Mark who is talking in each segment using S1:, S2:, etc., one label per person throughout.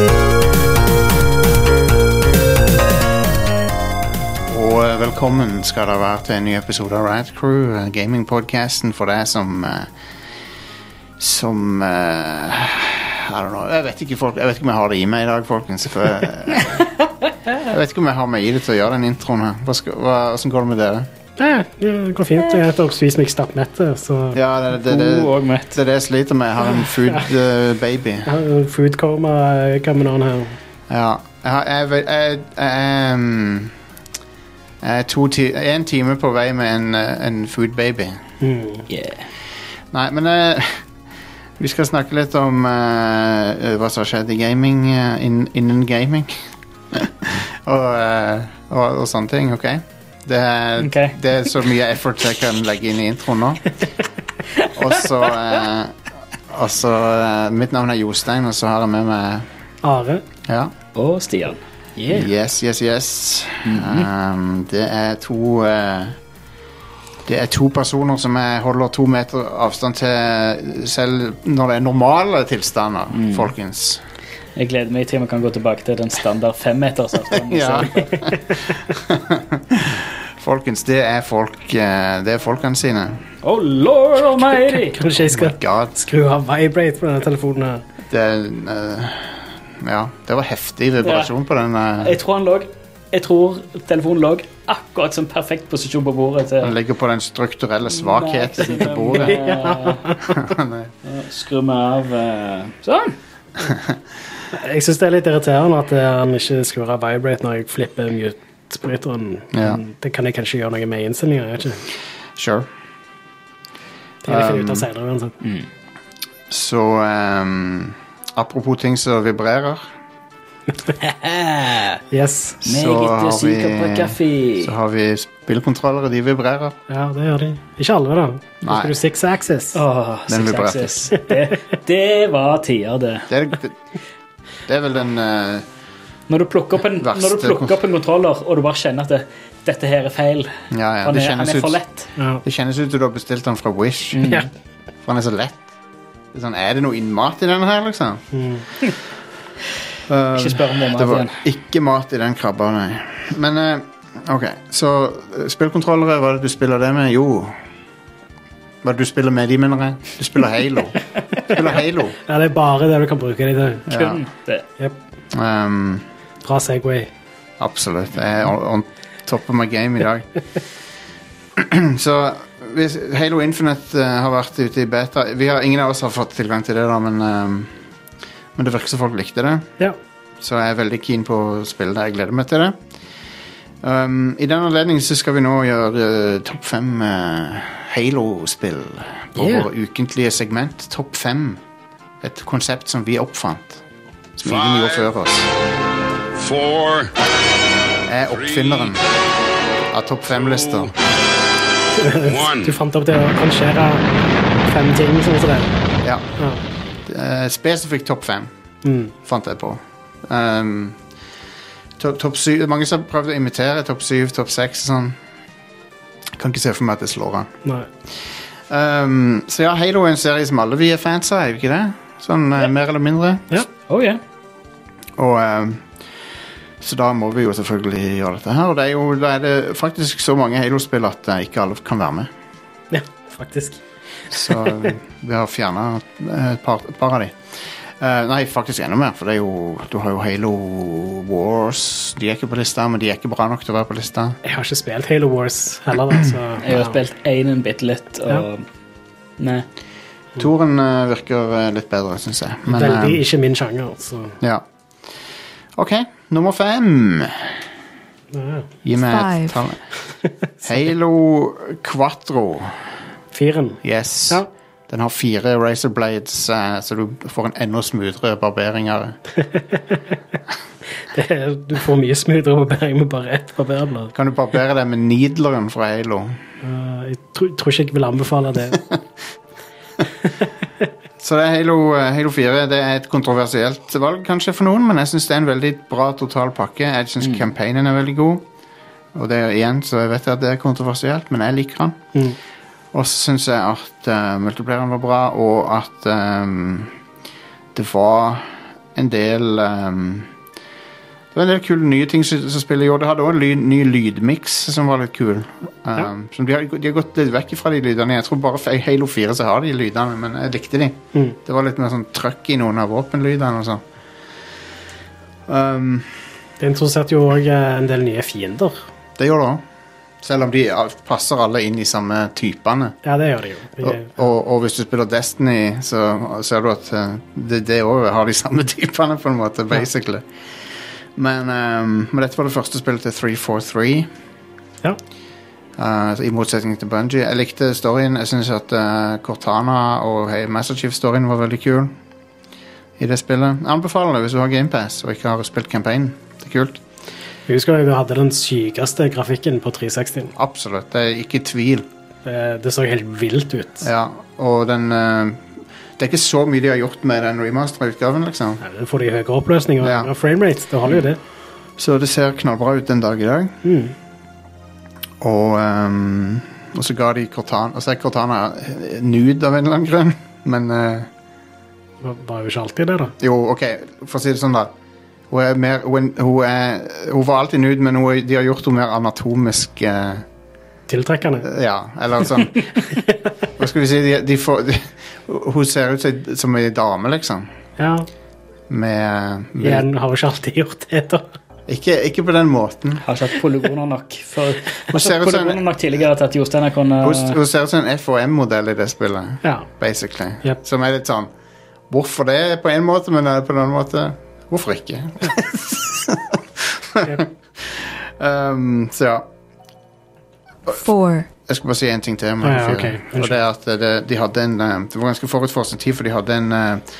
S1: eh, Velkommen skal dere være til en ny episode av Rad Crew, eh, gamingpodcasten for deg som eh, Som eh, I don't know. Jeg vet, ikke, folk, jeg vet ikke om jeg har det i meg i dag, folkens. For jeg, jeg vet ikke om jeg har meg i det til å gjøre den introen her. Hva skal, hva, hvordan går det med dere?
S2: Ja, Oh, det går fint. Jeg heter Svis meg stappmette, så
S1: Ja, det, det, det,
S3: God
S1: det,
S3: og mett.
S1: er det jeg sliter med. Jeg har en food eh, baby.
S2: jeg har en food coma eh, coming on her.
S1: Ja. Jeg, har- jeg, vet- jeg, jeg, ehm, jeg er to ti, en time på vei med en, eh, en food baby.
S2: Mm.
S1: Nei, men eh, vi skal snakke litt om eh, hva som har skjedd i gaming, eh, inn- innen gaming. og, eh, og, og sånne ting, OK? Det er,
S3: Ok.
S1: det er så mye effort jeg kan legge inn i introen nå. Og så eh, Og så eh, Mitt navn er Jostein, og så har jeg med meg
S2: Are.
S1: Ja.
S3: Og Stian. Yeah.
S1: Yes, yes, yes. um, det er to eh, Det er to personer som jeg holder to meter avstand til selv når det er normale tilstander, folkens.
S3: Jeg gleder meg til vi kan gå tilbake til den standard femmetersavstanden.
S1: Ja. folkens, det er folk eh, Det er folkene sine.
S3: Oh lord almighty!
S2: Kanskje jeg skal
S1: God.
S2: skru av vibrate på denne telefonen her.
S1: Det er eh, Ja, det var heftig vibrasjon på den. eh,
S3: Jeg tror han lå Jeg tror telefonen lå akkurat som perfekt posisjon på bordet
S1: den
S3: til
S1: ligger på den strukturelle svakheten til bordet. Nei.
S3: Skru meg av eh, Sånn!
S2: Jeg syns det er litt irriterende at eh, han ikke skrur av vibrate når jeg flipper mute-bryteren.
S1: Ja.
S2: Men Det kan jeg kanskje gjøre noe med i innstillingen. jeg vet ikke.
S1: Sure.
S2: Det vil jeg finne ut
S1: Um,
S2: av senere uansett.
S1: Så ehm, Apropos ting som vibrerer,
S2: Yes.
S1: Eh, så har vi-
S3: kaffe.
S1: så har vi spillkontrollere. De vibrerer.
S2: Ja, det gjør de. Ikke alle, da. Nå
S1: Nei.
S2: skal du six axis.
S3: Åh,
S1: Den
S3: six
S1: vibrerte.
S3: axis. Det, det var tider, det.
S1: Det er, det, det er vel den eh,
S3: Når du plukker opp en, når
S1: Verste
S3: du plukker opp en kontroller og du bare kjenner at det, dette her er feil
S1: Ja, ja.
S3: Han
S1: Det
S3: er, han
S1: kjennes,
S3: er for
S1: ut,
S3: lett. Mm.
S2: Ja.
S1: det kjennes ut som du har bestilt den fra Wish.
S2: Ja.
S1: For den er så lett. Det er, sånn, er det noe innmat i den her, liksom? Eh,
S3: Mm. Ikke spør om det er
S1: det
S3: mat
S1: var
S3: igjen.
S1: ikke mat i den krabba, nei. Men eh, OK, så eh, spillkontrollere, hva er det du spiller det med? Jo Hva er det du spiller med de, mener jeg? Du spiller Halo. Du spiller Halo.
S2: ja, det er bare det du kan bruke de til.
S1: Ja.
S3: Kun det.
S2: Jep.
S1: Ehm,
S2: Bra Segway.
S1: Absolutt. Jeg er on, on top of my game i dag. Så hvis Halo Infinite eh, har vært ute i beta Vi har, Ingen av oss har fått tilgang til det, da, men, eh, men det virker som folk likte det.
S2: Ja.
S1: Så jeg er veldig keen på å spille det. Jeg gleder meg til det. Um, I den anledning så skal vi nå gjøre eh, topp fem eh, Halo-spill på
S2: Yeah.
S1: vår ukentlige segment. Topp fem. Et konsept som vi oppfant. Som ingen gjorde før oss.
S4: four,
S1: Jeg er oppfinneren av topp fem-lister.
S4: one.
S2: Du fant opp det å rangere fem ting, sånn som det.
S1: Ja.
S2: Ja.
S1: Eh, spesifikt topp fem
S2: Mm.
S1: fant jeg på. Um, to, topp syv Mange som har prøvd å imitere topp syv, topp seks og sånn. Kan ikke se for meg at det slår an.
S2: Nei.
S1: Um, så ja, Halo er en serie som alle vi er fans av, er vi ikke det? Sånn eh, mer eller mindre.
S2: Ja.
S3: Oh, yeah.
S1: Og um, så da må vi jo selvfølgelig gjøre dette her. Og det er jo, da er det faktisk så mange Halo-spill at eh, ikke alle kan være med.
S2: ja, faktisk.
S1: Så vi har fjerna et par, et par av de. Eh, nei, faktisk enda mer, for det er jo, du har jo Halo Wars. De er ikke på lista, men de er ikke bra nok til å være på lista.
S2: Jeg har ikke spilt Halo Wars heller, da, så
S3: Jeg har spilt én en bitte litt, og Nei.
S1: Toren eh, virker eh, litt bedre, syns jeg. Men,
S2: Veldig
S1: eh,
S2: ikke min sjanger, så
S1: ja. OK, nummer fem.
S2: ja.
S1: Gi meg et
S5: Five.
S1: tall. Halo Quatro.
S2: Firen.
S1: Yes.
S2: Ja.
S1: Den har fire razor blades, eh, så du får en enda smoothere barbering av det.
S2: Det er, du får mye smoothere barbering med bare ett barberblad.
S1: Kan du barbere deg med needleren fra Halo?
S2: Uh, jeg tror, tror ikke jeg vil anbefale det.
S1: Så det er Halo, eh, Halo 4 det er et kontroversielt valg kanskje for noen, men jeg syns det er en veldig bra total pakke. Jeg syns campaignen er veldig god, og det er igjen, så jeg vet at det er kontroversielt, men jeg liker den.
S2: Mm.
S1: Og så syns jeg at uh, multiplayeren var bra, og at eh, ehm, det var en del ehm, eh, Det var en del kule nye ting som, som spillet gjorde. Det hadde òg en ly, ny lydmiks som var litt kul. Um, som de, har, de har gått litt vekk fra de lydene. Jeg tror bare for i Halo 4 så har de lydene, men jeg likte de.
S2: Mm.
S1: Det var litt mer sånn trøkk i noen av våpenlydene og sånn. Um,
S2: Det introduserte jo òg en del nye fiender.
S1: det gjør det òg. Selv om de al- passer alle inn i samme typene.
S2: Ja, det gjør det jo. De,
S1: Og, og, og hvis du spiller Destiny, så ser du at eh, det, det også har de samme typene, på en måte, basically. Men, ehm, men dette var det første spillet til 343.
S2: Ja.
S1: Eh, så I motsetning til Bungie. Jeg likte storyen. Jeg syns at eh, Cortana og hey, Master Chief-storyen var veldig kul i det spillet. Jeg anbefaler det hvis du har GamePass og ikke har spilt campaignen. Det er kult.
S2: jeg husker jeg hadde den sykeste grafikken på 360-en.
S1: Absolutt. Det er ikke tvil.
S2: Det, det så helt vilt ut.
S1: Ja, og den eh, Det er ikke så mye de har gjort med den remastera utgaven, liksom.
S2: Ja, Da får de høyere oppløsning og
S1: Ja.
S2: ja. framerate. Det holder jo, det.
S1: Så det ser knallbra ut den dag i dag.
S2: Mm.
S1: Og, ehm, og så ga de Cortana Og så er Cortana eh, nude av en eller annen grunn, men eh,
S2: Det var- var jo ikke alltid det, da.
S1: Jo, OK, for å si det sånn, da. Hun, er mer, hun, hun, er, hun var alltid nude, men hun, er- de har gjort henne mer anatomisk eh,
S2: Tiltrekkende.
S1: Ja, eller sånn Hva skal vi si? De, de får, de, hun ser ut som- som ei dame, liksom.
S2: Ja,
S1: Med, med
S2: igjen har jo ikke alltid gjort det, da.
S1: ikke, ikke på den måten.
S3: Har ikke hatt polygoner nok for,
S1: Hun ser ut som
S3: polygoner nok tidligere til at Jostein har kunnet
S1: Hun, hun ser ut som en FHM-modell i det spillet,
S2: Ja.
S1: basically.
S2: Yep.
S1: Som er litt sånn Hvorfor det på en måte, men eh, på en annen måte Hvorfor ikke?
S2: Yep.
S1: um, så ja.
S5: four,
S1: Jeg skal bare si én ting til. om
S2: Ah, ja,
S1: Halo 4.
S2: ok. Unnskyld.
S1: Og det er at eh, det, de hadde en eh, Det var ganske forut for sin tid, for de hadde en eh,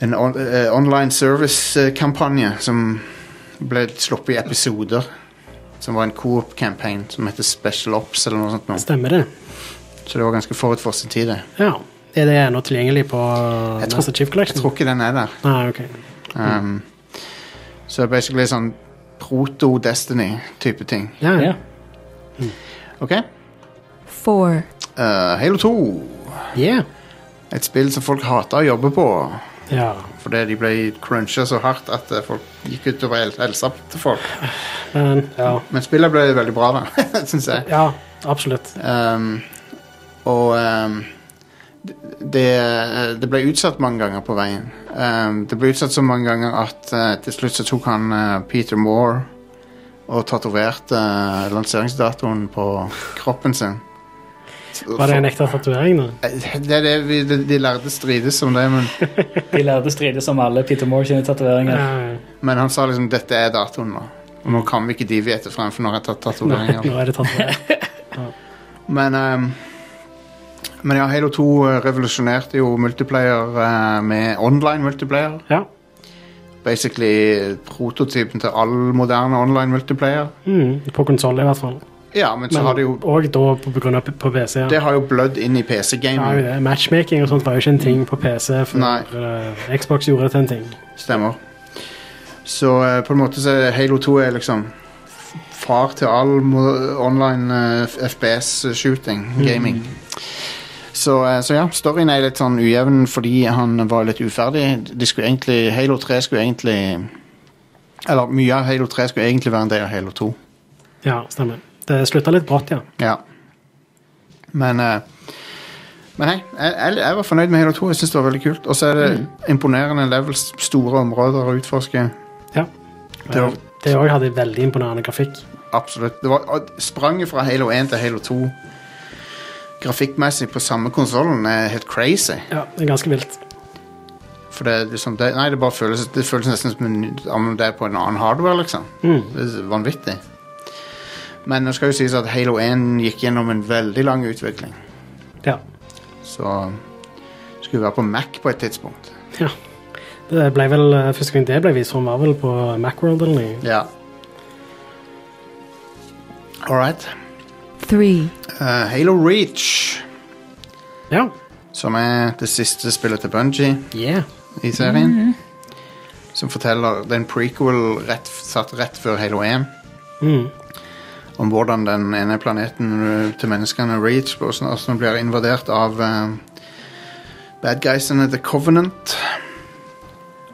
S1: en on, eh, online service-kampanje som ble sluppet i episoder. Som var en coop-campaign som heter Special Ops eller noe sånt. Nå.
S2: Stemmer det.
S1: Så det var ganske forut for sin tid, det.
S2: Ja. Er det ennå tilgjengelig på
S1: Jeg tror-
S2: Master Chief
S1: Jeg
S2: Collection?
S1: tror ikke den er der.
S2: Nei, ok.
S1: Um, Så det er basically sånn proto-Destiny-type ting.
S2: Ja,
S3: Ja.
S1: Ok?
S5: four,
S1: Eh, Halo 2.
S2: Yeah.
S1: Et spill som folk hata å jobbe på.
S2: ja.
S1: Fordi de ble cruncha så hardt at eh, folk gikk utover hel- helsa til folk.
S2: Men, ja.
S1: Men spillet ble veldig bra, da, syns jeg.
S2: ja, absolutt.
S1: Um, og um, det, det ble utsatt mange ganger på veien. Um, det ble utsatt så mange ganger at eh, til slutt så tok han eh, Peter Moore og tatoverte eh, lanseringsdatoen på kroppen sin.
S2: Var det en ekte tatovering, da?
S1: Eh, Det er det vi, de, de lærde strides om det, men,
S3: De lærde strides om alle Peter Moore sine tatoveringer.
S2: Ja.
S1: men han sa liksom 'dette er datoen nå'. Og nå kan vi ikke de vite frem, for nå har jeg tatt tatoveringer.
S2: Nå er det tatovering.
S1: Men, ehm, men ja, Halo 2 revolusjonerte jo multiplayer eh, med online multiplayer.
S2: Ja.
S1: Basically prototypen til all moderne online multiplayer.
S2: Mm, på konsoll, i hvert fall.
S1: Ja, men så har det jo
S2: Men òg da på, på grunn av p- på PC. Ja.
S1: Det har jo blødd inn i
S2: Ja, jo
S1: PC-gaming.
S2: det. matchmaking og sånt var jo ikke en ting på PC før
S1: Nei.
S2: eh, Xbox gjorde det til en ting.
S1: Stemmer. Så eh, på en måte så er Halo 2 er liksom f- far til all mo- online eh, FPS-shooting, gaming. Så, eh, så ja, storyen er litt sånn ujevn fordi han var litt uferdig. De skulle egentlig, Halo 3 skulle egentlig Eller mye av Halo 3 skulle egentlig være en del av Halo 2.
S2: Ja, stemmer. Det slutta litt brått, ja.
S1: Ja. Men eh, Men hei, jeg, jeg, jeg var fornøyd med Halo 2. Jeg synes det var veldig kult. Og så er det imponerende levels, store områder å utforske.
S2: ja.
S1: Det var-
S2: Det òg hadde veldig imponerende grafikk.
S1: Absolutt. Det var, og spranget fra Halo 1 til Halo 2 grafikkmessig på samme konsollen er helt crazy.
S2: Ja, det er ganske vilt.
S1: For det, er liksom, det, nei, det bare føles, det føles nesten som en, om det er på en annen hardware, liksom.
S2: Mm.
S1: Det er vanvittig. Men det skal jo sies at Halo 1 gikk gjennom en veldig lang utvikling.
S2: Ja.
S1: Så skulle være på Mac på et tidspunkt.
S2: ja. Det ble vel, eh, Første gang det ble vist fram, var vel på Macworld eller noe.
S1: Ja. All right.
S5: three,
S1: Eh, Halo Reach,
S2: Ja.
S1: som er det siste spillet til Bungie.
S2: Yeah.
S1: i serien. Som forteller Det er en prequel rett, satt rett før Halo 1.
S2: Mm.
S1: Om hvordan den ene planeten ø, til menneskene Reach og sånn- og sånn blir invadert av eh, bad guysene The Covenant.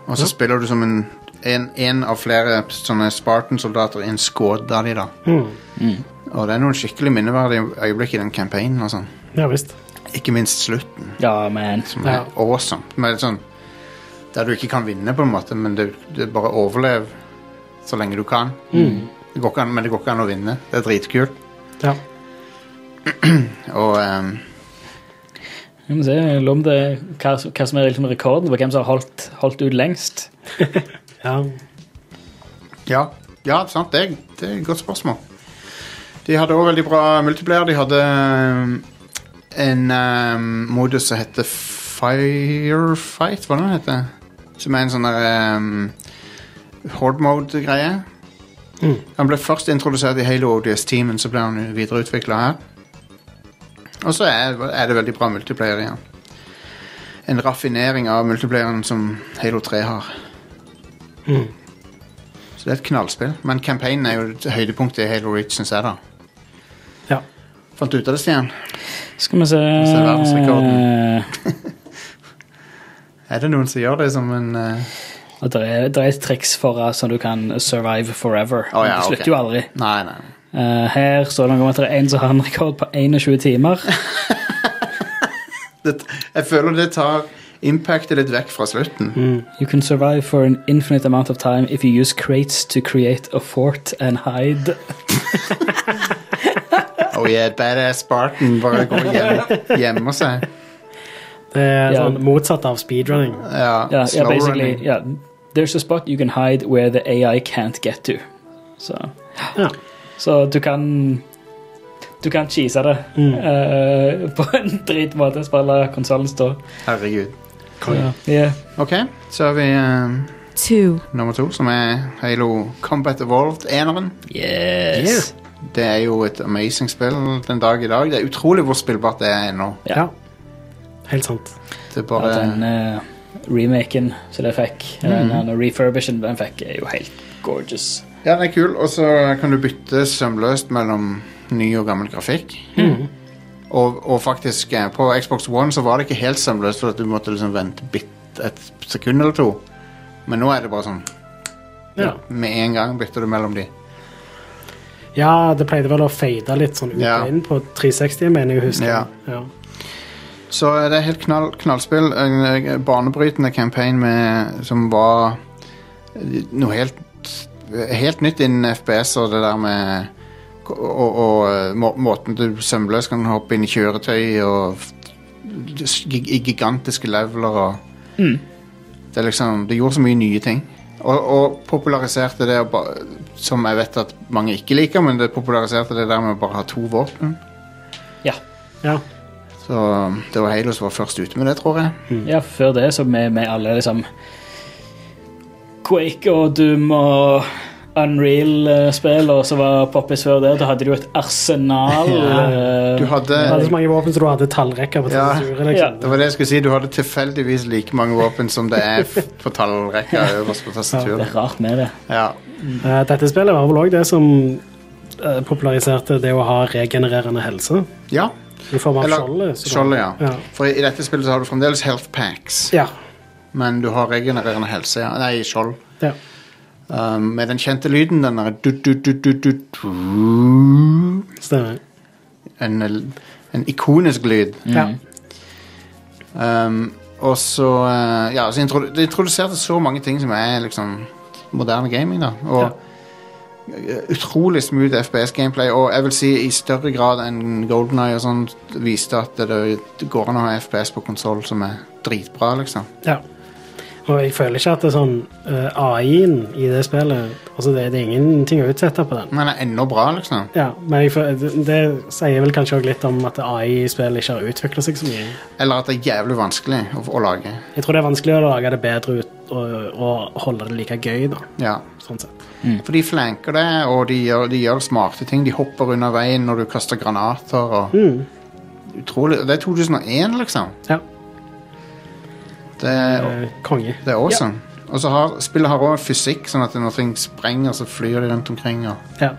S1: Og så spiller du som en en, en av flere sånne Spartan-soldater i en squad av de da. Og det er noen skikkelig minneverdige øyeblikk i den campaignen. og sånn.
S2: Ja visst.
S1: Ikke minst slutten,
S3: Ja, men
S1: som er
S2: Ja.
S1: awesome. Med sånn, der du ikke kan vinne, på en måte, men du, du bare overlev så lenge du kan. Det går ikke an, men det går ikke an å vinne. Det er dritkult.
S2: Ja.
S1: Og ehm,
S3: Vi må se eller om det, hva, som- hva som er liksom rekorden på hvem som har holdt, holdt ut lengst.
S2: ja.
S1: Ja, ja sant. Det, er- det er et godt spørsmål. De hadde òg veldig bra multiplier. De hadde um, en um, modus som heter Firefight, hva er det den heter? Som er en sånn der um, horde mode-greie.
S2: Mm.
S1: Han ble først introdusert i Halo ODS-team, men så ble han videreutvikla her. Og så er, er det veldig bra multiplayer igjen. En raffinering av multiplayeren som Halo 3 har. Så det er et knallspill. Men campaignen er jo et høydepunkt i Halo Reach, syns jeg, da.
S2: Ja.
S1: Fant du ut av det, Stian?
S3: Skal vi se
S1: Så er verdensrekorden. Er det noen som gjør det som en eh,
S3: Og Det er, det er et triks for deg som du kan survive forever.
S1: Å, ja,
S3: det
S1: ok.
S3: slutter jo aldri.
S1: Nei, nei. nei.
S3: Eh, her står det noe om at det er en som har en rekord på 21 timer.
S1: Det, jeg føler det tar impactet litt vekk fra slutten.
S3: You can survive for an infinite amount of time if you use crates to create a fort and hide.
S1: Oh yeah, badass Spartan bare går hjem- gjemmer seg.
S2: Det er
S3: Ja.
S2: sånn motsatt av speedrunning.
S1: Ja,
S3: Ja, ja
S1: slow
S3: basically.
S1: running.
S3: Ja, there's a spot you can hide where the AI can't get to. Så
S2: Ja.
S3: så du kan Du kan cheese det
S2: Mm.
S3: eh, på en dritmåte. Spille konsollen stå.
S1: Herregud.
S3: Ja. Yeah.
S1: OK, så har vi eh,
S5: two,
S1: nummer to, som er Halo Combat Evolved, eneren.
S3: Yes.
S1: Det er jo et amazing spill den dag i dag. Det er utrolig hvor spillbart det er ennå.
S2: Ja. Helt sant.
S1: Det er bare
S3: den eh, remaken som de fikk,
S1: Mm.
S3: eller den refurbishen den fikk, er jo helt gorgeous.
S1: Ja, den er kul, og så kan du bytte sømløst mellom ny og gammel grafikk. Og, og faktisk, eh, på Xbox One så var det ikke helt sømløst, for at du måtte liksom vente bitt et sekund eller to. Men nå er det bare sånn,
S2: Ja.
S1: med en gang bytter du mellom de.
S2: ja, det pleide vel å fade litt sånn ut
S1: Ja.
S2: og inn på 360, mener jeg å huske.
S1: Ja.
S2: Ja.
S1: Så eh, det er helt knall, knallspill. En eh, banebrytende campaign med, som var eh, noe helt, helt nytt innen FPS og det der med og, og eh, må, måten du sømløst kan hoppe inn i kjøretøy og f- s- gi- i gigantiske leveler og Det er liksom Det gjorde så mye nye ting. Og, og populariserte det å ba- som jeg vet at mange ikke liker, men det populariserte det der med å bare ha to våpen.
S3: Ja.
S2: ja.
S1: Så det var Halo som var først ute med det, tror jeg.
S3: ja, før det så med, med alle liksom Quake og Doom og Unreal-spill, og så var Poppis før det, da hadde de jo et arsenal. eh,
S1: Du hadde
S2: Du hadde så mange våpen så du hadde tallrekker på
S1: Ja.
S2: tastaturet. Liksom.
S1: Det var det jeg skulle si. Du hadde tilfeldigvis like mange våpen som det er f- på tallrekka øverst på
S3: Det
S1: tastaturet.
S3: er rart med det.
S1: Ja.
S2: Eh, Dette spillet var vel òg det som eh, populariserte det å ha regenererende helse.
S1: ja.
S2: I form av
S1: Eller-
S2: skjoldet. så da-
S1: Skjoldet, ja.
S2: Ja.
S1: For i i dette spillet så har du fremdeles health packs,
S2: Ja.
S1: men du har regenererende helse. Ja. Nei, skjold.
S2: ja.
S1: Um, med den kjente lyden, den der du, du, du, du, du, du.
S2: Stemmer.
S1: En, en ikonisk lyd.
S2: Ja.
S1: Um, og så eh, Ja, så introdu det introduserte så mange ting som er liksom moderne gaming, da. Og eh, utrolig smooth FPS-gameplay, og jeg vil si i større grad enn Golden Eye og sånn viste at det, det går an å ha FPS på konsoll som er dritbra, liksom.
S2: ja. Og jeg føler ikke at det er sånn eh, AI-en i det spillet altså det, det er ingenting å utsette på den.
S1: Men den er ennå bra, liksom.
S2: Ja, men jeg føler, det, det sier vel kanskje også litt om at AI-spill ikke har utvikla seg så mye.
S1: Eller at det er jævlig vanskelig å, å lage.
S2: Jeg tror det er vanskelig å lage det bedre ut og, og holde det like gøy, da.
S1: Ja.
S2: Sånn sett.
S1: For de flanker det, og de gjør, de gjør smarte ting. De hopper under veien når du kaster granater og Utrolig. Det er 2001, liksom.
S2: Ja.
S1: Det er
S2: eh, Konge.
S1: Det er awesome. Og så har, spillet har også fysikk, sånn at når ting sprenger, så flyr de rundt omkring. Og,
S2: Ja,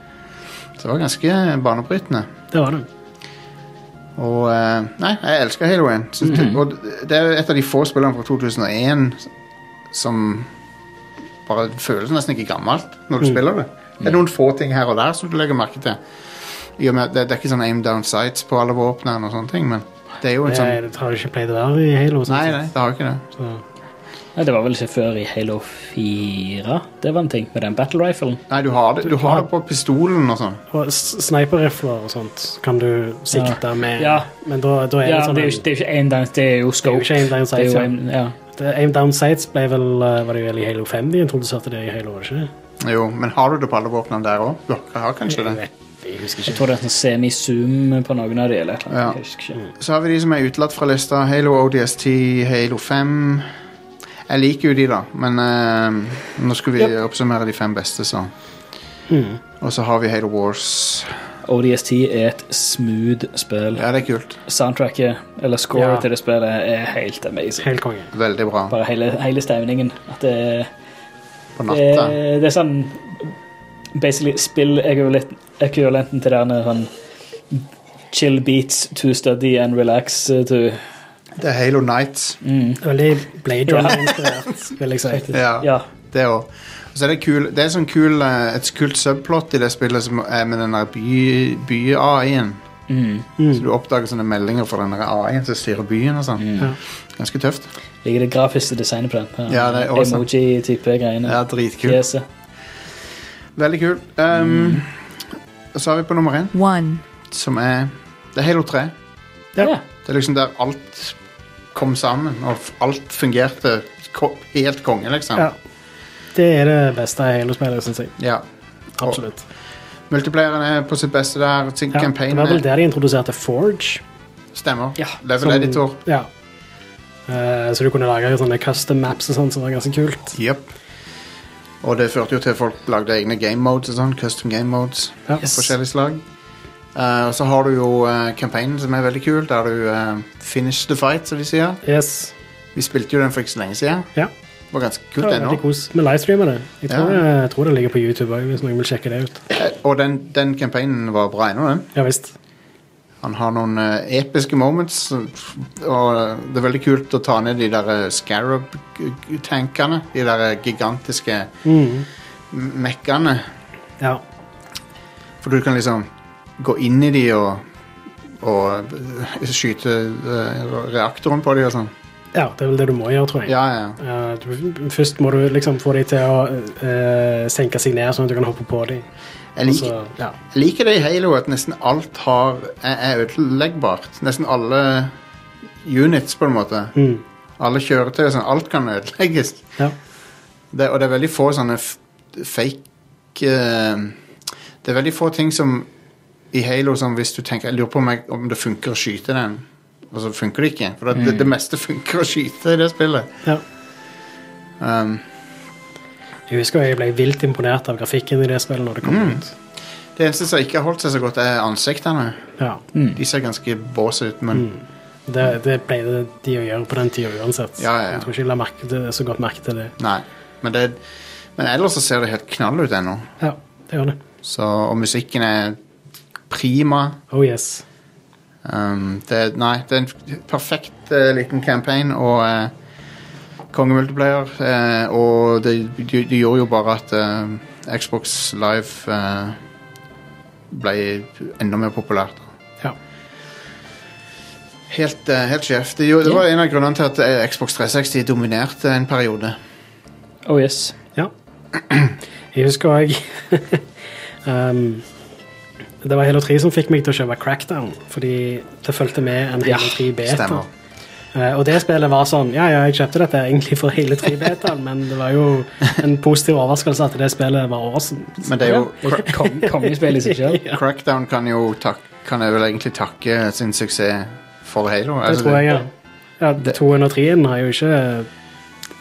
S1: så det var ganske banebrytende.
S2: det var det.
S1: Og eh, Nei, jeg elsker Halo 1. Syns
S2: Mhm.
S1: det- Og det er et av de få spillene fra 2001 som bare det føles nesten ikke gammelt når
S2: Mhm.
S1: du spiller det. Det er noen få ting her og der som du legger merke til. I og med, at det, det er ikke sånn aim down sights på alle våpnene og sånne ting, men det er jo en
S2: Det,
S1: sånn
S2: er- det har jo ikke pleid å være i Halo.
S1: Nei, nei,
S2: sånn sett.
S1: det har jo ikke det.
S2: Så-
S3: Nei, det var vel ikke før i Halo 4 det var en ting med den battle riflen.
S1: Nei, du har det, du har det på pistolen og sånn.
S2: Og s- sniper-rifler og sånt kan du sikte med,
S3: Ja.
S2: men da, da er
S3: Ja,
S2: det sånn
S3: det er jo ikke, det er jo ikke aim down, det er jo
S2: det er jo
S3: scope.
S2: ikke aim down
S3: Det er
S2: sights.
S3: jo
S2: Ja.
S3: aim, ja.
S2: Det- Aim down sights ble vel, eh, var det vel i Halo 5 de introduserte det i Halo, var det ikke?
S1: Jo, men har du det på alle våpnene der òg? Du har- har kanskje det.
S2: Jeg husker
S3: Jeg
S2: ikke.
S3: tror det er sånn semi-zoom på noen av de, eller et eller
S1: Ja.
S3: annet. Jeg husker ikke.
S1: Så har vi de som er utelatt fra lista. Halo ODST, Halo 5. Jeg liker jo de, da, men eh, nå skulle vi oppsummere de fem beste, så.
S2: Hmm.
S1: Og så har vi Halo Wars.
S3: ODST er et smooth spill.
S1: Ja, det er kult.
S3: Soundtracket, eller scoret
S2: Ja.
S3: til det spillet, er helt amazing.
S2: Helt konge.
S1: Veldig bra.
S3: Bare hele, hele stemningen. At det er
S1: På
S3: Det,
S1: natta.
S3: det er sånn Basically spill-ekvivalenten til denne sånn chill beats to study and relax eh, to
S1: Det er Halo Nights.
S3: mm.
S2: Veldig Blade Runner-inspirert, vil jeg si.
S1: Ja,
S3: Ja.
S1: det òg. Og så er det, kul, det er sånn kul, eh, et kult subplot i det spillet som er med den der by- by-AI-en.
S3: Mm.
S1: så du oppdager sånne meldinger fra den der AI-en som styrer byen og sånn.
S2: Ja.
S1: Ganske tøft.
S3: Liker mm. det grafiske designet på den.
S1: Ja, det er awesome.
S3: Emoji-type greiene. eh.
S1: Ja, dritkult.
S3: Fjeset.
S1: Veldig kult.
S2: Mm.
S1: Um, og Så har vi på nummer én,
S5: one,
S1: som er Det er Halo 3.
S2: Ja.
S3: Ja.
S1: Det er liksom der alt kom sammen, og f- alt fungerte ko helt konge, liksom.
S2: Ja. Det er det beste Halo-spillet, syns jeg.
S1: Ja.
S2: Absolutt.
S1: Multiplayeren er på sitt beste der. Sin
S2: Ja, det
S1: campaign
S2: var vel
S1: er,
S2: der de introduserte Forge.
S1: stemmer.
S3: Ja,
S1: Level
S2: som-
S1: editor.
S2: Ja. Eh, så du kunne lage sånne custom maps og sånn, som var ganske kult.
S1: Yep. Og det førte jo til at folk lagde egne game modes og sånn. Custom game modes.
S2: Ja.
S1: Yes. Forskjellig slag. Eh, og så har du jo eh, campaignen, som er veldig kul, der du eh, finish the fight, som de sier.
S2: Yes.
S1: Vi spilte jo den for ikke så lenge siden.
S2: Ja.
S1: Det var ganske
S2: Det
S1: kult
S2: var
S1: ennå.
S2: veldig kos. Vi livestreamer det. Jeg tror,
S1: Ja.
S2: jeg tror det ligger på YouTube òg, hvis noen vil sjekke det ut.
S1: Eh, Og den, den campaignen var bra ennå, den.
S2: Ja visst.
S1: Han har noen eh, episke moments, og det er veldig kult å ta ned de der eh, Scarab-tankene. De der eh, gigantiske
S2: Mhm.
S1: m- mekkene.
S2: Ja.
S1: For du kan liksom gå inn i de og, og eh, skyte eh, reaktoren på de og sånn.
S2: ja. Det er vel det du må gjøre, tror jeg.
S1: Ja, ja.
S2: Eh, du, først må du liksom få de til å eh, senke seg ned, sånn at du kan hoppe på dem.
S1: Jeg liker,
S2: ja.
S1: jeg liker det i Halo at nesten alt har, er, er ødeleggbart. Nesten alle units, på en måte.
S2: Mm.
S1: Alle kjøretøy og sånn. Alt kan ødelegges.
S2: ja.
S1: Det, og det er veldig få sånne f fake eh, Det er veldig få ting som i Halo som hvis du tenker Jeg lurer på om, jeg, om det funker å skyte den, og så funker det ikke. For det, det, det meste funker å skyte i det spillet.
S2: ja.
S1: Um,
S2: Jeg husker jeg ble vilt imponert av grafikken i det spillet når det kom
S1: Mm.
S2: ut.
S1: det eneste som ikke har holdt seg så godt, er ansiktene.
S2: Ja.
S1: De ser ganske bås ut, men
S2: Det, det pleide de å gjøre på den tida uansett.
S1: Ja, ja, ja.
S2: Jeg tror ikke jeg la merke til så godt merke til det.
S1: nei. Men, det, men ellers så ser det helt knall ut ennå.
S2: Ja, det gjør det.
S1: Så, og musikken er prima.
S2: Oh yes.
S1: Um, det, nei, det er en perfekt eh, liten campaign og uh, kongemultiplayer. eh, og det, det, det gjorde jo bare at eh, Xbox Live eh, ble enda mer populært.
S2: Ja.
S1: Helt, eh, helt sjef. Det, gjorde- det var en av grunnene til at eh, Xbox 360 dominerte en periode.
S3: Oh yes.
S2: ja. Jeg husker òg um, Det var Halo 3 som fikk meg til å kjøpe Crackdown, fordi det fulgte med en
S3: Ja,
S2: Halo 3 beta.
S1: Stemmer.
S2: Eh, og det spillet var sånn Ja, ja, jeg kjøpte dette egentlig for hele 3 betaen, men det var jo en positiv overraskelse at det spillet var awesome.
S1: Men det er jo
S3: Det er ikke kong, kongespill i seg selv.
S1: Cra- Crackdown kan jo tak, kan jeg vel egentlig takke sin suksess for Halo.
S2: Det
S1: Altså,
S2: tror jeg, ja. ja
S1: det-
S2: 203-en har jo ikke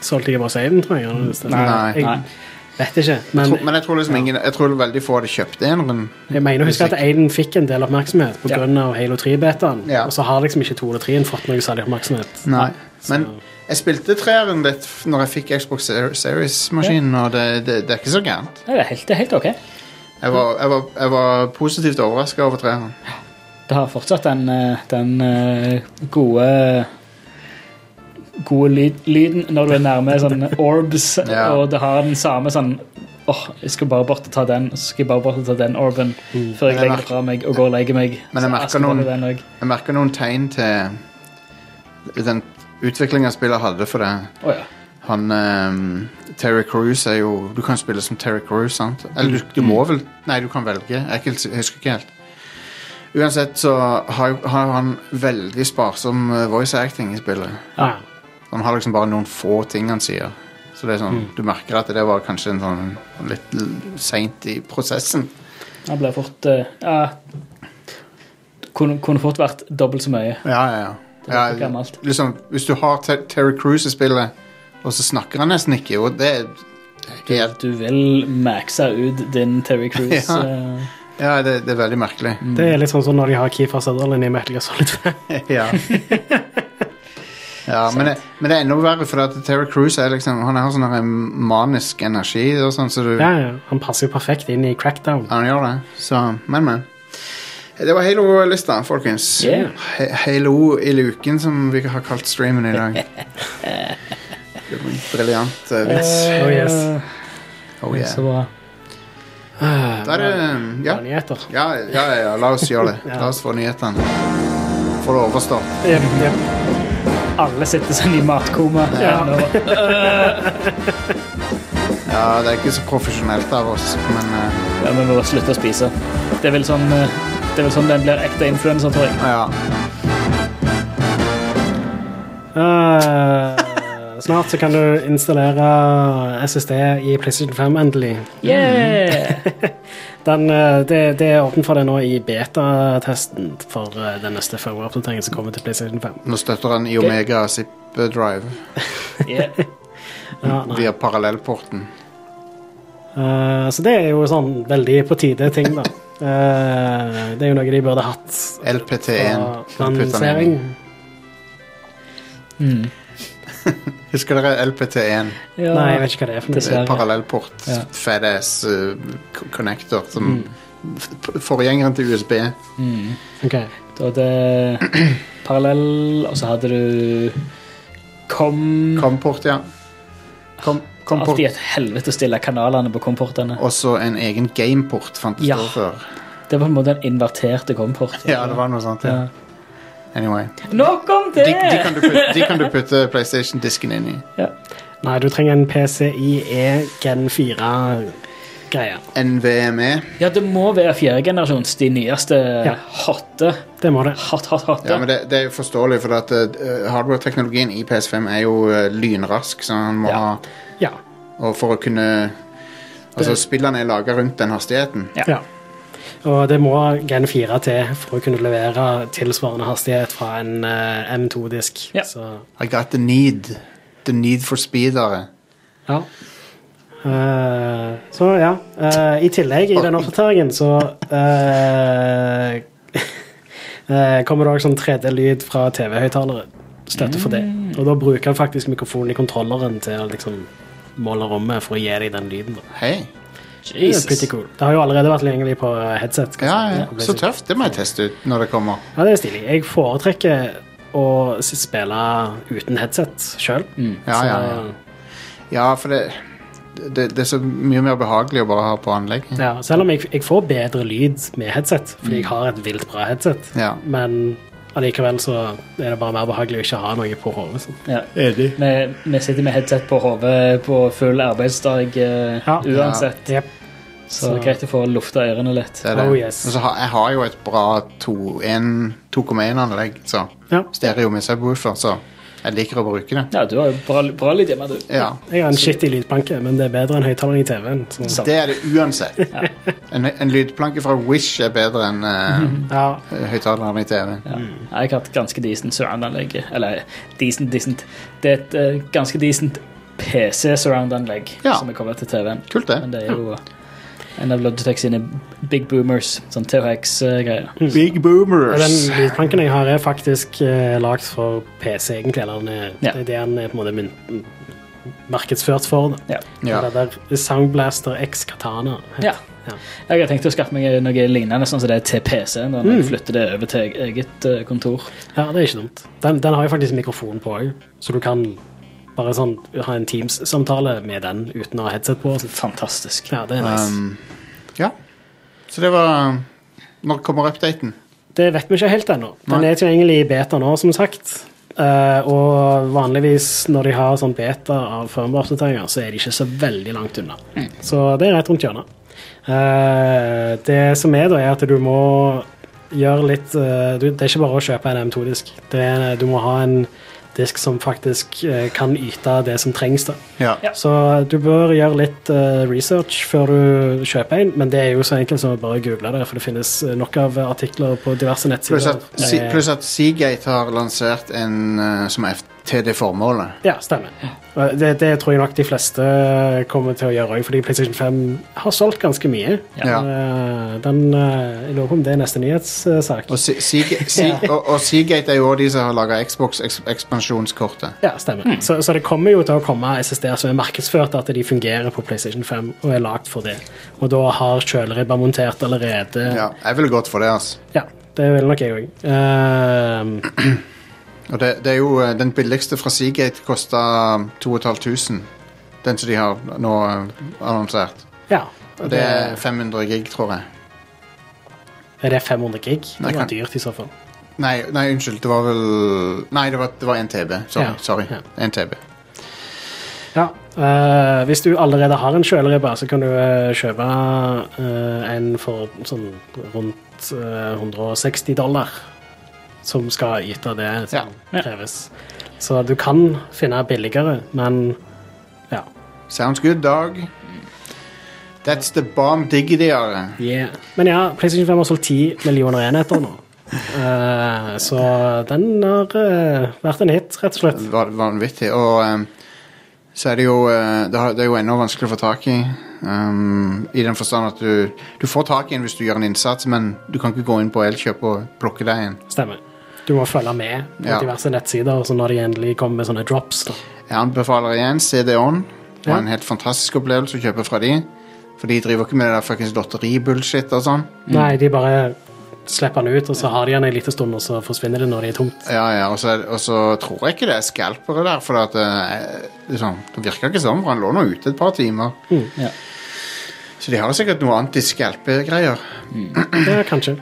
S2: solgt like bra som Aiden, tror jeg. eller hvis det-
S1: Nei.
S3: Nei.
S2: Jeg vet ikke, men
S1: Jeg tror, men jeg tror liksom ingen Jeg tror veldig få hadde kjøpt eneren.
S2: jeg mener å huske at Aiden fikk en del oppmerksomhet
S3: Ja.
S2: pga. Halo 3-betaen,
S1: Ja.
S2: og så har liksom ikke 203-en fått noe særlig oppmerksomhet.
S1: Nei. Men
S2: Så-
S1: jeg spilte treeren litt f- når jeg fikk Xbox Ser- Series-maskinen, og det, det, det er ikke så gærent.
S3: Nei, det, er helt, det er helt ok.
S1: Jeg var, jeg var, jeg var positivt overraska over treeren.
S3: Det har fortsatt den, eh, den eh, gode gode lyd, lyden når du er nærme sånn orbs,
S1: Ja.
S3: og det har den samme sånn Åh, jeg skal bare bort og ta den, og så skal jeg bare bort og ta den orben før
S1: Men
S3: jeg
S1: jeg
S3: legger
S1: merker-
S3: fra meg og går og legger meg.
S1: Men jeg
S3: Så
S1: merker
S3: skal bare
S1: noen-
S3: den også.
S1: Jeg merker noen tegn til den utviklinga spillet hadde for det.
S3: Å ja.
S1: Han ehm, Terry Crews er jo Du kan spille som Terry Crews, sant? Eller du, du må vel Nei, du kan velge. Jeg, er ikke helt si- jeg husker ikke helt. Uansett så har, jo- har han veldig sparsom eh, voice acting i spillet.
S2: Ja.
S1: Han har liksom bare noen få ting han sier. Så det er sånn, du merker at det var kanskje en sånn litt l- seint i prosessen.
S3: Han ble fort eh, ja, kunne, kunne fort vært dobbelt så mye.
S1: Ja, ja, ja.
S3: Det er for
S1: ja
S3: gammelt.
S1: liksom, hvis du har Ter Terry Crews i spillet, og så snakker han nesten ikke, og det er helt
S3: Du vil maxe ut din Terry Cruise.
S1: Ja.
S3: eh,
S1: Ja, det, det er veldig merkelig.
S2: Det er litt sånn som når de har Keefer Sutherland i Metal Gear Solid 5.
S1: ja. ja men, det, men det er enda verre, for at Terry Crews er liksom, han har sånn her manisk energi. Og sånn, så du,
S2: Ja, ja. Han passer jo perfekt inn i Crackdown.
S1: Han gjør det. Så, men, men. Det var Halo-lista, folkens.
S3: Yeah.
S1: Ha- Halo i luken, som vi har kalt streamen i dag. Det var en Briljant eh, vits.
S2: Oh yes.
S3: eh,
S1: Oh,
S3: Så
S1: yeah.
S3: bra.
S1: Da er det Ja.
S2: Nyheter.
S1: Ja, ja, ja, ja, la oss gjøre det.
S2: Ja.
S1: La oss få nyhetene. Få det overstått.
S2: Jep, jep.
S3: Alle sitter sånn i matkoma.
S2: Ja.
S3: Nå.
S1: Ja, det er ikke så profesjonelt av oss, men eh,
S3: Ja, men vi må bare slutte å spise. Det er vel sånn, eh, det er vel sånn den blir ekte influenser, tror jeg.
S1: ja.
S2: Eh, snart så kan du installere SSD i PlayStation 5 endelig.
S3: Yeah!
S2: Den, eh, det, det er åpent for det nå i beta-testen for eh, den neste firmware-oppdateringen som kommer til PlayStation 5.
S1: Nå støtter han i Omega Zip Drive
S3: yeah.
S2: Ja, nei.
S1: via parallellporten.
S2: Eh, så det er jo sånn veldig på tide ting, da. Eh, det er jo noe de burde hatt
S1: LPT1.
S2: fra
S1: Putt den inn.
S2: lansering.
S3: Mm.
S1: Husker dere LPT1?
S3: Ja.
S2: Nei, jeg vet ikke hva det er for noe.
S3: Dessverre.
S1: Eh, Parallellport.
S3: Ja.
S1: Fadass eh, k- connector som f- Forgjengeren til USB.
S3: Mm.
S2: Ok.
S3: Du hadde parallell, og så hadde du kom...
S1: Comport, ja. Com comport.
S3: Alltid et helvete å stille kanalene på komportene.
S1: Og så en egen gameport fantes
S3: Ja.
S1: det før.
S3: Det var på en måte en inverterte komport.
S1: Ja, det var noe sånt. Ja.
S3: Ja.
S1: Anyway.
S3: Nok om
S1: De,
S3: det!
S1: de, kan du putte, de kan du putte PlayStation-disken inn i.
S3: Ja.
S2: Nei, du trenger en PCIe Gen 4-greie.
S1: NVMe.
S3: ja, det må være fjerdegenerasjons, de nyeste
S2: Ja.
S3: hotte.
S2: Det må det.
S3: Hot, hot, hotte.
S1: Ja, men det, det er jo forståelig, for at eh, hardware-teknologien i PS5 er jo eh, lynrask, så han må
S3: Ja.
S1: ha
S2: Ja.
S1: Og for å kunne Altså, spillene er laga rundt den hastigheten.
S3: Ja.
S2: ja. Og det må Gen 4 til for å kunne levere tilsvarende hastighet fra en eh, M2-disk.
S3: Ja.
S2: Så
S1: I got the need. The need for speedere.
S2: ja. Eh, så ja. Eh, I tillegg, i den oppdateringen, så eh, eh, kommer det òg sånn 3D-lyd fra TV-høyttalere. Støtte for det. Og da bruker jeg faktisk mikrofonen i kontrolleren til å liksom måle rommet for å gi deg den lyden. da.
S1: Hei.
S2: Det er pretty cool. Det har jo allerede vært tilgjengelig på headset. skal
S1: Ja,
S2: jeg si.
S1: ja.
S2: På
S1: Så
S2: PlayStation.
S1: tøft. Det må jeg teste ut når det kommer.
S2: Ja, det er stilig. Jeg foretrekker å s- spille uten headset sjøl.
S3: Mm.
S1: Ja, ja, ja. ja for det, det Det er så mye mer behagelig å bare ha på anlegget.
S2: ja, selv om jeg, jeg får bedre lyd med headset, fordi jeg har et vilt bra headset,
S1: Ja.
S2: men allikevel så er det bare mer behagelig å ikke ha noe på hodet. sånn.
S3: Ja. Vi, vi sitter med headset på hodet på full arbeidsdag eh,
S2: Ja.
S3: uansett,
S2: Jep.
S3: så det er greit å få lufta ørene litt.
S1: Det er det.
S2: Oh, yes.
S1: Og så har, jeg har jo et bra 2,1-anlegg, så
S2: Ja.
S1: stereo med subwoofer, så jeg liker å bruke det.
S3: Ja, du har jo bra, bra lyd hjemme, du.
S1: Ja.
S2: Jeg har en skittig lydplanke, men det er bedre enn høyttaleren i TV-en. så-
S3: Sant.
S1: Det er det uansett. En, en lydplanke fra Wish er bedre enn uh,
S2: Ja,
S1: høyttaleren i TV-en.
S3: Ja. Jeg har hatt ganske decent surround-anlegg. Eller decent, decent Det er et eh, ganske decent PC-surround-anlegg
S1: Ja.
S3: som er koblet til TV-en.
S1: Kult, det.
S3: Men det er jo en av Logitech sine big boomers, sånn THX-greier.
S1: Big
S2: og den
S1: boomers.
S2: lydplanken jeg har, er faktisk eh, lagd for PC, egentlig. Eller den er,
S3: Ja.
S2: det er det den er på en måte mynt- markedsført for det.
S3: Ja.
S1: Ja.
S2: Det der Soundblaster X Katana. heter
S3: ja.
S2: Ja.
S3: Jeg har tenkt å skaffe meg noe lignende sånn som det er til PC, når
S1: Mm.
S3: jeg flytter det over til eget eh, kontor.
S2: Ja, det er ikke dumt. Den, den har jo faktisk mikrofon på òg, så du kan bare sånn ha en Teams-samtale med den uten å ha headset på.
S3: Fantastisk.
S2: Ja, det er nice.
S1: Um, ja. Så det var Når kommer updaten?
S2: Det vet vi ikke helt ennå. Den
S1: Nei.
S2: er tilgjengelig i beta nå, som sagt. Eh, og vanligvis når de har sånn beta av firmware-oppdateringer, så er de ikke så veldig langt unna. Så det er rett rundt hjørnet. Eh, det som er, da, er at du må gjøre litt eh, du, Det er ikke bare å kjøpe en M2-disk. Det er- Du må ha en disk som faktisk eh, kan yte det som trengs. da.
S1: Ja.
S3: Ja.
S2: Så du bør gjøre litt eh, research før du kjøper en, men det er jo så enkelt som å bare google det, for det finnes eh, nok av artikler på diverse
S1: Pluss
S2: nettsider.
S1: at, Si-
S2: Eh,
S1: pluss at Seagate har lansert en eh, som er f- til det formålet.
S2: ja, stemmer. Og Det, det tror jeg nok de fleste kommer til å gjøre òg, fordi PlayStation 5 har solgt ganske mye.
S1: Ja.
S2: Eh, Den, eh, jeg lurer på om det er neste nyhetssak.
S1: Og, Se- Seagate, Se- og, og Seagate er jo også de som har laga Xbox-ekspansjonskortet.
S2: Ja, stemmer.
S1: Hmm.
S2: Så, så det kommer jo til å komme SSD-er som er markedsført at de fungerer på PlayStation 5 og er lagd for det. Og da har kjøleribber montert allerede.
S1: Ja, jeg ville gått for det, altså.
S2: Ja, det vil nok jeg Ehm, òg.
S1: Og det, det er jo eh, den billigste fra Seagate kosta 2500. Den som de har nå eh, annonsert.
S2: ja.
S1: Og det er 500 gig, tror jeg.
S2: er det 500 gig?
S1: Nei,
S2: Det var
S1: kan-
S2: dyrt i så fall.
S1: Nei, nei unnskyld. Det var vel Nei, det var, det var 1 TB. Sorry.
S2: Ja,
S1: sorry.
S2: ja.
S1: 1 TB.
S2: Ja, eh, Hvis du allerede har en kjøleribbe, så kan du eh, kjøpe eh, en for sånn rundt eh, 160 dollar. Som skal yte det som
S3: Ja. Ja.
S2: kreves. Så du kan finne billigere, men ja.
S1: Sounds good, Dag. That's the bomb diggity, Are.
S2: Men ja, PlayStation 5 har solgt 10 millioner enheter nå. Eh, så den har eh, vært en hit, rett og slett.
S1: Var- Vanvittig. Og ehm, så er det jo eh, det har- Det er jo enda vanskeligere å få tak i. ehm, I den forstand at du Du får tak i en hvis du gjør en innsats, men du kan ikke gå inn på Elkjøp og plukke deg en.
S2: Stemmer. Du må følge med på
S1: Ja. Mm.
S2: diverse nettsider så når de endelig kommer med sånne drops. Da.
S1: Jeg anbefaler igjen CD-On. Det var
S2: Ja.
S1: en helt fantastisk opplevelse å kjøpe fra de. For de driver ikke med det der fuckings lotteribullshit og sånn.
S2: Nei, de bare slipper den ut, og så har de den en liten stund, og så forsvinner det når det er tomt.
S1: Ja, ja, og så, er- og så tror jeg ikke det er skalpere der, for at, eh, liksom, det virker ikke sånn, for han lå nå ute et par timer.
S3: Ja.
S1: Så de har sikkert noe antiskalpegreier.
S2: Ja, kanskje.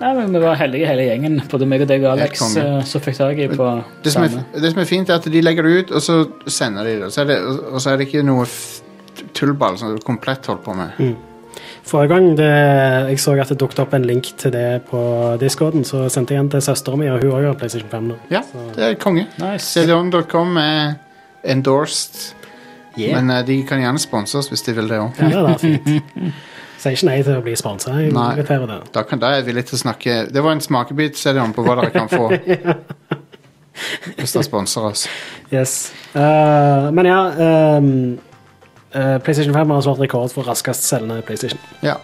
S3: Nei, men Vi var heldige hele gjengen, både meg og deg og Alex,
S1: Helt konge.
S3: eh, som fikk tak i på
S1: Det, som
S3: samme.
S1: er- det som er fint, er at de legger det ut, og så sender de det. Og så er det, og og så er det ikke noe f- tullball som du komplett holder på med.
S2: Forrige gang det, jeg så at det dukket opp en link til det på discorden, så sendte jeg den til søsteren min, og hun også har PlayStation 5 nå.
S1: Ja, det er konge.
S3: Nice.
S1: CDON.com er endorsed, men eh, de kan gjerne sponse oss hvis de vil det òg.
S2: Ja, det er da fint. Sier ikke nei til å bli sponset, jeg
S1: Nei.
S2: inviterer det.
S1: Da, kan- da er jeg villig til å snakke Det var en smakebit, CDON, på hva dere kan få. Hvis dere sponser oss.
S2: Yes. Eh, men ja, ehm, eh, PlayStation 5 har slått rekord for raskest selgende PlayStation.
S1: Ja.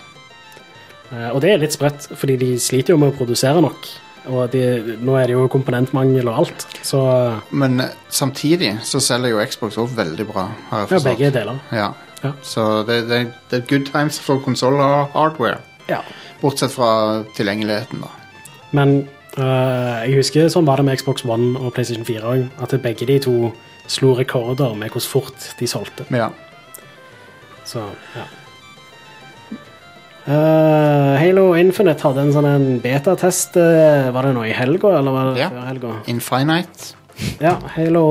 S2: Eh, Og det er litt sprøtt, fordi de sliter jo med å produsere nok. Og de, nå er det jo komponentmangel og alt, så
S1: Men eh, samtidig så selger jo Xbox òg veldig bra, har jeg
S2: ja,
S1: forstått.
S2: begge deler.
S1: Ja.
S2: Ja.
S1: Så det, det, det er good times for konsoller og hardware.
S2: Ja.
S1: Bortsett fra tilgjengeligheten, da.
S2: Men eh, jeg husker sånn var det med Xbox One og PlayStation 4 òg, at begge de to slo rekorder med hvor fort de solgte.
S1: Men ja.
S2: Så, ja. Eh, Halo Infinite hadde en sånn en betatest eh, Var det nå i helga, eller var det
S1: Ja.
S2: før helga?
S1: Infinite.
S2: Ja, Halo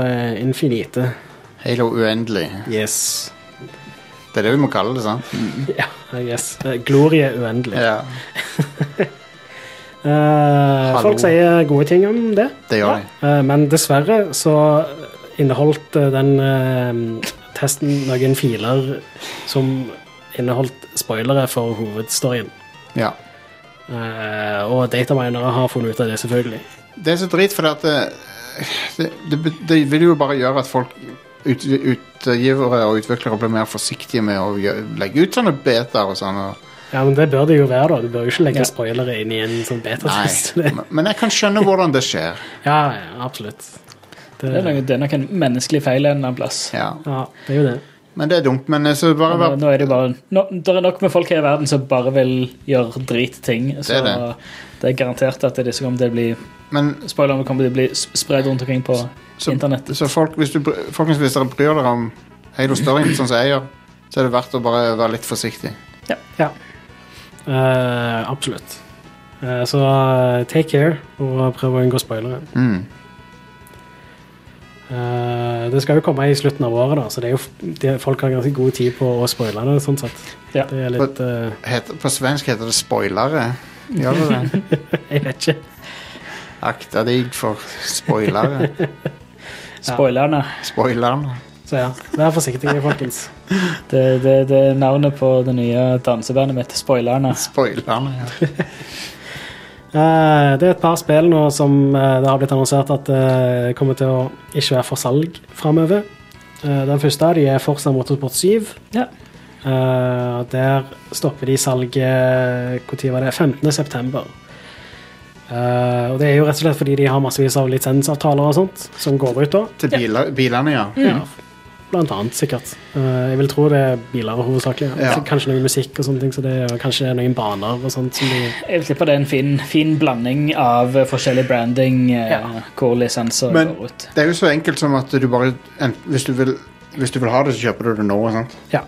S2: eh, Infinite.
S1: Halo uendelig.
S2: Yes.
S1: Det er det vi må kalle det, sant?
S2: Ja, yes. Eh, Glorie uendelig.
S1: Ja,
S2: Eh,
S1: Hallo.
S2: folk sier gode ting om det,
S1: det gjør de.
S2: eh, men dessverre så inneholdt eh, den eh, testen noen filer som inneholdt spoilere for hovedstoryen.
S1: Ja.
S2: Eh, og dataminere har funnet ut av det, selvfølgelig.
S1: Det er så drit, for at det, det, det, det vil jo bare gjøre at folk ut, utgivere og utviklere blir mer forsiktige med å gjø- legge ut sånne betaer og sånn. og-
S2: Ja, men det bør det jo være, da. Du bør jo ikke legge
S3: Ja.
S2: spoilere inn i en sånn betatest.
S1: Nei. Men jeg kan skjønne hvordan det skjer.
S2: ja, ja, absolutt. Det,
S3: Det er, noe, det er nok en menneskelig feil en eller annen plass.
S1: Ja.
S2: Ja, det er jo det.
S1: Men det er dumt. Men eh, så bare
S3: Nå,
S1: vær
S3: nå er det bare nå, Det er nok med folk her i verden som bare vil gjøre dritting.
S1: Det
S3: Så det
S1: er
S3: er, garantert at det er det som kommer til å bli
S1: Men
S3: Spoiler om det kommer til å bli sp- spredt rundt omkring på
S1: Så-
S3: internett.
S1: Så folk, hvis, du, br- folkens, hvis dere bryr dere om Halo Story, sånn som jeg gjør, så er det verdt å bare være litt forsiktig.
S2: Eh, absolutt. Eh, så eh, take care, og prøv å unngå spoilere.
S1: Mm.
S2: Eh, det skal jo komme i slutten av året, da, så det er jo, f- de, folk har ganske god tid på å spoile det. sånn sett.
S3: Ja.
S2: Det er litt eh,
S1: Heter, på svensk heter det spoilere. Gjør det det?
S2: Jeg vet ikke.
S1: Akta deg for spoilere.
S3: Spoilerne.
S1: Spoilerne.
S2: Så ja, vær forsiktige, folkens.
S3: Det, det, det er navnet på det nye dansebandet mitt. Spoilerne.
S1: Spoilerne, ja.
S2: Eh, det er et par spill nå som eh, det har blitt annonsert at eh, kommer til å ikke være for salg framover. Eh, den første av de er Forza Motorsport 7.
S3: Ja.
S2: Eh, der stopper de salget eh, Når var det? 15. september. Eh, og det er jo rett og slett fordi de har massevis av lisensavtaler og sånt som går ut da.
S1: Til biler, bilene, ja.
S3: Mm.
S2: Ja, blant annet, sikkert. Eh, jeg vil tro det er biler hovedsakelig. Ja.
S1: Ja.
S2: Kanskje noe musikk og sånne ting. Så det er, og kanskje noen baner og sånt. Som de,
S3: Jeg vil tippe det er en fin, fin blanding av eh, forskjellig branding, eh,
S2: Ja.
S3: hvor lisenser
S1: Men-
S3: går ut.
S1: Det er jo så enkelt som at du bare en, hvis, du vil, hvis du vil ha det, så kjøper du det nå. Sant?
S2: ja.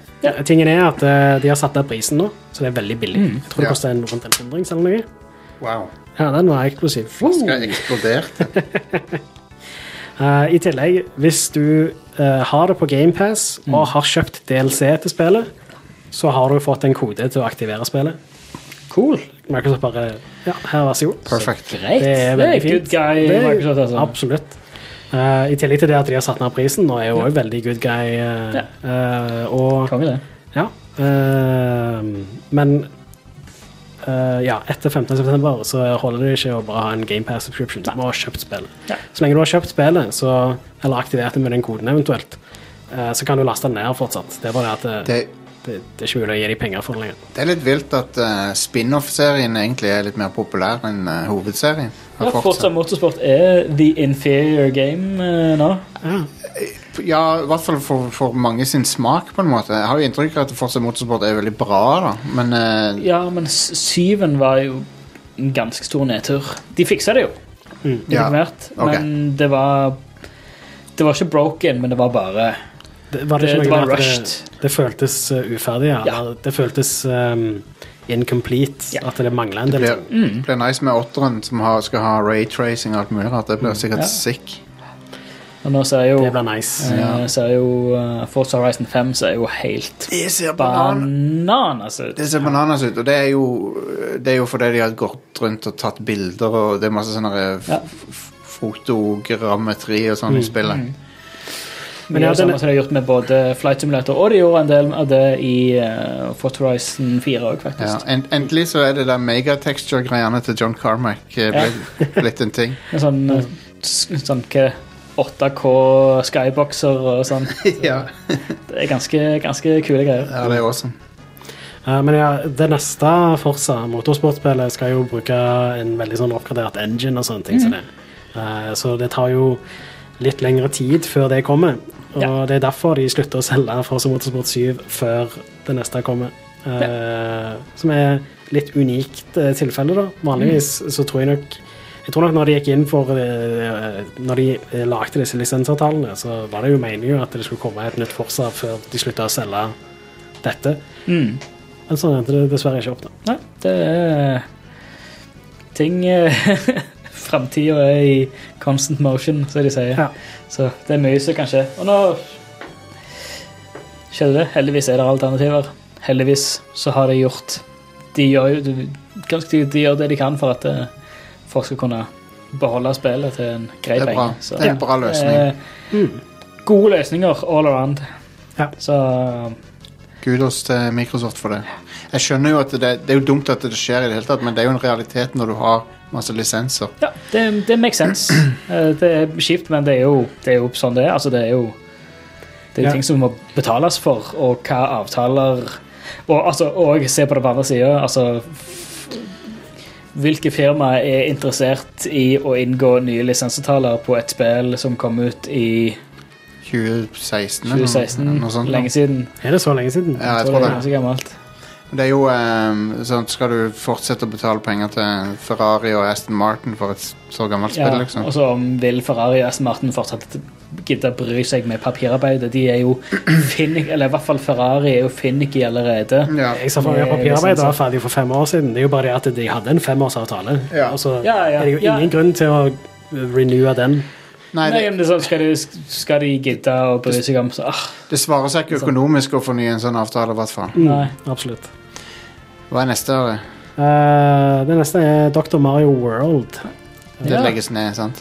S2: Tingen er at eh, de har satt ned prisen nå, så det er veldig billig.
S3: Mm.
S2: Jeg tror det
S1: Ja.
S2: koster en, rundt en hundrings eller noe.
S1: Wow.
S2: Ja, den var eksplosiv.
S1: Skal jeg eksplodert?
S2: Eh, I tillegg, hvis du eh, har det på GamePass
S3: Mm.
S2: og har kjøpt DLC til spillet, så har du fått en kode til å aktivere spillet.
S3: Cool.
S2: Microsoft bare Ja, her, vær så god.
S1: Perfect.
S3: Greit.
S2: Det er veldig fint.
S3: good guy,
S2: Det er-
S3: Microsoft. Altså.
S2: Absolutt. Eh, I tillegg til det at de har satt ned prisen, nå er jo også veldig good guy. eh, eh, og
S3: Konge, det.
S2: ja. eh, men eh, ja, etter 15. september så holder det ikke å bare ha en GamePass subscription. Du må ha kjøpt spillet.
S3: Ja.
S2: Så lenge du har kjøpt spillet, så, eller aktivert det med den koden eventuelt, eh, så kan du laste den ned fortsatt. Det er bare det at det,
S1: Det,
S2: det, det er ikke mulig å gi de penger for det lenger.
S1: det er litt vilt at eh, spin-off-serien egentlig er litt mer populær enn eh, hovedserien.
S3: Ja,
S1: Forza.
S3: Forza Motorsport er the inferior game eh, nå.
S1: Ja, i hvert fall for, for mange sin smak, på en måte. Jeg har jo inntrykk av at Forza Motorsport er veldig bra, da. Men eh,
S3: Ja, men s- syven var jo en ganske stor nedtur. De fiksa det jo,
S2: Mm.
S1: ja,
S3: informert,
S1: ok.
S3: men det var Det var ikke broken, men det var bare
S2: Det, var det,
S3: Det-
S2: ikke
S3: det
S2: noe
S3: var
S2: med at
S3: rushed.
S2: Det, det føltes eh, uferdig, ja.
S3: Ja.
S2: Eller Det føltes ehm, incomplete,
S3: Ja.
S2: at det mangla en
S1: det
S2: del
S1: blir,
S2: ting.
S1: blir nice med åtteren, som har, skal ha raytracing og alt mulig rart. Det blir sikkert
S3: Mm. Ja.
S1: sick.
S3: Og nå ser jo,
S2: Det blir nice.
S3: eh, ser jo eh, Forza Horizon 5 ser jo helt
S1: Det ser banan-
S3: bananas ut.
S1: det ser bananas ut, og det er, jo, det er jo fordi de har gått rundt og tatt bilder, og det er masse sånn
S3: Ja. Mm.
S1: fotogrammetri og sånn i spillet.
S3: Men
S2: Men ja,
S3: det samme
S2: den-
S3: som de har gjort med både Flight Simulator og de gjorde en del av det i uh, Fort Horizon 4 òg, faktisk.
S1: Ja, en, endelig så er det der megatexture-greiene til John Carmack eh, blitt, blitt en ting.
S3: En sånn, eh, s- sånn hva 8K skyboxer og sånn.
S1: ja.
S3: Det er ganske, ganske kule greier.
S1: ja, det er awesome.
S2: Eh, men ja, det neste Forsa, motorsportspillet, skal jo bruke en veldig sånn oppgradert engine og sånne ting. som det. Eh, så det tar jo litt lengre tid før det kommer. Og
S3: Ja.
S2: det er derfor de slutter å selge Forsa Motorsport 7 før det neste kommer. Eh, Som er litt unikt eh, tilfelle, da. Vanligvis så tror jeg nok jeg tror nok når de gikk inn for eh, Når de eh, lagde disse lisensavtalene, så var det jo meningen at det skulle komme et nytt Forsa før de slutta å selge dette.
S3: Mm.
S2: Men sånn endte det dessverre ikke opp, da.
S3: Nei, det er ting Framtida er i constant motion, som de sier.
S2: Ja.
S3: Så det er mye som kan skje. Og nå skjedde det. Heldigvis er det alternativer. Heldigvis så har de gjort De gjør jo de- ganske de, de gjør det de kan for at eh, folk skal kunne beholde spillet til en grei
S1: Det er bra.
S3: penge. Så-
S1: Det er en bra løsning.
S3: Eh, Gode løsninger all around.
S2: Ja.
S3: Så
S1: Kudos til Microsoft for det. Jeg skjønner jo at det, det er jo dumt at det skjer, i det hele tatt, men det er jo en realitet når du har masse lisenser.
S3: ja, det, det makes sense. Eh, Det er kjipt, men det er jo, det er jo sånn det er. Altså, det er jo det er jo
S2: Ja.
S3: ting som må betales for, og hva avtaler Og, altså, og se på det på andre sida. Altså, f- Hvilke firmaer er interessert i å inngå nye lisensavtaler på et spill som kom ut i
S1: 2016 eller noe-
S3: 2016?
S1: noe sånt.
S3: Lenge siden.
S2: Er det så lenge siden?
S1: Ja, jeg
S3: Så
S1: tror
S3: det er
S1: det.
S3: ganske gammelt.
S1: Det er jo eh, sånn, Skal du fortsette å betale penger til Ferrari og Aston Martin for et s- så gammelt
S3: Ja,
S1: spill, liksom?
S3: og så om vil Ferrari og Aston Martin fortsatt gidde å bry seg med papirarbeidet. De er jo finicky, eller i hvert fall Ferrari er jo finicky allerede.
S1: Ja.
S2: Jeg sa for meg at papirarbeid var ferdig for fem år siden. Det er jo bare det at de hadde en femårsavtale.
S1: Ja.
S2: Og så
S3: Ja, ja,
S2: er det jo
S3: ja.
S2: ingen grunn til å renewe den.
S1: Nei,
S3: Nei,
S1: det,
S3: men det er sånn, skal, de, skal de gidde å bry seg om så, ah,
S1: det svarer seg ikke økonomisk å fornye en sånn avtale, i hvert fall.
S3: Nei.
S2: Mm. Absolutt.
S1: Hva er neste år?
S2: Eh, det neste er Dr. Mario World
S1: Det
S3: Ja.
S1: legges ned, sant?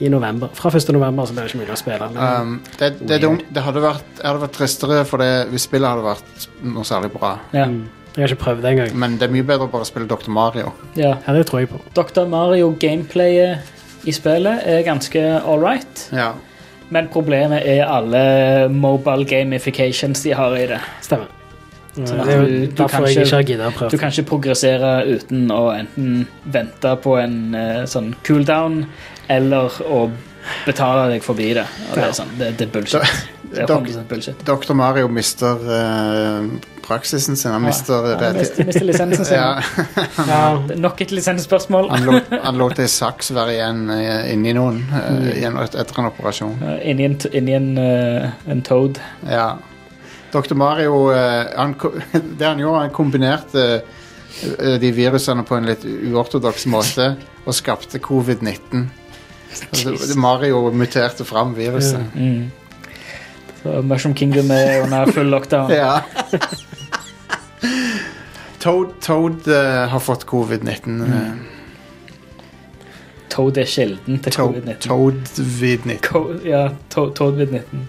S2: i november. Fra 1. november så blir det ikke mulig å spille. Men
S1: Um, det, det, er dumt. det hadde vært, hadde vært tristere for det hvis spillet hadde vært noe særlig bra.
S3: Ja.
S2: mm. jeg har ikke prøvd det engang.
S1: Men det er mye bedre å bare spille Dr. Mario.
S3: ja.
S2: Ja, det tror jeg på.
S3: Dr. Mario-gameplayet i spillet er ganske all right,
S1: Ja.
S3: men problemet er alle mobile gamifications de har i det.
S2: Stemmer. Eh,
S3: Sånn at
S2: det er
S3: du-
S2: jo
S3: du kan
S2: derfor jeg
S3: ikke-
S2: ikke har giddet å
S3: Du
S2: prøve.
S3: kan ikke progressere uten å enten vente på en eh, sånn cooldown eller å betale deg forbi det. Og det, er sånn, det, det er bullshit. Det er
S1: Dok-
S3: 100% bullshit.
S1: Dr. Mario mister eh, praksisen sin. Han mister
S3: Ja,
S1: det
S3: mist- mister lisensen sin.
S1: ja,
S2: Ja,
S3: Det er Nok et lisensspørsmål.
S1: han, lot, han lot ei saks være igjen eh, inni noen
S3: Mm.
S1: eh, igjen et- etter en operasjon.
S3: Eh, Inni en, t- inni en, eh, en Toad.
S1: Ja. Dr. Mario eh, han, ko- Det han gjorde, han kombinerte eh, de virusene på en litt uortodoks måte og skapte covid-19. Altså, Mario muterte fram viruset.
S3: Mm. Så Mushroom Kingdom er under full lockdown.
S1: Ja. Toad, Toad eh, har fått covid-19. eh,
S3: Toad er kilden til
S1: Toad-
S3: covid-19.
S1: Toad-vid-19.
S3: Co- Ja, to Toad-vid-19.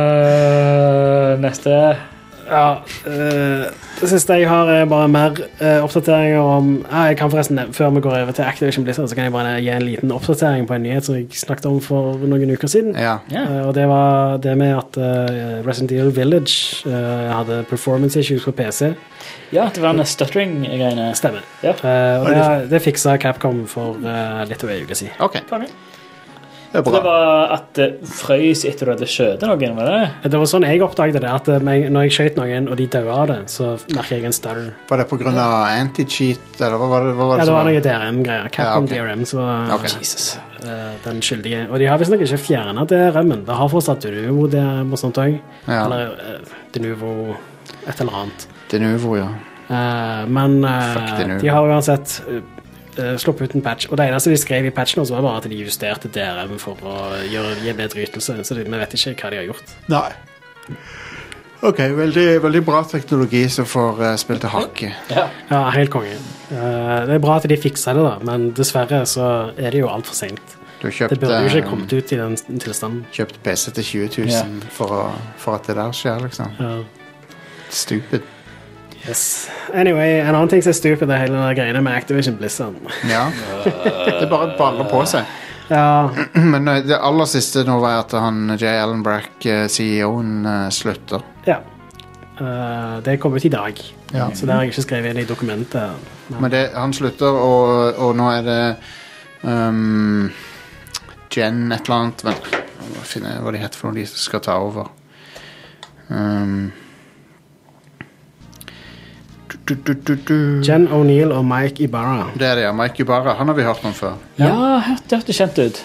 S3: Eh, neste
S2: ja, eh, det siste jeg har, er bare mer eh, oppdateringer om ja, jeg kan forresten, nev- Før vi går over til Activision Blizzard, så kan jeg bare gi en liten oppdatering på en nyhet som jeg snakket om for noen uker siden.
S1: Ja.
S3: Ja.
S2: Eh, og det var det med at eh, Resident Evil Village eh, hadde performance issues på PC.
S3: ja, det var den stuttering-greiene.
S2: Stemmer.
S3: Ja.
S2: Eh, og det, det fiksa Capcom for eh, litt over ei uke siden.
S1: Ok, det er
S3: Så det
S1: bra.
S3: var at det frøys etter du hadde skjøtet noen, var det?
S2: Det var sånn jeg oppdaget det, at eh, med en- når jeg skjøt noen, og de døde av det, så merker jeg en stutter.
S1: Var det pga. anti-cheat, eller hva var det? Hva var
S2: Ja,
S1: det
S2: det
S1: som
S2: var
S1: var?
S2: noe DRM-greier. Capcom
S1: Ja, ok.
S2: DRM, så
S1: Ok.
S3: Jesus.
S2: eh, den skyldige. Og de har visstnok ikke fjerna DRM-en. Det har fortsatt Denuvo DRM og sånt òg.
S1: Ja.
S2: Eller uh, Denuvo et eller annet.
S1: De Nuvo, ja.
S2: Eh, men eh,
S1: Fuck det nå.
S2: de har uansett eh, eh, sluppet ut en patch. Og det eneste de skrev i patchen, også var bare at de justerte DRM for å gjøre, gi bedre ytelse. Så de, vi vet ikke hva de har gjort.
S1: Nei. Ok, veldig, veldig bra teknologi som får uh, spilt til hakket.
S3: Ja.
S2: Ja, helt konge. Eh, det er bra at de fiksa det, da, men dessverre så er det jo altfor seint.
S1: Du har kjøpt,
S2: Det burde jo ikke
S1: eh,
S2: kommet ut i den tilstanden.
S1: kjøpt PC til 20 000 for, å, for at det der skjer, liksom.
S2: Ja.
S1: Stupid.
S2: Yes. Anyway, en annen ting som er stupid, det er hele den greiene med Activision Blizzard.
S1: Ja. det bare baller på seg.
S2: Ja,
S1: Men eh, det aller siste nå var at han J. Allen Brack, eh, CEO-en, eh, slutter.
S2: ja. Eh, det kom ut i dag,
S1: Ja.
S2: så det har jeg ikke skrevet inn i dokumentet.
S1: Men det, han slutter, og, og nå er det um, Jen et eller annet Vent, jeg må finne hva de heter for noe de skal ta over. Um, du, du, du, du, du.
S2: Jen O'Neill og Mike Ibarra.
S1: Det er det, ja. Mike Yubara. Han har vi hørt om før.
S3: Ja, hørt- det hørtes kjent ut.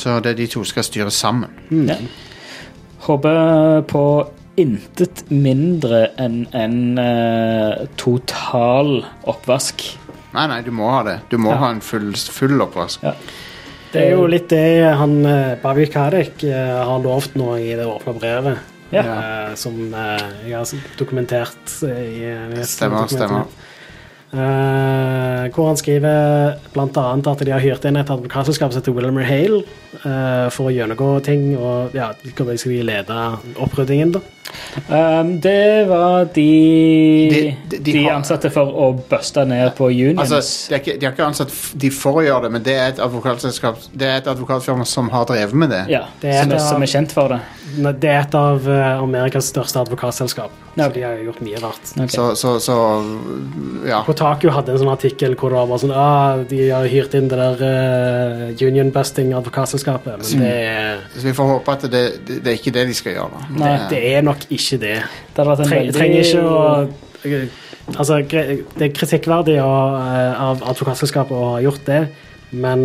S1: Så det er de to skal styre sammen.
S3: Ja. Håper på intet mindre enn en eh, total oppvask.
S1: Nei, nei, du må ha det. Du må ha en full, full oppvask.
S3: Ja.
S2: Det er jo litt det han eh, Babi Karek eh, har lovt nå i det åpne brevet.
S3: Ja.
S2: eh, som eh, jeg har dokumentert eh, i i-
S1: Stemmer, stemmer.
S2: Eh, hvor han skriver bl.a. at de har hyrt inn et advokatselskap som heter Wilmer Hale eh, for å gjennomgå ting og ja, hvordan de skal lede oppryddingen. da
S3: Um, det var de
S1: De- de- de har-
S3: ansatte for å buste ned på unions.
S1: Altså, de, er ikke, de har ikke ansatt f- de for å gjøre det, men det er et advokatselskap Det er et advokatfirma som har drevet med det.
S3: ja,
S2: Det er
S3: som,
S2: da-
S3: er, som er kjent for det.
S2: Nei, Det er et av eh, Amerikas største advokatselskap,
S3: Ja.
S2: så de har jo gjort mye rart.
S3: Ok.
S1: Så, så, så ja.
S2: På Kotaku hadde en sånn artikkel hvor det var bare sånn ah, De har hyrt inn det der eh, union-busting-advokatselskapet, men det er,
S1: Så vi får håpe at det, det, det er ikke det de skal gjøre. da.
S3: Nei,
S1: det,
S2: det er nok ikke det.
S3: Det hadde vært en
S2: Tre,
S3: veldig
S2: trenger ikke å Altså, gre- det er kritikkverdig å, eh, av advokatselskapet å ha gjort det, men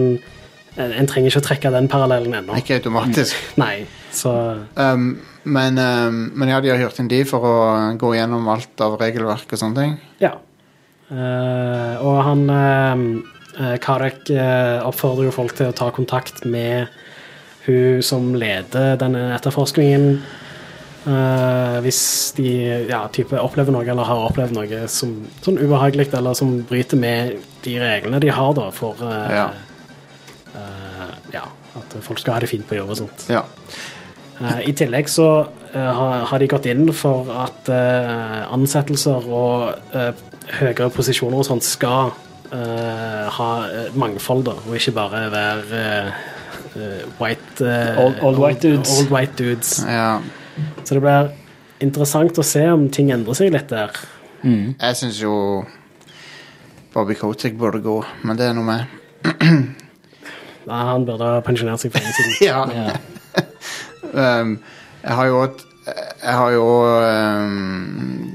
S2: en en trenger ikke å trekke den parallellen
S1: er
S2: ennå.
S1: ikke automatisk.
S2: Nei, så
S1: Um, men, um, men ja, de har hyrt inn de for å gå gjennom alt av regelverk og sånne ting.
S2: Ja. Eh, og han eh, eh, Karek eh, oppfordrer jo folk til å ta kontakt med hun som leder denne etterforskningen. eh, hvis de ja, type opplever noe eller har opplevd noe som, sånn ubehagelig, eller som bryter med de reglene de har da for eh,
S1: Ja.
S2: eh, ja, at folk skal ha det fint på jobb og sånt.
S1: Ja.
S2: Eh, I tillegg så eh, har har de gått inn for at eh, ansettelser og eh, høyere posisjoner og sånt skal eh, ha eh, mangfold, da, og ikke bare være eh, eh, white eh,
S3: Old- old white dudes.
S2: Old white dudes.
S1: ja.
S2: Så det blir interessant å se om ting endrer seg litt der.
S3: Mm.
S1: Jeg syns jo Bobby Kotick burde gå, men det er noe med.
S2: Nei, han burde ha pensjonert seg for lenge siden.
S1: Ja.
S3: Ja.
S1: Um, jeg har jo et- Jeg har jo um,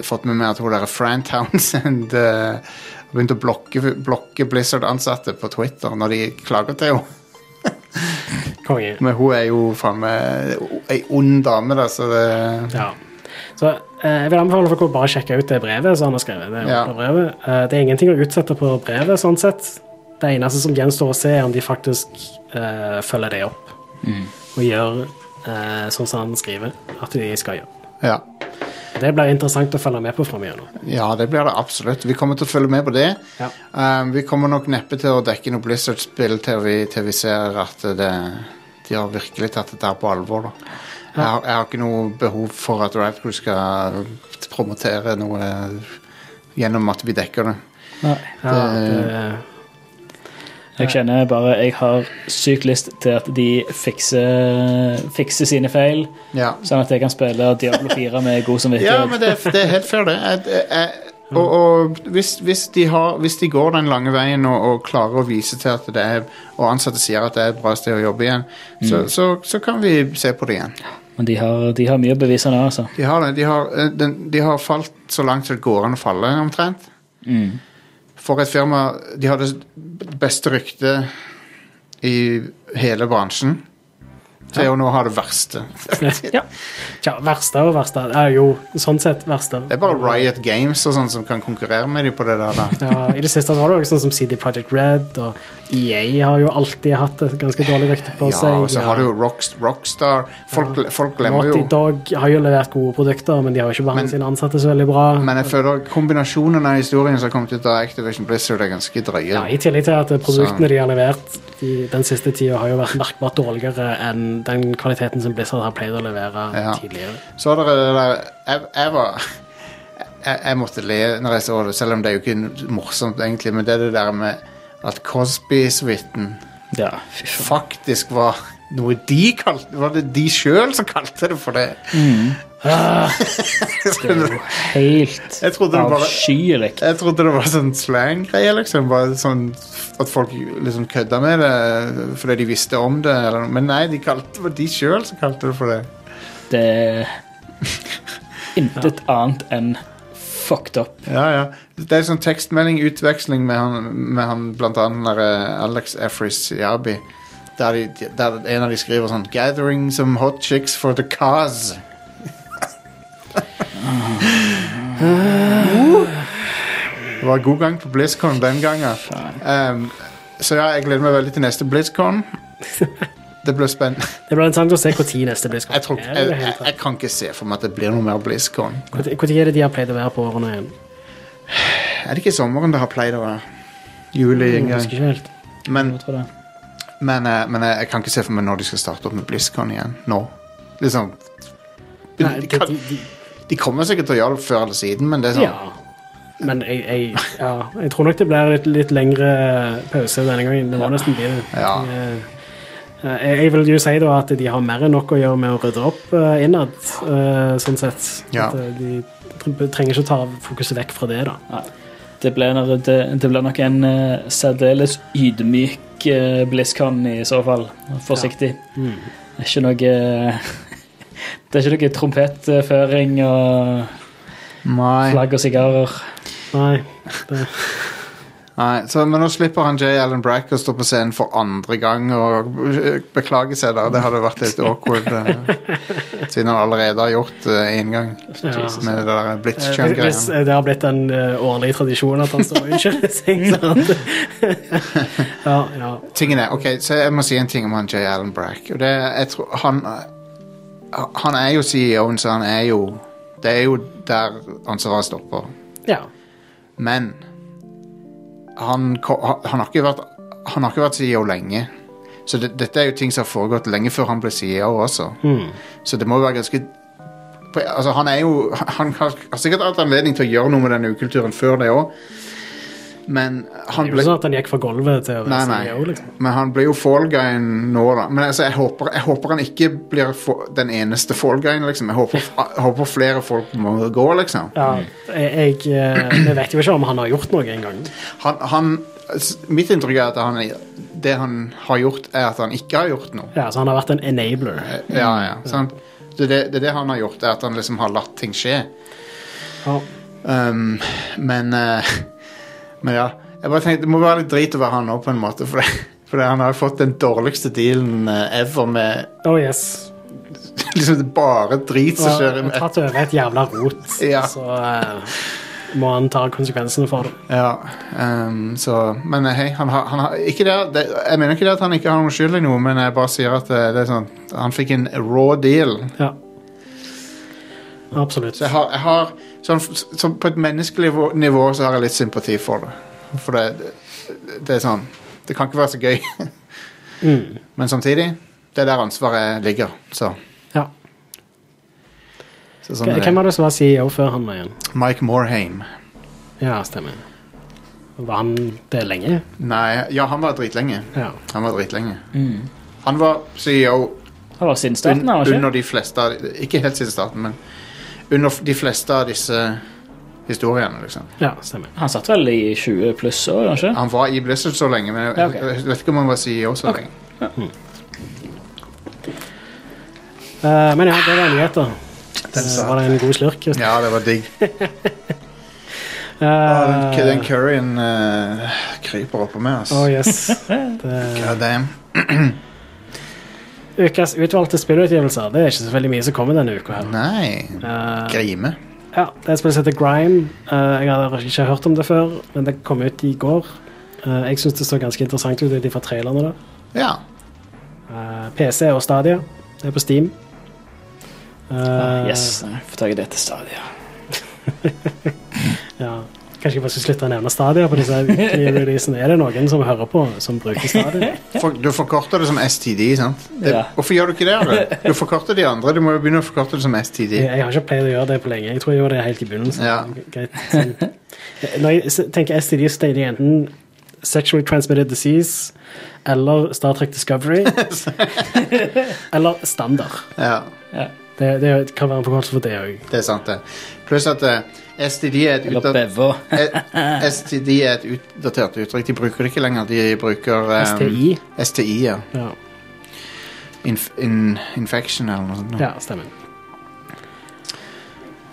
S1: fått med meg at hun der Fran Townsend uh, har begynt å blokke, blokke Blizzard-ansatte på Twitter når de klager til henne.
S2: Konge.
S1: Men hun er jo faen meg ei ond dame, da, så det
S2: Ja. Så eh, jeg vil anbefale folk å bare sjekke ut det brevet som han har skrevet. Det,
S1: Ja.
S2: åpne brevet. Eh, det er ingenting å utsette på brevet, sånn sett. Det eneste som gjenstår å se, er om de faktisk eh, følger det opp.
S1: Mm.
S2: Og gjør eh, sånn som han skriver at de skal gjøre.
S1: Ja.
S2: Det blir interessant å følge med på framover.
S1: ja, det blir det absolutt. Vi kommer til å følge med på det.
S2: Ja.
S1: Um, vi kommer nok neppe til å dekke noe Blizzard-spill til, vi- til vi ser at det, de har virkelig tatt dette her på alvor. Da. Jeg, har, jeg har ikke noe behov for at Riot Crew skal promotere noe eh, gjennom at vi dekker det.
S3: Nei.
S2: Ja,
S1: Det-
S2: det,
S3: Jeg kjenner bare jeg har sykt lyst til at de fikser, fikser sine feil,
S1: Ja,
S3: sånn at jeg kan spille Diablo 4 med god
S1: ja
S3: samvittighet.
S1: men det, er- det er helt fair, det. Jeg, jeg- jeg, og og hvis, hvis, de har, hvis de går den lange veien og, og klarer å vise til at det er Og ansatte sier at det er et bra sted å jobbe igjen, så, så, så kan vi se på det igjen.
S3: Men de har, de har mye å bevise nå, altså.
S1: De har, det. de, har, eh, den- de har falt så langt det går an å falle, omtrent.
S3: Mm.
S1: For et firma De har det beste ryktet i hele bransjen. Til å nå ha det verste.
S2: Tja, verste og verste. Ja, jo, sånn sett verste.
S1: Det er bare Riot Games og sånn som kan konkurrere med dem på det der. da.
S2: Ja, I det siste så var det også sånn som CD Projekt Red og EA har jo alltid hatt et ganske dårlig rykte på seg.
S1: Ja, og så har du jo Rocks- Rockstar. Folk, folk glemmer
S2: Naughty
S1: jo
S2: Dog har jo levert gode produkter, men de har jo ikke
S1: Men-
S2: behandlet sine ansatte så veldig bra.
S1: Men jeg føler kombinasjonen av historien som har kommet ut av Activision Blizzard, er ganske drøye.
S2: ja, I tillegg til at produktene
S1: Så-
S2: de har levert de, den siste tida, har jo vært merkbart dårligere enn den kvaliteten som Blizzard har pleid å levere
S1: Ja.
S2: tidligere.
S1: Så er det det der Jeg, jeg var jeg, jeg måtte le når jeg så det, selv om det er jo ikke morsomt, egentlig. Men det er det der med at Cosby-suiten
S3: Ja, fy faen.
S1: faktisk var noe de kalte Var det de sjøl som kalte det for det?
S3: Ah! Helt
S1: Jeg trodde det bare-
S3: avskyelig.
S1: Jeg trodde det var sånn slang-greie, liksom. Bare sånn at folk liksom kødda med det fordi de visste om det. Eller, noe. men nei, de kalte, det var de sjøl som kalte det for det.
S3: Det er intet annet enn fucked up.
S1: Ja, ja. Det er sånn tekstmelding-utveksling med han, med han blant annet der, eh, Alex Efris Yabi. Der, de, der en av de skriver sånn Gathering some hot chicks for the cause. Det var god gang på BlizzCon den gangen. Um, så ja, jeg gleder meg veldig til neste BlizzCon. Det blir spennende.
S2: Det blir interessant å se når neste blir
S1: Jeg, tror,
S2: skapt.
S1: ikke- jeg, jeg, jeg kan ikke se for meg at det blir noe mer BlizzCon.
S2: Når er det de har pleid å være på årene igjen?
S1: Er det ikke sommeren det har pleid å være? Juli en
S2: Mm, Jeg
S1: gang.
S2: husker ikke helt.
S1: Men
S3: Jeg tror det.
S1: Men, eh, men jeg, jeg kan ikke se for meg når de skal starte opp med BlizzCon igjen. Nå. Liksom de,
S2: Nei, de,
S1: kan,
S2: de, de,
S1: de kommer sikkert til å gjøre det før eller siden, men det er sånn
S2: ja. Men jeg, jeg, ja, jeg tror nok det blir litt, litt lengre pause denne gangen. Det må nesten bli det.
S1: Ja.
S2: Eh, Jeg, jeg vil jo si da at de har mer enn nok å gjøre med å rydde opp eh, innad, eh, sånn sett.
S1: Ja.
S2: At eh, de tre- trenger ikke ta fokuset vekk fra det, da.
S3: Nei. Det blir, nok- det, det blir nok en eh, særdeles ydmyk eh, BlizzCon i så fall. Forsiktig.
S2: Mm.
S3: Det er ikke noe eh, Det er ikke noe trompetføring og
S1: Nei.
S3: flagg og sigarer.
S2: Nei.
S1: Nei. Så, men nå slipper han J. Allen Brack å stå på scenen for andre gang og øh, beklage seg der. Det hadde vært litt awkward, eh, siden han allerede har gjort det én gang
S2: Ja.
S1: med det der
S2: Eh, Hvis
S1: Blitzchung-greia.
S2: eh, det har blitt en eh, årlig tradisjon at han står og unnskylder seg. sant? ja, ja.
S1: Tingen er, ok, så Jeg må si en ting om han J. Allen Brack. Og det, er- jeg tror, han, eh, han er jo CEO-en, så han er jo Det er jo der ansvaret stopper.
S2: ja.
S1: Men han, ko- ha- han, har ikke vært, han har ikke vært CEO lenge. Så det, dette er jo ting som har foregått lenge før han ble CEO også.
S2: Hmm.
S1: Så det må jo være ganske på- Altså Han er jo Han har, har sikkert hatt anledning til å gjøre noe med denne ukulturen før det òg, men
S2: Det er
S1: han
S2: jo ikke
S1: ble
S2: sånn at han gikk fra gulvet til å være
S1: Nei, nei.
S2: CEO, liksom.
S1: men han blir jo fallguyen nå, da. Men altså, jeg håper, jeg håper han ikke blir fa- den eneste fallguyen, liksom. Jeg håper, jeg håper flere folk må gå, liksom.
S2: Ja, jeg, jeg, eh, vi vet jo ikke om han har gjort noe engang.
S1: han, han, s- mitt inntrykk er at han, det han har gjort, er at han ikke har gjort noe. Eh,
S2: Ja, så han har vært en enabler.
S1: Ja, ja, sant? Det, det, det er det han har gjort, er at han liksom har latt ting skje.
S2: Ja.
S1: Um, men, eh, men ja. Jeg bare tenkte, Det må være litt drit å være han òg, på en måte. For, det, for det, han har jo fått den dårligste dealen eh, ever med
S2: Oh yes.
S1: liksom det er bare drit som
S2: Og
S1: skjer. i-
S2: tatt over et jævla rot,
S1: Ja.
S2: så eh, må han ta konsekvensene for det.
S1: Ja, ehm, så Men eh, hei, han har, han har ikke det, det, Jeg mener ikke det at han ikke har noen skyld i noe, men jeg bare sier at eh, det er sånn Han fikk en raw deal.
S2: Ja. Absolutt.
S1: Så jeg har, jeg har sånn, sånn På et menneskelig nivå, nivå så har jeg litt sympati for det. For det, det, det er sånn Det kan ikke være så gøy.
S2: Mm.
S1: Men samtidig, det er der ansvaret ligger. Så,
S2: Ja.
S1: så sånn er
S2: Hvem
S1: det.
S2: var det som var CEO før han var igjen?
S1: Mike Morhaim.
S2: Ja, stemmer. Var han det lenge?
S1: Nei, ja, han var dritlenge.
S2: Ja.
S1: Han var dritlenge. Han var CEO
S3: Han var siden
S1: un,
S3: starten, Mm. har han
S1: under
S3: ikke?
S1: de fleste av Ikke helt siden starten, men under f- de fleste av disse historiene, liksom.
S2: ja, stemmer.
S3: Han satt vel i 20 pluss år, kanskje?
S1: Han var i Blizzard så lenge, men jeg,
S3: Ja, ok.
S1: jeg vet ikke om han var CEO så lenge.
S2: Eh, men ja, det var nyheter. Uh, var det en god slurk? Just?
S1: Ja, det var digg. Ja, den,
S2: Eh,
S1: den curryen eh, kryper oppå meg, altså.
S2: oh yes. Det,
S1: God damn.
S2: ukas utvalgte spillutgivelser. Det er ikke så veldig mye som kommer denne uka. her.
S1: Nei.
S2: Eh,
S1: Grime.
S2: Ja, det er et spill som heter Grime. Eh, jeg har ikke hørt om det før, men det kom ut i går. Eh, jeg syns det så ganske interessant ut ut ifra trailerne. der.
S1: Ja.
S2: Eh, PC og Stadia. Det er på Steam. Eh,
S3: Ah, yes, jeg får tak i det til stadig.
S2: Eh, Ja. Kanskje jeg bare skal slutte å nevne Stadia på disse nye releasene. Er det noen som hører på, som bruker Stadia?
S1: For, du forkorter det som STD, sant? Det,
S3: Ja.
S1: Hvorfor gjør du ikke det? Are? Du forkorter de andre. Du må jo begynne å forkorte det som STD.
S2: Jeg, jeg har ikke pleid å gjøre det på lenge. Jeg tror jeg gjorde det helt i begynnelsen.
S1: Ja.
S2: Greit. sånn. Når jeg s- tenker STD, så tenker jeg enten Sexually Transmitted Disease eller Star Trek Discovery. eller Standard.
S1: Ja,
S3: Ja.
S2: Det, det kan være en forkortelse for det òg.
S1: det er sant, det. Pluss at eh, STD er et
S3: Eller
S1: utad...
S3: Bevo.
S1: Eh, STD er et utdatert uttrykk. De bruker det ikke lenger. De bruker eh,
S2: STI.
S1: STI, ja.
S2: Ja,
S1: Inf in infection eller noe sånt.
S2: ja stemmer.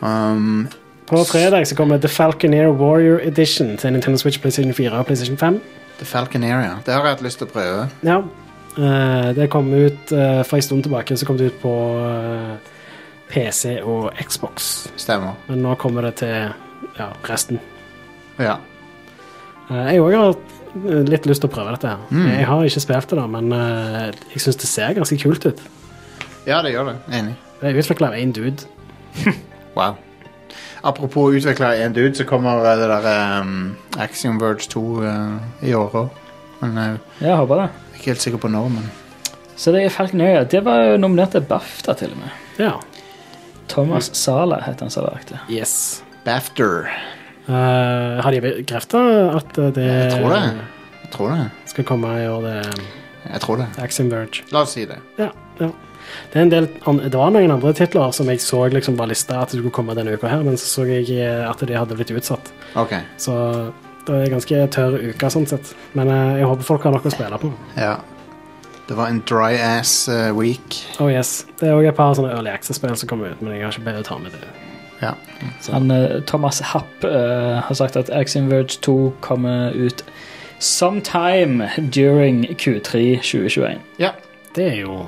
S1: Um,
S2: På fredag så kommer The Falconeer Warrior Edition til Nintendo Switch, PlayStation 4 og PlayStation 5.
S1: The Falcon Area. Det har jeg hatt lyst til å prøve.
S2: Ja. eh, det kom ut eh, for en stund tilbake, så kom det ut på eh, PC og Xbox.
S1: Stemmer.
S2: Men nå kommer det til ja, resten.
S1: Ja.
S2: Eh, jeg òg har eh, litt lyst til å prøve dette. her. Jeg har ikke spilt det, da, men eh, jeg syns det ser ganske kult ut.
S1: ja, det gjør det. Enig.
S2: Det er utvikla av én dude.
S1: Wow. Apropos utvikla en dude, så kommer eh, det der um, Axiom Verge 2 eh, i år òg. Men uh, jeg
S3: Ja, håper det.
S1: er ikke helt sikker på når, men
S3: Så det er Falkenøya. Det var jo nominert til BAFTA, til og med.
S2: Ja.
S3: Thomas
S1: Mm.
S3: Sala het han som lagde.
S2: Yes.
S1: Bafter.
S2: Eh, har de bekrefta at eh, det
S1: Jeg tror det. Jeg tror det.
S2: skal komme i år, det
S1: Jeg tror det.
S2: Axiom Verge?
S1: La oss si det.
S2: Ja, Det, er en del, an- det var noen andre titler som jeg så liksom var lista at det skulle komme denne uka, her, men så så jeg eh, at de hadde blitt utsatt.
S1: OK.
S2: Så det er en ganske tørr uke, sånn sett. Men eh, jeg håper folk har nok å spille på.
S1: Ja. Det var en dry ass eh, week.
S2: Oh yes, Det er òg et par sånne Early Access-spill som kommer ut, men jeg har ikke bedt å ta med det.
S1: Ja.
S3: Han, eh, Thomas Happ eh, har sagt at Axiom Verge 2 kommer ut sometime during Q3 2021.
S1: ja.
S2: Det er jo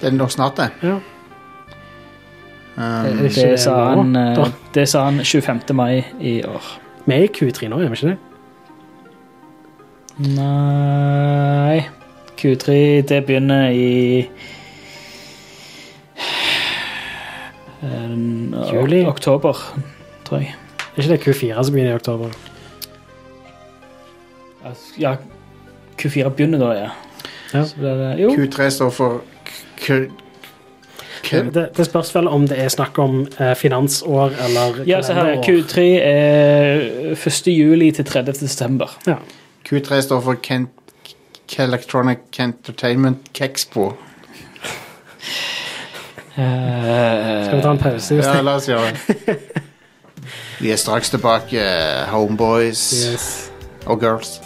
S1: Det er nok snart, det.
S2: Ja.
S1: Um,
S2: Ikke
S3: Det sa
S2: nå,
S3: han, eh,
S2: da.
S3: det sa han 25. mai i år.
S2: Vi er i Q3 nå, er vi ikke det?
S3: Nei Q3, det begynner i eh,
S2: Juli?
S3: Oktober, tror jeg.
S2: Er ikke det Q4 som begynner i oktober?
S3: Ja, Q4 begynner da, ja.
S2: Ja.
S3: Så blir det, jo,
S1: Q3 står for k... k
S2: Det, det spørs vel om det er snakk om eh, finansår eller
S3: ja, se her.
S2: kalenderår.
S3: Q3 er 1. juli til 30. desember.
S2: Ja.
S1: Q3 står for Kent, K- Electronic Entertainment Kexpo.
S2: Skal vi ta en pause?
S1: Ja, la oss gjøre det. Vi er straks tilbake. eh, Homeboys
S2: Yes.
S1: og Oh, girls.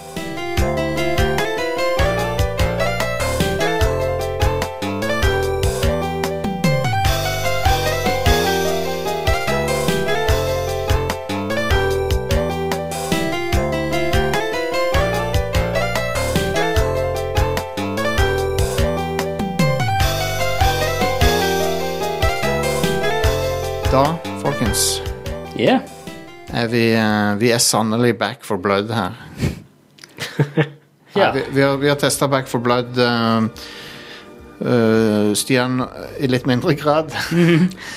S1: Da, folkens,
S3: Ja.
S1: er vi, eh, vi er sannelig back for blood her.
S3: Ja.
S1: Vi, vi har, vi har testa Back for Blood eh, eh, Stian i litt mindre grad.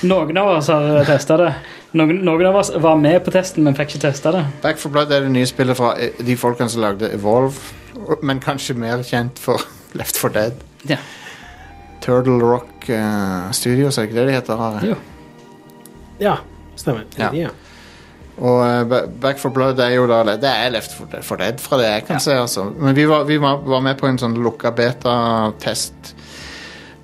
S3: Noen av oss har testa det. Noen, noen av oss var med på testen, men fikk ikke testa det.
S1: Back for Blood er det nye spillet fra eh, de folkene som lagde Evolve, men kanskje mer kjent for Left for Dead.
S3: Ja.
S1: Turtle Rock eh, Studios, er det ikke det de heter? Are?
S3: Jo.
S2: Ja, stemmer.
S1: Ja.
S2: Ja. Ja.
S1: Og eh, Ba- Back for Blood er jo da Det er Left for Dead, for Dead fra det jeg kan se, altså. Men vi var, vi var var med på en sånn lukka beta-test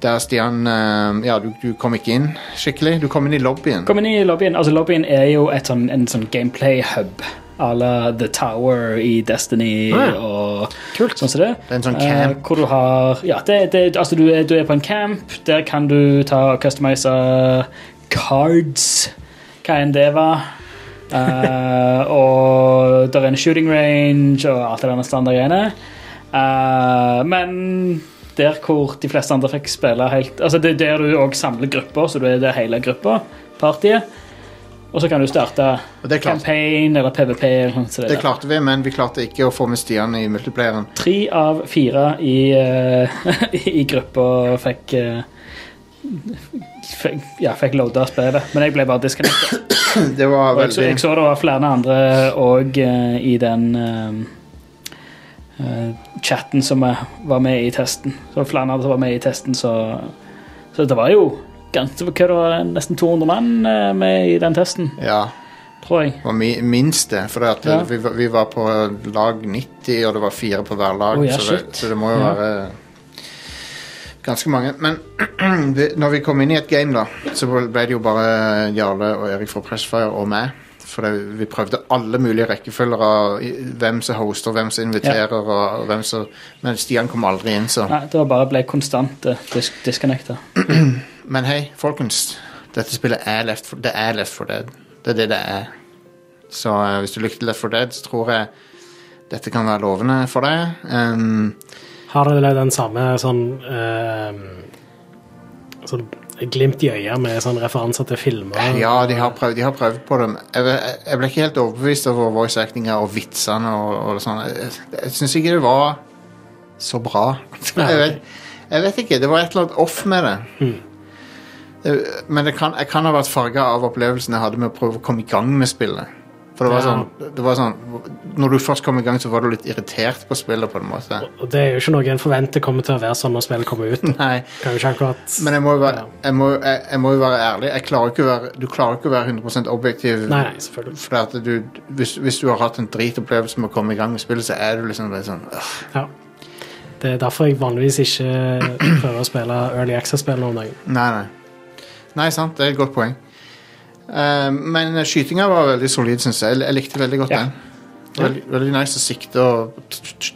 S1: der Stian eh, Ja, du, du kom ikke inn skikkelig. Du kom inn i lobbyen.
S3: Kom inn i lobbyen. Altså, lobbyen er jo et sånn, en sånn gameplay-hub. À la The Tower i Destiny
S2: Ah, ja.
S3: og sånn som det.
S1: Det er en sånn
S3: Eh,
S1: camp.
S3: hvor du har Ja, det, det, altså du er, du er på en camp. Der kan du ta og customize cards, hva enn det var. Eh, og der er en shooting range og alt det der standardgreiene. Eh, men der hvor de fleste andre fikk spille helt Altså Det er der du òg samler grupper, så du er det hele gruppa, partiet. Og så kan du starte
S1: Og det er klart.
S3: campaign eller PVP. Eller sånt, så det
S1: Det
S3: der.
S1: klarte vi, men vi klarte ikke å få med Stian i multiplayeren.
S3: Tre av fire i, eh, i gruppa fikk eh, fikk, ja, fikk loada spillet, men jeg ble bare disconnected.
S1: Det var
S3: Og jeg, så,
S1: veldig
S3: jeg så det var flere andre òg i den eh, eh, chatten som jeg var med i testen. Så flere andre som var med i testen, så Så det var jo ganske, hva det var, nesten 200 mann eh, med i den testen,
S1: Ja,
S3: tror jeg.
S1: det var mi- minst det. For at
S3: Ja.
S1: vi, var- vi var på lag 90, og det var fire på hver lag.
S3: Oh, ja,
S1: så,
S3: shit.
S1: det, så det må jo
S3: Ja.
S1: være ganske mange. Men vi- når vi kom inn i et game, da, så ble det jo bare Jarle og Erik fra Pressfire og meg. For det, vi prøvde alle mulige rekkefølger av i- hvem som hoster, hvem som inviterer, og, og hvem som Men Stian kom aldri inn, så.
S3: Nei, det var bare ble konstant uh, dis disconnecta.
S1: Men hei, folkens. Dette spillet er Left for, det er left for Dead. Det er det det er. Så eh, hvis du likte Left for Dead, så tror jeg dette kan være lovende for deg. Um,
S2: Har dere lagd den samme sånn eh, Sånn glimt i øyet med sånn referanser til filmer?
S1: ja, de har, prøvd, de har prøvd på dem. Jeg, jeg, jeg ble ikke helt overbevist over voice actinga og vitsene og, og sånn. Jeg, jeg syns ikke det var så bra.
S2: Nei,
S1: Jeg vet, jeg vet ikke. Det var et eller annet off med det.
S2: Hmm.
S1: Det- Men det kan, jeg kan ha vært farga av opplevelsen jeg hadde med å prøve å komme i gang med spillet. For det var,
S2: Ja.
S1: sånn, det var sånn Når du først kom i gang, så var du litt irritert på spillet, på en måte.
S2: Og det er jo ikke noe en forventer kommer til å være sånn når spillet kommer ut.
S1: Nei,
S2: Kan jo ikke akkurat
S1: men jeg må jo være, jeg må, jeg, jeg må jo være ærlig. Jeg klarer ikke å være, du klarer ikke å være 100 objektiv.
S2: Nei, nei, selvfølgelig.
S1: Fordi at du, hvis, hvis du har hatt en dritopplevelse med å komme i gang med spillet, så er du liksom litt sånn øh.
S2: Ja. Det er derfor jeg vanligvis ikke prøver å spille Early Access-spill om dagen.
S1: Nei, nei. Nei, sant, det er et godt poeng. Eh, men skytinga var veldig solid, syns jeg. Jeg likte veldig godt
S3: Ja.
S1: den. Veldig, veldig nice å sikte og,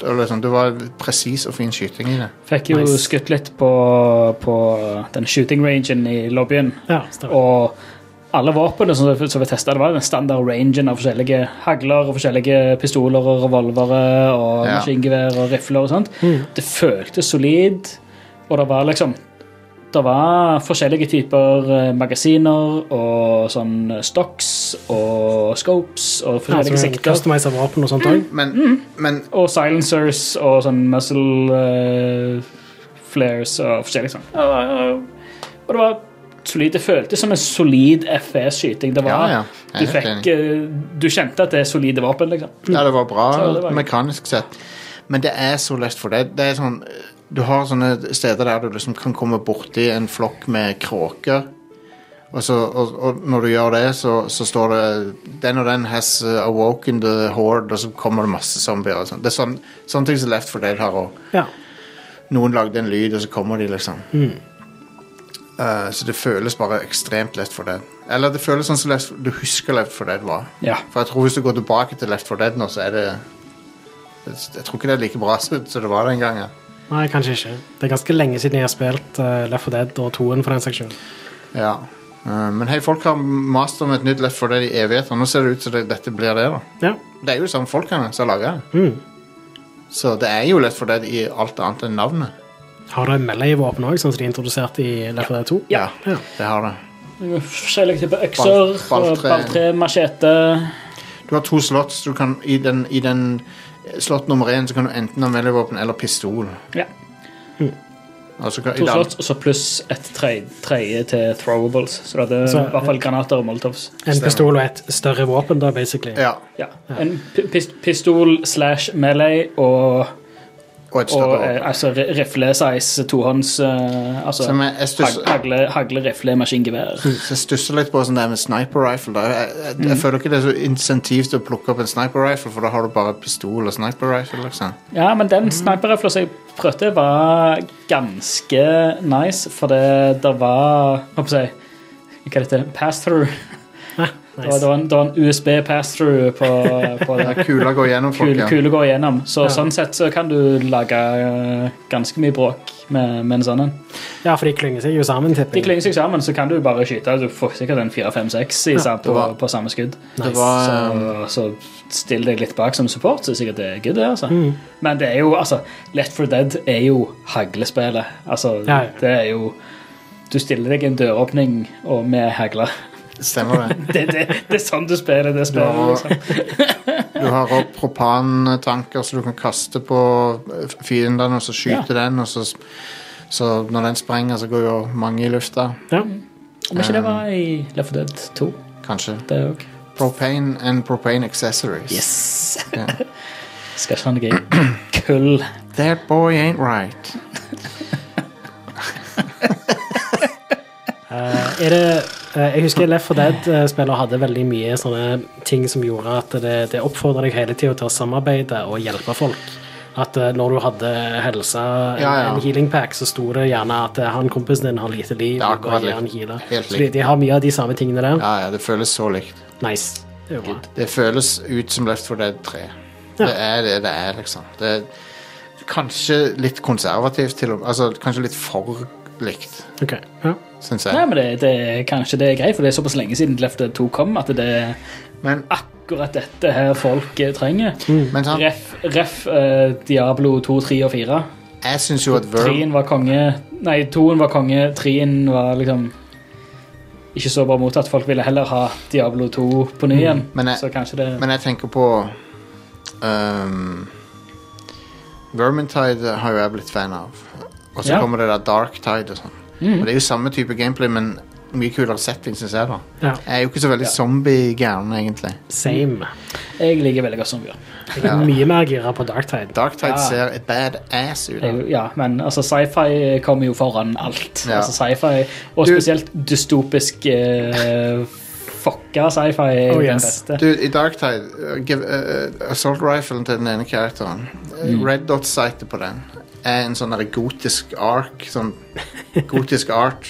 S1: og liksom, Det var presis og fin skyting i det.
S3: Fikk jo
S2: Nice.
S3: skutt litt på, på den shooting rangen i lobbyen.
S2: Ja, stemmer.
S3: Og alle våpnene som, som vi testet, det var den standard rangen av forskjellige hagler og forskjellige pistoler og revolvere og
S1: Ja.
S3: maskingevær og rifler og sånt.
S2: Mm.
S3: Det føltes solid, og det var liksom Det var forskjellige typer eh, magasiner og sånn eh, stocks og scopes og forskjellige
S2: Altså,
S3: sikter.
S2: Customize våpen og sånt òg.
S1: Men, men
S3: Og silencers og sånn muzzle eh, flares og forskjellig sånn. Og, og, og det var solid. Det føltes som en solid FES-skyting. Det
S1: ja,
S3: var
S1: ja. jeg er
S3: Du,
S1: helt
S3: fikk,
S1: enig.
S3: eh, du kjente at det er solide våpen, liksom.
S1: Ja, det var bra
S3: Så det var-
S1: mekanisk sett. Men det er så lett for deg. Det er sånn Du har sånne steder der du liksom kan komme borti en flokk med kråker. Og, så, og, og når du gjør det, så, så står det Den og den has uh, awoken the horde, og så kommer det masse zombier. Og sånn. det er sånn, sånne ting som Left for Dead har òg.
S2: Ja.
S1: Noen lagde en lyd, og så kommer de, liksom.
S3: Mm.
S1: Uh, så det føles bare ekstremt lett for Dead. Eller det føles sånn som Left, du husker Left for Dead var.
S3: Ja.
S1: For jeg tror hvis du går tilbake til Left 4 Dead nå, så er det Jeg tror ikke det er like bra som som det var den gangen.
S2: Nei, kanskje ikke. Det er ganske lenge siden jeg har spilt eh, Left 4 Dead og 2-en, for den saks skyld.
S1: Ja. Eh, Men hei, folk har mast om et nytt Left 4 Dead i evigheter. Nå ser det ut som det, dette blir det, da.
S2: Ja.
S1: Det er jo samme folkene som har laga det.
S2: Mm.
S1: Så det er jo Left 4 Dead i alt annet enn navnet.
S2: Har du melee-våpen òg, sånn som de introduserte i Left 4 Dead 2?
S3: Ja.
S2: Ja.
S1: Det har det.
S3: Forskjellige typer økser,
S1: Ball- balltre.
S3: balltre, machete
S1: Du har to slott. så Du kan, i, den, I den eh, slott nummer én så kan du enten ha melee-våpen eller pistol.
S3: Ja. Mm.
S1: Og så kan, i
S3: To
S1: det andre-
S3: slott, og så pluss et tredje tredje til throwables. Så du hadde
S2: Så-
S3: i hvert fall granater og molotovs.
S2: En pistol og et større våpen, da, basically.
S1: Ja.
S3: Ja. En pi- pis pistol slash melee og,
S1: Og et
S3: og
S1: større
S3: eh,
S1: våpen.
S3: altså, re- rifle-size tohånds eh, Altså
S1: Som Mm. jeg, jeg
S3: hag
S1: stusser-
S3: hagle, hagle, rifle, maskingevær.
S1: Så jeg stusser litt på sånn der med sniper rifle. Da. Jeg, jeg,
S3: Mm.
S1: jeg føler ikke det er så insentiv til å plukke opp en sniper rifle, for da har du bare pistol og sniper rifle. liksom.
S3: Ja, men den sniper-rifla som jeg prøvde, var ganske nice, for det, det var Hva skal jeg si Hva heter det? Pass-through. Det var-
S2: Nice.
S3: Det var en, det var en USB pass-through på, på det.
S1: Kula går gjennom folk,
S3: Kule,
S1: ja.
S3: kule går igjennom. Så
S2: Ja.
S3: sånn sett så kan du lage eh, ganske mye bråk med, med en sånn en.
S2: ja, for de klynger seg jo sammen,
S3: De
S2: tipper jeg.
S3: klynger seg sammen, så kan du bare skyte. Du får sikkert en 4-5-6 i sa- på,
S1: var-
S3: på samme skudd.
S1: Det
S2: Nice.
S1: var, um,
S3: Så, så still deg litt bak som support, så er sikkert det er good, det. altså.
S2: Mm.
S3: Men det er jo, altså, Left for Dead er jo haglespillet. Altså,
S2: Ja, ja.
S3: det er jo Du stiller deg i en døråpning og med hagle.
S1: Stemmer det.
S3: Det, det, det er sånn du spiller det spillet.
S1: Ja.
S3: liksom.
S1: Du har òg propantanker som du kan kaste på eh, fiendene, og så skyte den, og så, så når den sprenger, så går jo mange i lufta.
S2: Ja.
S3: Om ikke det var i Left for Dead 2,
S1: Kanskje.
S3: det òg.
S1: Propane and propane accessories.
S3: Yes!
S1: Ja.
S3: Skal ikke ha noe kull.
S1: That boy ain't right.
S2: Eh, er det, eh, jeg husker Left 4 Dead-spiller hadde veldig mye sånne ting som gjorde at det, det oppfordra deg hele tida til å samarbeide og hjelpe folk. At eh, når du hadde helse, en,
S1: Ja, ja.
S2: en healing pack, så sto det gjerne at eh, han kompisen din har lite liv.
S1: Det er
S2: og bare
S1: akkurat
S2: gi
S1: likt.
S2: han healer.
S1: Helt
S2: Så de,
S1: likt.
S2: de har mye av de samme tingene der.
S1: Ja, ja, det føles så likt.
S2: Nice. Det er jo bra.
S1: Det føles ut som Left 4 Dead 3.
S2: Ja.
S1: Det er det det er, liksom. Det er kanskje litt konservativt, til og med. Altså, kanskje litt for likt,
S2: Ok, ja.
S1: syns
S3: Nei,
S1: jeg.
S3: men det, det, kanskje det er greit, for det er såpass lenge siden Left for Dead 2 kom, at det er
S1: Men,
S3: akkurat dette her folk eh, trenger.
S1: men sånn, sant,
S3: Ref, ref eh, Diablo 2, 3 og 4.
S1: jeg syns jo at Verve
S3: 3 var konge Nei, 2-en var konge, 3-en var liksom ikke så bra mottatt. Folk ville heller ha Diablo 2 på ny igjen.
S1: Men jeg-
S3: så kanskje det
S1: Mm. Men jeg tenker på um, Vermintide har jo jeg blitt fan av. Og så
S3: Ja.
S1: kommer det der Darktide og sånn.
S2: Mm.
S1: Og Det er jo samme type gameplay, men mye kulere setting, syns jeg. da
S2: ja.
S1: Jeg er jo ikke så veldig
S3: Ja.
S1: zombie-gæren, egentlig.
S2: Same.
S3: Jeg liker veldig godt zombier.
S2: Jeg er mye mer gira på Darktide.
S1: Darktide
S3: Ja.
S1: ser badass ut.
S3: Jeg, ja, men altså, sci-fi kommer jo foran alt.
S1: Ja.
S3: Altså, sci-fi, og
S1: Du-
S3: spesielt dystopisk eh, fuck hacka sci-fi er jo
S2: Oh,
S3: den
S2: yes.
S3: beste.
S1: Du, i Darktide uh, give, uh, Assault riflen til den ene karakteren uh,
S3: Mm.
S1: Red dot-sightet på den er en sånn der gotisk ark Sånn gotisk art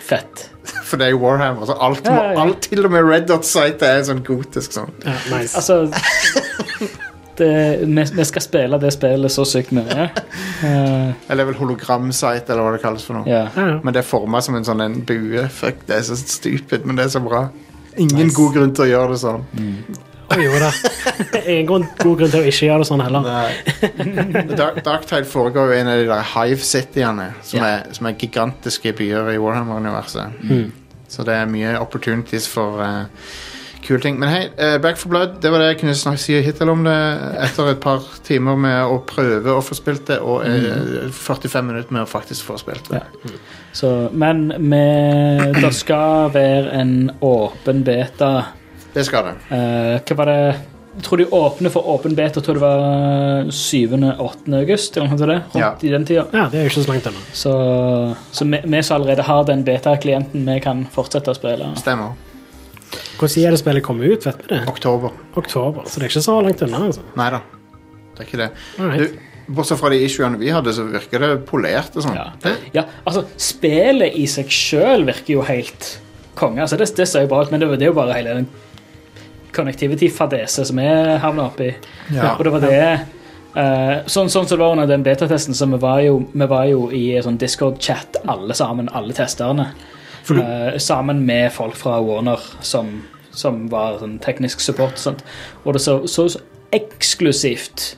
S3: Fett.
S1: For det er jo Warhammer så alt, må,
S3: Ja, ja.
S1: alt Til og med red dot-sightet er sånn gotisk sånn.
S2: Ja, nice.
S3: Altså det, vi, vi skal spille det spillet så sykt mye. Eh,
S1: Eller vel hologram-sight Eller hva det kalles for noe
S3: Ja.
S2: ja, ja.
S1: Men det er formet som en sånn en bue Fuck, det er så stupid, men det er så bra Ingen god grunn til å gjøre det sånn
S2: Å, jo da. Det er ingen grunn- god grunn til å ikke gjøre det sånn heller.
S1: Nei. Dark, Darktide foregår jo i en av de der Hive Cityene, som,
S3: Ja.
S1: er, som er gigantiske byer i Warhammer-universet.
S3: Mm.
S1: Så det er mye opportunities for eh, kule ting. Men hei, eh, Back for Blood, det var det jeg kunne snakke, si hittil om det. Etter et par timer med å prøve å få spilt det, og
S3: Mm.
S1: eh, 45 minutter med å faktisk få spilt det.
S3: Så, men vi, det skal være en åpen beta.
S1: Det skal det.
S3: Eh, hva var det Jeg tror de åpner for åpen beta jeg tror det var 7.-8. august. Eller noe sånt, det, rundt i den tida.
S2: Ja, det er jo ikke så langt unna.
S3: Så, så vi, vi som allerede har den beta-klienten, vi kan fortsette å spille.
S1: Stemmer.
S2: Hvordan er det spillet kommer ut? Vet vi det?
S1: Oktober.
S2: Oktober, så det er ikke så langt unna. altså.
S1: Nei da. Det er ikke det.
S2: Alright.
S1: Du, bortsett fra de issuene vi hadde, så virker det polert og sånn.
S3: Ja.
S1: Det,
S3: Ja, altså, spillet i seg sjøl virker jo helt konge. Altså, det, det ser jo bra ut, men det, det er jo bare hele den connectivity-fadese som vi havna oppi.
S1: Ja.
S3: Og det var det eh, sånn, sånn som det var under den betatesten, så vi var jo, vi var jo i en sånn Discord-chat, alle sammen, alle testerne. Eh, sammen med folk fra Warner som, som var sånn teknisk support. og Sånt. Og det så, så eksklusivt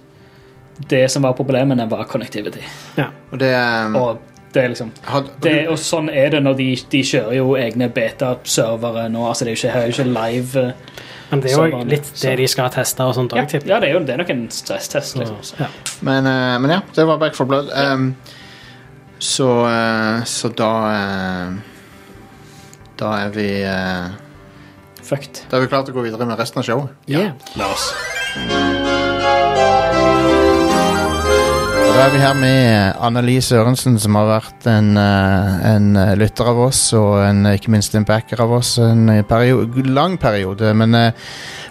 S3: det som var problemene, var connectivity.
S1: og det, um,
S3: Mm. Og det er liksom
S1: had,
S3: det, og sånn er det når de, de kjører jo egne beta-servere nå. altså Det er jo ikke, det er jo ikke live. eh,
S2: Men det er
S3: Så
S2: jo
S3: var det.
S2: litt det de skal teste og sånt
S3: Ja,
S2: òg, tipper jeg.
S3: ja det er jo det er nok en stresstest. liksom. Så.
S2: Ja.
S1: Men, eh, men ja, det var Back for Blood. Ehm, så, eh, så da eh, Da er vi eh,
S3: Fucked.
S1: Da er vi klart å gå videre med resten av showet.
S2: Yeah.
S3: La oss.
S1: Og Da er vi her med Anneli Sørensen, som har vært en, eh, en eh, lytter av oss, og en, eh, ikke minst en backer av oss en eh, perio- lang periode. Men eh,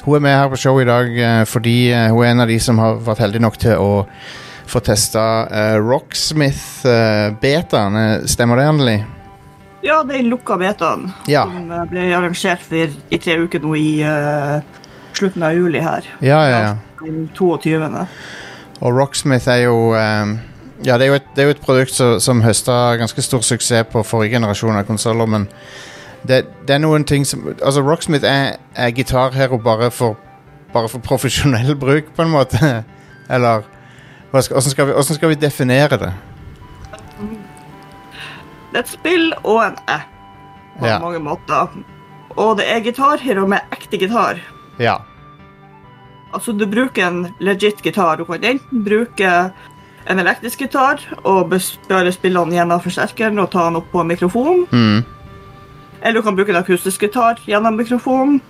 S1: hun er med her på showet i dag eh, fordi eh, hun er en av de som har vært heldig nok til å få testa eh, Rocksmith-betaen. Stemmer det, Anneli?
S6: Ja, den lukka betaen
S1: Ja.
S6: som eh, ble arrangert for i tre uker nå i eh, slutten av juli her.
S1: Ja, ja, ja.
S6: Den 22.
S1: Og Rocksmith er jo ehm, Ja, det er jo et, det er jo et produkt som, som høsta ganske stor suksess på forrige generasjon av konsoller, men det, det er noen ting som Altså, Rocksmith er, er gitar her og bare for, bare for profesjonell bruk, på en måte. Eller hva skal- hvordan skal, vi- hvordan skal vi definere det?
S6: Det er et spill og en app på
S1: Ja.
S6: mange måter. Og det er gitarhero med ekte gitar.
S1: Ja.
S6: Altså, du bruker en legit gitar. Du kan enten bruke en elektrisk gitar og bes- bare spille den gjennom forsterkeren og ta den opp på en mikrofon.
S1: Mm.
S6: Eller du kan bruke en akustisk gitar gjennom mikrofonen.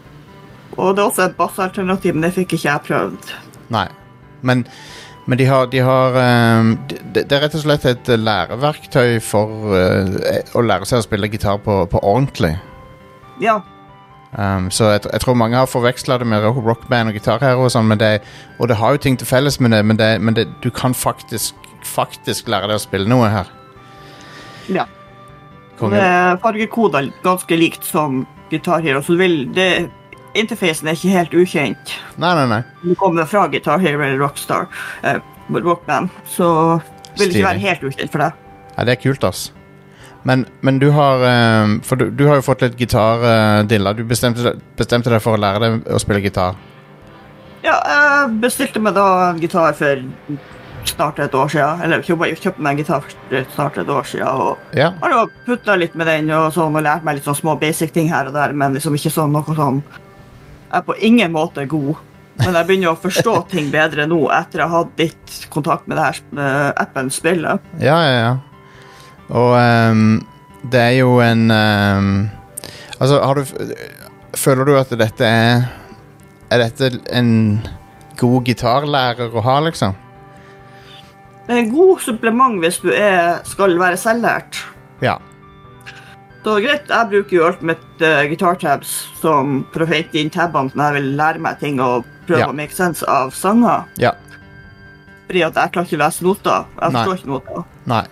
S6: Og det er også et bassalternativ, men det fikk ikke jeg prøvd.
S1: Nei. Men, men de har, de har ehm, det, det er rett og slett et læreverktøy for eh, å lære seg å spille gitar på, på ordentlig.
S6: Ja,
S1: Um, så jeg, tr- jeg tror mange har forveksla det med ro- rockband og gitarhero, og sånn, men det, og det har jo ting til felles med det, men, det, men det, du kan faktisk, faktisk lære deg å spille noe her.
S6: Ja.
S1: Konge.
S6: det er fargekoder ganske likt som Guitar Hero, så du vil det, Interfacen er ikke helt ukjent.
S1: Nei, nei, nei.
S6: Du kommer fra Guitar Hero eller Rockstar, eh, Rockband, så vil det ikke
S1: Stilig.
S6: være helt ukjent for deg.
S1: Ja, det er kult, ass. Men, men du har um, For du, du har jo fått litt gitardilla. Du bestemte, deg- bestemte deg for å lære deg å spille gitar.
S6: Ja, jeg bestilte meg da en gitar for snart et år siden. Eller jeg kjøpte, jeg kjøpte meg en gitar for snart et år siden. Og
S1: Ja.
S6: har da putta litt med den og sånn, og lært meg litt sånn små basic ting her og der, men liksom ikke sånn noe sånn Jeg er på ingen måte god, men jeg begynner å forstå ting bedre nå etter jeg har hatt litt kontakt med det her eh, appen spillet.
S1: Ja, ja, ja. Og ehm, det er jo en ehm, Altså, har du f- Føler du at dette er Er dette en god gitarlærer å ha, liksom?
S6: Det er en god supplement hvis du er, skal være selvlært.
S1: Ja.
S6: Så greit, jeg bruker jo alt mitt eh, guitar tabs som for å feite inn tabene når jeg vil lære meg ting og prøve
S1: Ja.
S6: å make sense av sanger.
S1: Ja.
S6: Fordi at jeg klarer ikke å lese noter. Jeg
S1: Nei.
S6: forstår ikke noter.
S1: Nei.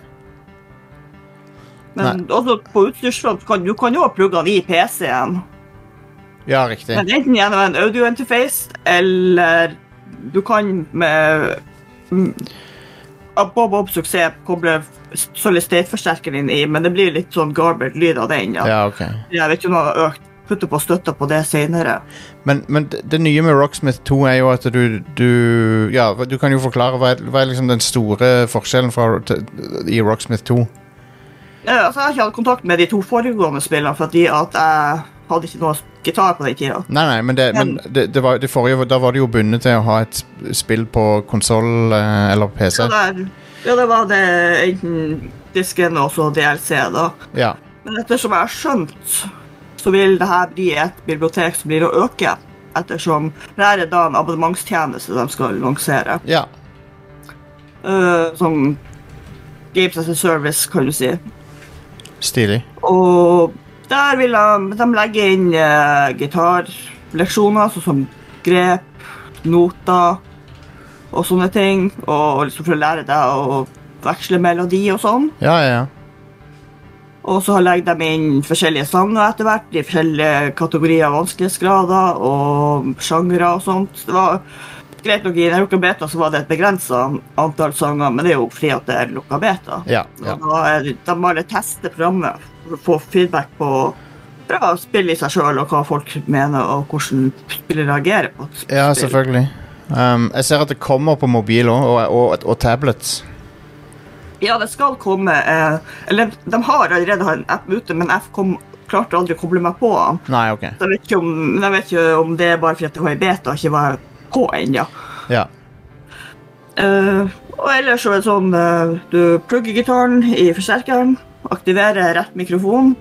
S6: Men også på utstyrsfront kan du kan jo ha plugga den i PC-en.
S1: Ja, riktig.
S6: Men enten gjennom en audio interface, eller du kan med mm, Bob Bob suksess koble solid state-forsterkeren inn i, men det blir litt sånn garbage lyd av den. Ja.
S1: Ja, ok.
S6: Jeg vet ikke om jeg har økt putte på støtta på det senere.
S1: Men, men det, det nye med Rocksmith 2 er jo at du, du Ja, du kan jo forklare hva er, hva er liksom den store forskjellen fra, til, i Rocksmith 2.
S6: Ja, altså, jeg har ikke hatt kontakt med de to foregående spillene fordi at jeg hadde ikke noe gitar på den tida.
S1: Nei, nei, men, det, men det, det var, det forrige, da var det jo bundet til å ha et sp- spill på konsoll eh, eller PC.
S6: Så der, ja, det var det enten disken og så DLC, da.
S1: Ja,
S6: Men ettersom jeg har skjønt, så vil det her bli et bibliotek som blir å øke. Ettersom det her er da en abonnementstjeneste de skal lansere.
S1: ja,
S6: eh, som Games as a Service, kan du si.
S1: stilig.
S6: Og der vil de, de legge inn uh, gitarleksjoner, sånn som grep, noter og sånne ting. Og liksom for å lære deg å veksle melodi og sånn.
S1: Ja, ja, ja.
S6: Og så legger de inn forskjellige sanger etter hvert, i forskjellige kategorier av vanskelighetsgrader og sjangere og sånt. Det var greit nok i den lukka beta så var det et begrensa antall sanger, men det er jo fordi at det er lukka beta.
S1: Ja, ja.
S6: Og da er det, de bare tester programmet for å få feedback på bra spill i seg sjøl, og hva folk mener, og hvordan spillet reagerer på et spill.
S1: ja selvfølgelig. Um, jeg ser at det kommer på mobil òg, og, og, og tablets.
S6: Ja, det skal komme eh, Eller de har allerede en app ute, men jeg kom, klarte aldri å koble meg på den.
S1: Nei, ok.
S6: Jeg vet, ikke om, jeg vet ikke om det er bare fordi at det var i beta og ikke var på ennå.
S1: Ja.
S6: Eh, og ellers så er det sånn eh, Du plugger gitaren i forsterkeren, aktiverer rett mikrofon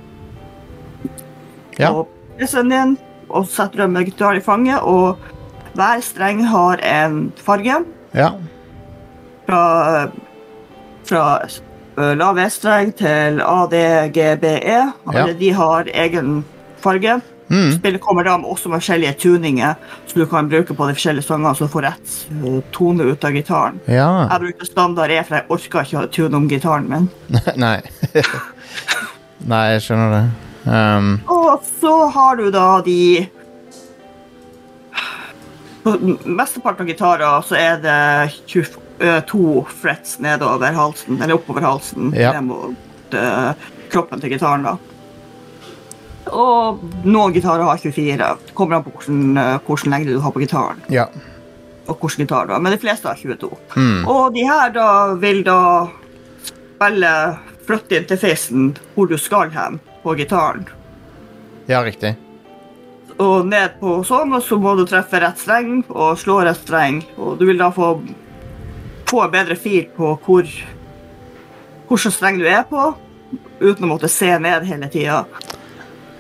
S1: Ja.
S6: og PC-en din, og setter deg med gitaren i fanget, og hver streng har en farge
S1: ja.
S6: fra, fra eh, lav E-streng til ADGBE. Alle
S1: Ja.
S6: E. Altså, de har egen farge.
S1: Mm.
S6: Spillet kommer da med- også med forskjellige tuninger som du kan bruke på de forskjellige sangene, så du får rett eh, tone ut av gitaren.
S1: Ja.
S6: Jeg bruker standard E, for jeg orker ikke å tune om gitaren min.
S1: Nei. Nei, jeg skjønner det. Um,
S6: Og så har du da de På mesteparten av gitarer så er det 20 eh, to frets nedover halsen, eller oppover halsen,
S1: Ja.
S6: ned mot eh, kroppen til gitaren, da. Og noen gitarer har 24. Det kommer an på hvordan, eh, hvordan lengde du har på gitaren.
S1: ja.
S6: og hvilken gitar, da. Men de fleste har 22. Og de her da vil da spille flytte interfacen hvor du skal hen på gitaren.
S1: ja, riktig.
S6: Og ned på sånn, og så må du treffe rett streng og slå rett streng. Og du vil da få, få en bedre fil på hvor hvilken streng du er på, uten å måtte se ned hele tida.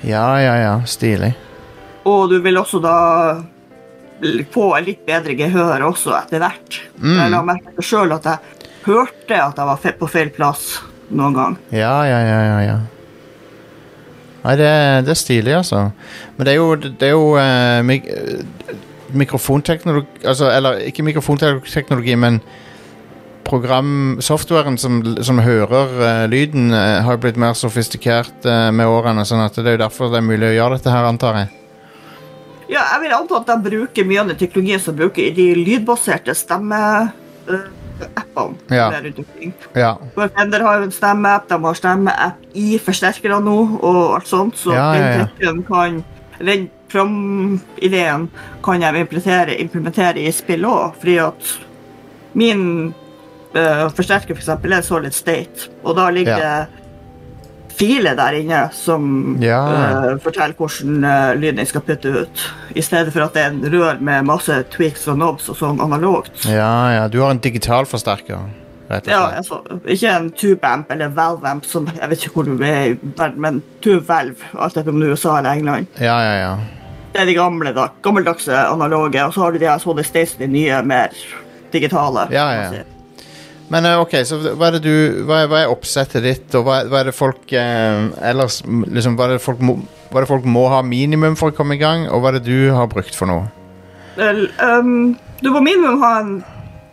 S1: Ja, ja, ja. Stilig.
S6: Og du vil også da få et litt bedre gehør også etter hvert. Jeg la merke til sjøl at jeg hørte at jeg var fe- på feil plass noen gang.
S1: Ja, ja, ja, ja, ja. Nei, det, det er stilig, altså. Men det er jo, det er jo eh, mik eh, mikrofonteknologi altså, Eller ikke mikrofonteknologi, men program, softwaren som, som hører eh, lyden, eh, har blitt mer sofistikert eh, med årene. sånn at Det er jo derfor det er mulig å gjøre dette her, antar jeg.
S6: Ja, jeg vil anta at de bruker mye av den teknologien som bruker i de lydbaserte stemmeappene.
S1: Ja.
S6: som er rundt omkring.
S1: Ja,
S6: Fender har jo en stemmeapp, de har stemmeapp i forsterkere nå, og alt sånt, så
S1: Ja, ja, ja.
S6: den teknologien kan den programideen kan jeg implementere, implementere i spill òg, fordi at min eh, forsterker f.eks. er solid state, og da ligger
S1: Ja.
S6: det filer der inne som
S1: Ja.
S6: eh, forteller hvordan eh, lyden jeg skal putte ut, i stedet for at det er en rør med masse tweaks og knobs og sånn analogt.
S1: ja, ja. Du har en digital forsterker, rett og
S6: Ja,
S1: slett.
S6: altså, ikke en tube-amp eller valve-amp, som jeg vet ikke hvor du er i verden, men tube-valve, alt etter om du er i USA eller England.
S1: Ja, ja, ja.
S6: Det er de gamle, da, gammeldagse analoge, og så har du de her Solid Station, de nye, mer digitale. Altså,
S1: Ja,
S6: kan
S1: ja.
S6: man si.
S1: Men eh, ok, så hva er det du Hva er, hva er oppsettet ditt, og hva er, hva er det folk eh, ellers m- liksom, hva, er det folk må, hva er det folk må ha minimum for å komme i gang, og hva er det du har brukt for noe?
S6: Vel, ehm, du må minimum ha en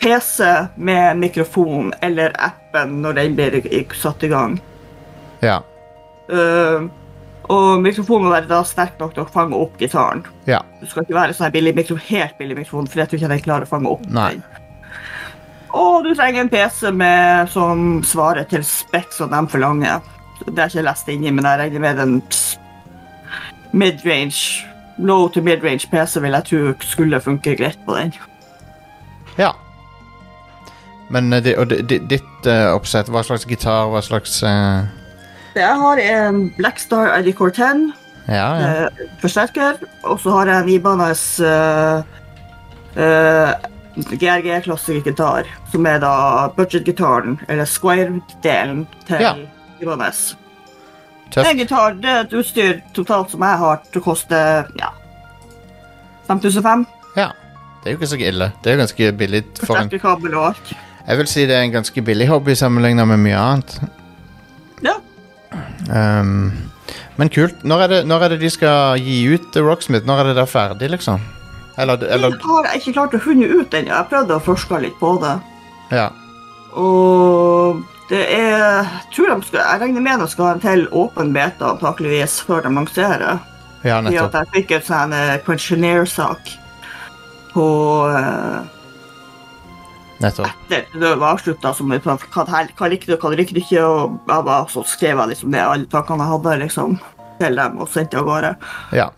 S6: PC med mikrofon eller appen når den blir i- satt i gang.
S1: Ja.
S6: Ehm, og mikrofonen må være da sterk nok til å fange opp gitaren.
S1: Ja.
S6: Du skal ikke være sånn her billig mikro, helt billig mikrofon, fordi at du ikke den klarer å fange opp
S1: Nei.
S6: den. Og du trenger en PC med, som svarer til spekk som de forlanger. Det har jeg ikke lest inni, men jeg regner med en s- mid-range, low to mid-range PC vil jeg tro skulle funke greit på den.
S1: ja. Men eh, det, og det, det, ditt eh, oppsett, hva slags gitar, hva slags eh,
S6: Jeg har en Blackstar ID Core 10
S1: Ja, ja.
S6: eh, forsterker, og så har jeg en Ibanez eh, eh, GRG Classic gitar, som er da budget-gitaren, eller square-delen til
S1: Ja.
S6: Ibanez. En
S1: Tøft.
S6: gitar, det er et utstyr totalt som jeg har, til å koste ja, 5005.
S1: Ja. Det er jo ikke så ille. Det er jo ganske billig for en
S6: Forsterkerkabel og alt.
S1: Jeg vil si det er en ganske billig hobby sammenligna med mye annet.
S6: Ja.
S1: Ehm, men kult. Når er, det, når er det de skal gi ut The Rocksmith? Når er det der ferdig, liksom? Eller, eller
S6: Det har jeg ikke klart å funne ut ennå. Jeg prøvde å forske litt på det.
S1: Ja.
S6: Og det er jeg tror de skal, Jeg regner med de skal ha en til åpen beta antakeligvis før de lanserer.
S1: Ja,
S6: Fordi at
S1: nettopp.
S6: jeg fikk en sånn eh, questionnaire-sak på eh,
S1: nettopp.
S6: det, det var avslutta som litt sånn, hva, det her- hva likte du, hva likte du ikke? Og jeg bare, så skrev jeg liksom det alle tankene jeg hadde, liksom, til dem og sendte av gårde.
S1: Ja.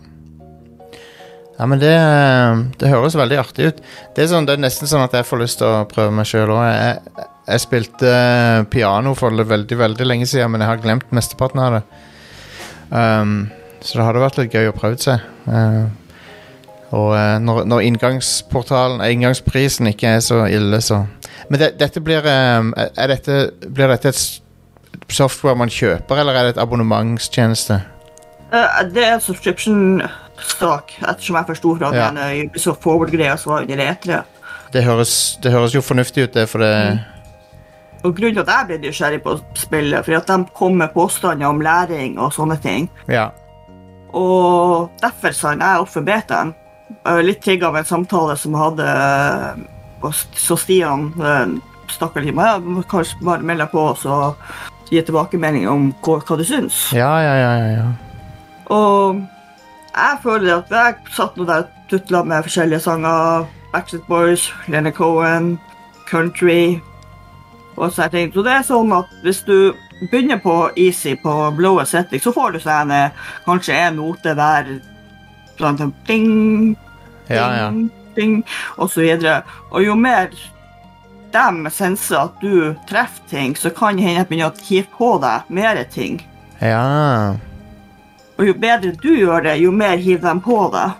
S1: Ja, men det, eh, det høres veldig artig ut. Det er, sånn, det er nesten sånn at jeg får lyst til å prøve meg sjøl òg. Jeg, jeg spilte eh, piano for veldig veldig lenge siden, men jeg har glemt mesteparten av det. Um, så det hadde vært litt gøy å prøve seg. Uh, og eh, når, når inngangsportalen, eh, inngangsprisen ikke er så ille, så Men det, dette blir um, er dette, Blir dette et s- software man kjøper, eller er det et abonnementstjeneste?
S6: Eh, det er en subscription-sak, ettersom jeg forsto fra
S1: Ja.
S6: den eh, Ubisoft Forward-greia som var under E3.
S1: Det høres, det høres jo fornuftig ut, det, for det
S6: Og grunnen til at jeg ble nysgjerrig på spillet, fordi at de kom med påstander om læring og sånne ting.
S1: Ja.
S6: Og derfor sa jeg opp for betaen. Jeg var Litt trigga av en samtale som jeg hadde eh, og s- Så Stian eh, stakkar til meg, jeg må kanskje bare melde deg på og så gi tilbakemelding om hva, hva du syns.
S1: Ja, ja, ja, ja, ja.
S6: Og jeg føler at jeg satt nå der og tutla med forskjellige sanger. Backstreet Boys, Lene Cohen, Country og sånne ting. Så det er sånn at hvis du begynner på easy på blåe setting, så får du sånn eh, kanskje en note hver sånn sånn ding,
S1: ja, ja.
S6: ding, ding, og så videre. Og jo mer de senser at du treffer ting, så kan det hende at de begynner å hive på deg mer ting.
S1: ja.
S6: Og jo bedre du gjør det, jo mer hiver de på deg.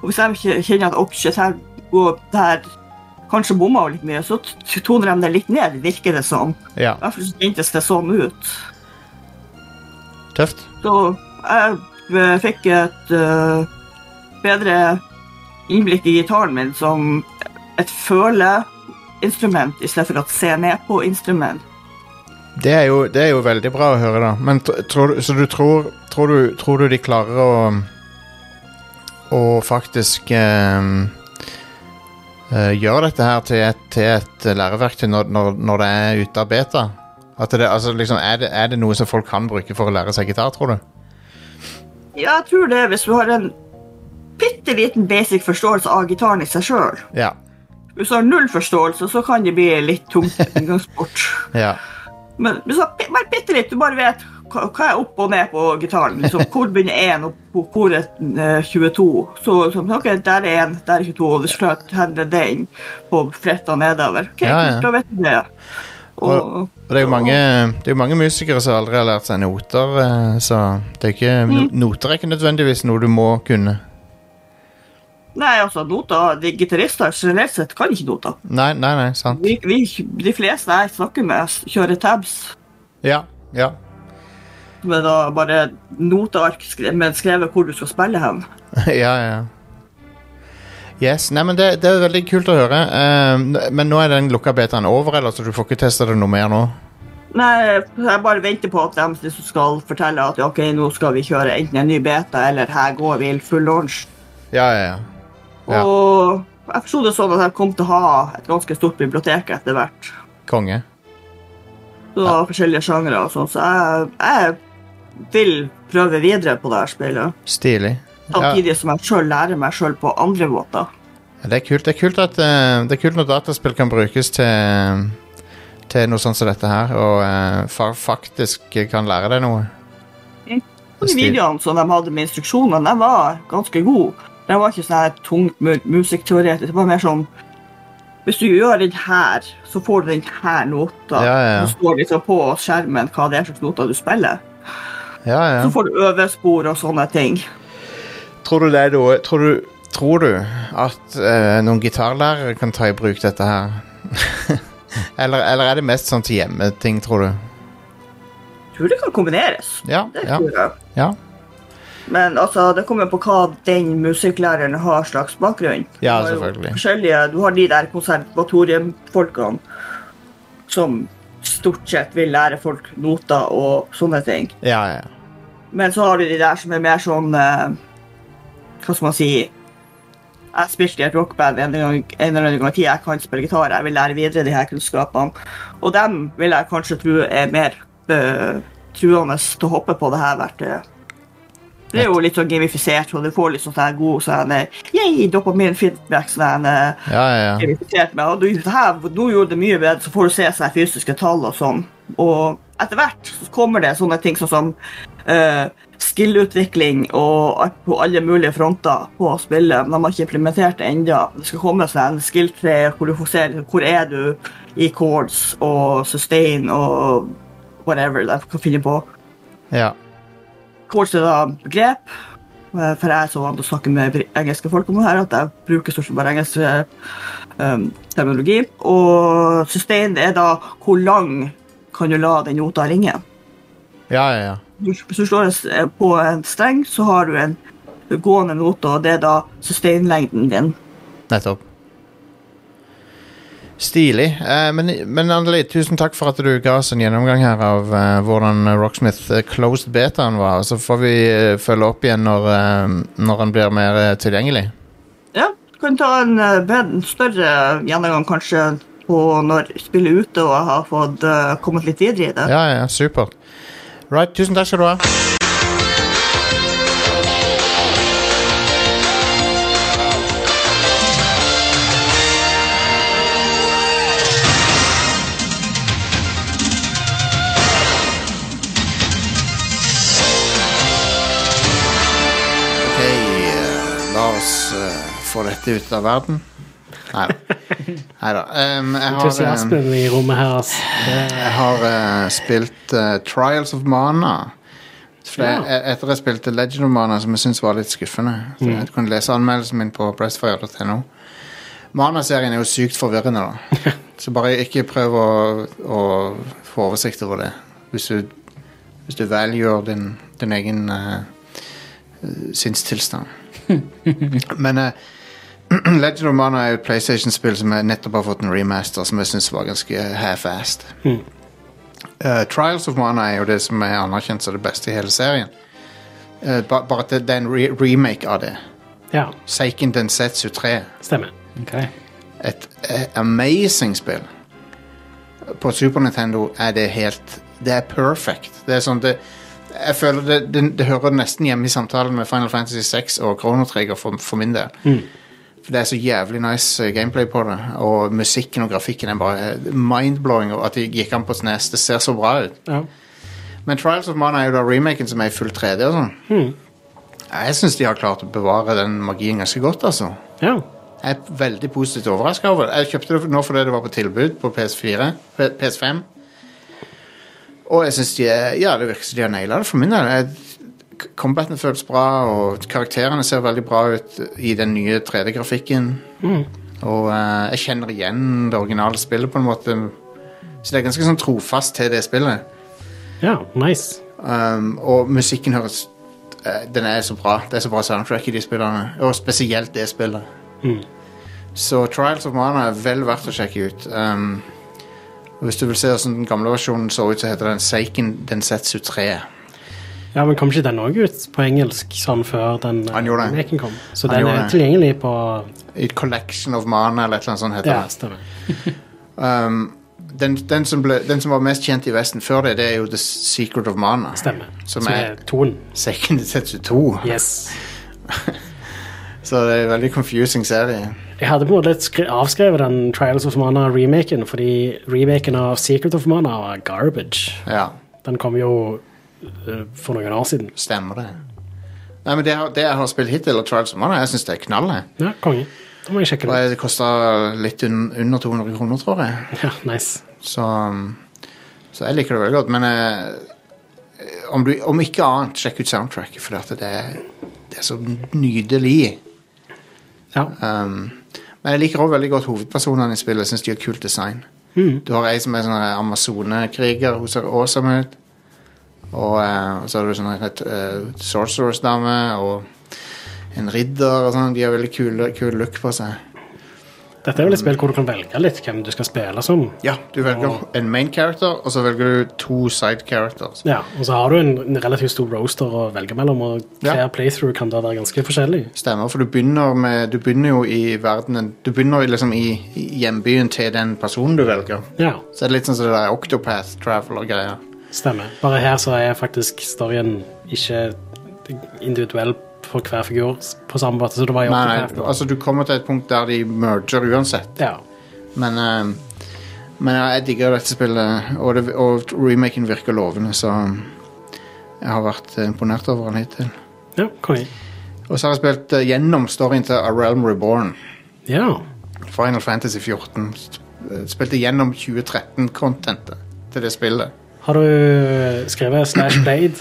S6: Og hvis de ikke kjenner at «Å, shit, her går det her kanskje bomma hun litt mye, så t- toner de det litt ned, virker det som.
S1: ja.
S6: I hvert fall så kjentes det sånn ut.
S1: Tøft.
S6: Så jeg eh, fikk et eh, bedre innblikk i gitaren min som et føleinstrument i stedet for å se ned på instrument.
S1: Det er, jo, det er jo veldig bra å høre, da. Men tr- tror, du- så du tror, tror, du, tror du de klarer å Å faktisk ehm, eh, gjøre dette her til et, til et læreverktøy når, når, når det er ute av beta? At det, altså, liksom, er, det, er det noe som folk kan bruke for å lære seg gitar, tror du?
S6: Ja, jeg tror det, hvis du har en bitte liten basic forståelse av gitaren i seg sjøl.
S1: Ja.
S6: Hvis du har null forståelse, så kan det bli litt tungt inngangsport.
S1: ja.
S6: Men hvis du har pi- bare bitte litt, du bare vet hva hva er opp og ned på gitaren. Liksom, hvor begynner én, og hvor- hvor er eh, 22? Så sånn, ok, der er én, der er 22, og det er klart hender den på fretta nedover. Ok,
S1: Ja, ja.
S6: kult, Da vet du det. Og,
S1: Og det er jo mange, det er jo mange musikere som aldri har lært seg noter, eh, så det er ikke, no,
S6: Mm.
S1: noter er ikke nødvendigvis noe du må kunne.
S6: nei, altså, noter de Gitarister generelt sett kan ikke noter.
S1: Nei, nei, nei, sant.
S6: Vi, vi, de fleste jeg snakker med, kjører tabs.
S1: Ja, ja,
S6: Med da bare noteark skre- med skrevet hvor du skal spille hen.
S1: ja, ja. Yes, nei, men det, det er veldig kult å høre. Eh, men nå er den lukka betaen over, eller? Så du får ikke testa det noe mer nå?
S6: Nei, jeg bare venter på at de som skal fortelle at ok, nå skal vi kjøre enten en ny beta, eller her går vi full launch.
S1: Ja, ja, ja. Ja.
S6: Og jeg forsto det sånn at jeg kom til å ha et ganske stort bibliotek etter hvert.
S1: Konge.
S6: Så det var forskjellige sjangre og sånn, så jeg, jeg vil prøve videre på det her spillet.
S1: Stilig. Ja,
S6: Samtidig som jeg sjøl lærer meg sjøl på andre måter.
S1: det, er kult. det er kult at eh, Det er kult når dataspill kan brukes til Til noe sånt som dette her, og eh, fa faktisk kan lære deg noe.
S6: Mm. Og
S1: Det er
S6: de
S1: stil-
S6: videoene som de hadde med instruksjoner, de var ganske gode. De var ikke sånn her tungt mu- musikkteoretisk. Det var mer sånn Hvis du gjør den her, så får du den her nota.
S1: Ja, ja, ja.
S6: Så står liksom på skjermen hva det er slags noter du spiller.
S1: Ja, ja.
S6: Så får du øvespor og sånne ting.
S1: Tror du det er noe Tror du, tror du at eh, noen gitarlærere kan ta i bruk dette her? eller, eller er det mest sånn til hjemmeting, tror du?
S6: Jeg tror det kan kombineres.
S1: Ja,
S6: Det
S1: ja,
S6: tror jeg.
S1: ja.
S6: Men altså, det kommer på hva den musikklæreren har slags bakgrunn.
S1: Ja,
S6: Du har jo
S1: selvfølgelig.
S6: forskjellige- Du har de der konservatoriumfolkene som stort sett vil lære folk noter og sånne ting.
S1: ja, ja.
S6: Men så har du de der som er mer sånn eh, Hva skal man si Jeg spilte i et rockband en, gang, en eller annen gang i tida. Jeg kan spille gitar. Jeg vil lære videre de her kunnskapene. Og dem vil jeg kanskje tro er mer eh, truende til å hoppe på det her verktøyet. Det er jo litt sånn gamifisert, og du får litt sånn her god sånn eh, Yay, dopamin-feedback. Sånn eh,
S1: ja, ja, ja.
S6: gamifisert med. Og du, det her, nå gjorde det mye bedre, så får du se sånne fysiske tall og sånn. Og etter hvert så kommer det sånne ting sånn som eh, skillutvikling og alt på alle mulige fronter på spillet. Men de har ikke implementert det ennå. Det skal komme sånn en skill-tre hvor du får se liksom, hvor er du i chords og sustain og whatever de kan finne på.
S1: ja.
S6: Chords er da begrep. eh, For jeg er så vant til å snakke med br- engelske folk om det her, at jeg bruker stort sett bare engelsk eh, um, terminologi. Og sustain er da hvor lang kan du la den nota ringe.
S1: Ja, ja, ja.
S6: Du- Hvis du slår en s- eh, på en streng, så har du en gående note, og det er da sustain-lengden din.
S1: Nettopp. Stilig. Eh, men men Anneli, tusen takk for at du ga oss en gjennomgang her av eh, hvordan Rocksmith eh, closed betaen var. Så får vi eh, følge opp igjen når, eh, når den blir mer eh, tilgjengelig.
S6: Ja, du kan ta en, eh, bed- en større gjennomgang kanskje på når spillet er ute og jeg har fått eh, kommet litt videre i det.
S1: Ja, ja, supert. Right, tusen takk skal du ha. Ok, eh, la oss eh, få dette ut av verden. Nei da. jeg har eh,
S2: Entusiasmen i rommet her, altså. ass.
S1: jeg har eh, spilt eh, Trials of Mana. For det,
S2: Ja.
S1: e- Etter jeg spilte Legend of Mana, som jeg syntes var litt skuffende. Så Jeg kunne lese anmeldelsen min på pressfire.no. Mana-serien er jo sykt forvirrende, da. Så bare ikke prøv å, å få oversikt over det. Hvis du, hvis du velger din, din egen eh, sinnstilstand. Men eh, Legend of Mana er jo et PlayStation-spill som jeg nettopp har fått en remaster, som jeg syns var ganske half-assed. Eh, Trials of Mana er jo det som er anerkjent som det beste i hele serien. Eh, ba bare at det, det er en re remake av det.
S2: Ja,
S1: Seiken Densetsu 3.
S2: stemmer.
S3: Ok.
S1: Et eh, amazing spill. På Super Nintendo er det helt Det er perfect. Det er sånn det jeg føler det, det, det hører nesten hjemme i samtalen med Final Fantasy 6 og Chrono Trigger for, for min del. For det er så jævlig nice eh, gameplay på det. Og musikken og grafikken er bare eh, mind-blowing. Og at det gikk an på SNES. Det ser så bra ut.
S2: Ja.
S1: Men Trials of Mana er jo da remaken som er i full 3D og sånn. Jeg syns de har klart å bevare den magien ganske godt, altså.
S2: ja.
S1: Jeg er veldig positivt overraska over det. Jeg kjøpte det nå fordi det var på tilbud på PS4, P- PS5. Og jeg synes de er, ja, det virker som de har naila det for min del. Jeg- Combaten føles bra, og karakterene ser veldig bra ut i den nye 3D-grafikken. Og eh, jeg kjenner igjen det originale spillet, på en måte. Så det er ganske sånn trofast til det spillet.
S2: ja, nice.
S1: Um, og musikken høres eh, Den er så bra. Det er så bra soundtrack i de spillene. Og spesielt det spillet.
S2: Mm.
S1: Så Trials of Mana er vel verdt å sjekke ut. Um, og hvis du vil se hvordan den gamle versjonen så ut, så heter den Seiken Densetsu 3.
S2: Ja, men kom ikke den òg ut på engelsk sånn før den eh,
S1: Han gjorde det.
S2: leken kom? Så
S1: Han
S2: den
S1: gjorde
S2: er
S1: det.
S2: tilgjengelig på
S1: I Collection of Mana eller et eller annet sånt heter
S2: Ja,
S1: det.
S2: stemmer.
S1: Um, den, den, som ble, den som var mest kjent i Vesten før det, det er jo The Secret of Mana.
S2: stemmer.
S1: Som
S2: Som
S1: er-
S2: er Ton.
S1: Seiken Densetsu 2.
S2: Yes.
S1: Så det er en veldig confusing serie.
S2: Jeg hadde på en måte litt skri- avskrevet den Trials of Mana-remaken, fordi remaken av Secret of Mana var garbage.
S1: Ja,
S2: Den kom jo eh, for noen år siden.
S1: stemmer det. Nei, men det, jeg har- det jeg har spilt hittil, og Trials of Mana, jeg syns det er knall. jeg.
S2: Ja, konge. Da må jeg sjekke
S1: Og
S2: det.
S1: Det kosta litt un under 200 kroner, tror jeg.
S2: Ja, nice.
S1: Så, um, så jeg liker det veldig godt. Men eh, om, du, om ikke annet, sjekk ut soundtracket, for at det, er- det er så nydelig.
S2: Ja.
S1: Um, men jeg liker også veldig godt hovedpersonene i spillet. Jeg synes de har kult design. Du har ei som er sånn her amazonekriger, hun ser awesome ut. Og eh, og så har du sånn her, eh, sorceress-dame og en ridder og sånn. De har veldig kul, kul look på seg.
S2: Dette er vel et spill hvor du kan velge litt hvem du skal spille som.
S1: Ja, du velger en main character, og så velger du to side characters.
S2: Ja, og så har du en, en relativt stor roaster å velge mellom, og
S1: Ja.
S2: hver playthrough kan da være ganske forskjellig.
S1: Stemmer, for du begynner, med, du begynner jo i verdenen Du begynner jo liksom i i hjembyen til den personen du velger.
S2: Ja,
S1: Så er det litt sånn som det der Octopath Traveler-greia.
S2: stemmer. Bare her så er faktisk storyen ikke individuell for hver figur s- på samme måte som det var i
S1: Nei, altså- nei,
S2: Octopath.
S1: altså du kommer til et punkt der de merger uansett.
S2: Ja,
S1: Men, eh, men ja, jeg digger dette spillet, og, det, og remaken virker lovende, så jeg har vært eh, imponert over den hittil.
S2: ja konge.
S1: Og så har jeg spilt eh, gjennom storyen til A Realm Reborn.
S2: Ja,
S1: Final Fantasy 14. Sp- eh, Spilte gjennom 2013-contentet til det spillet.
S2: har du skrevet Slash Blade?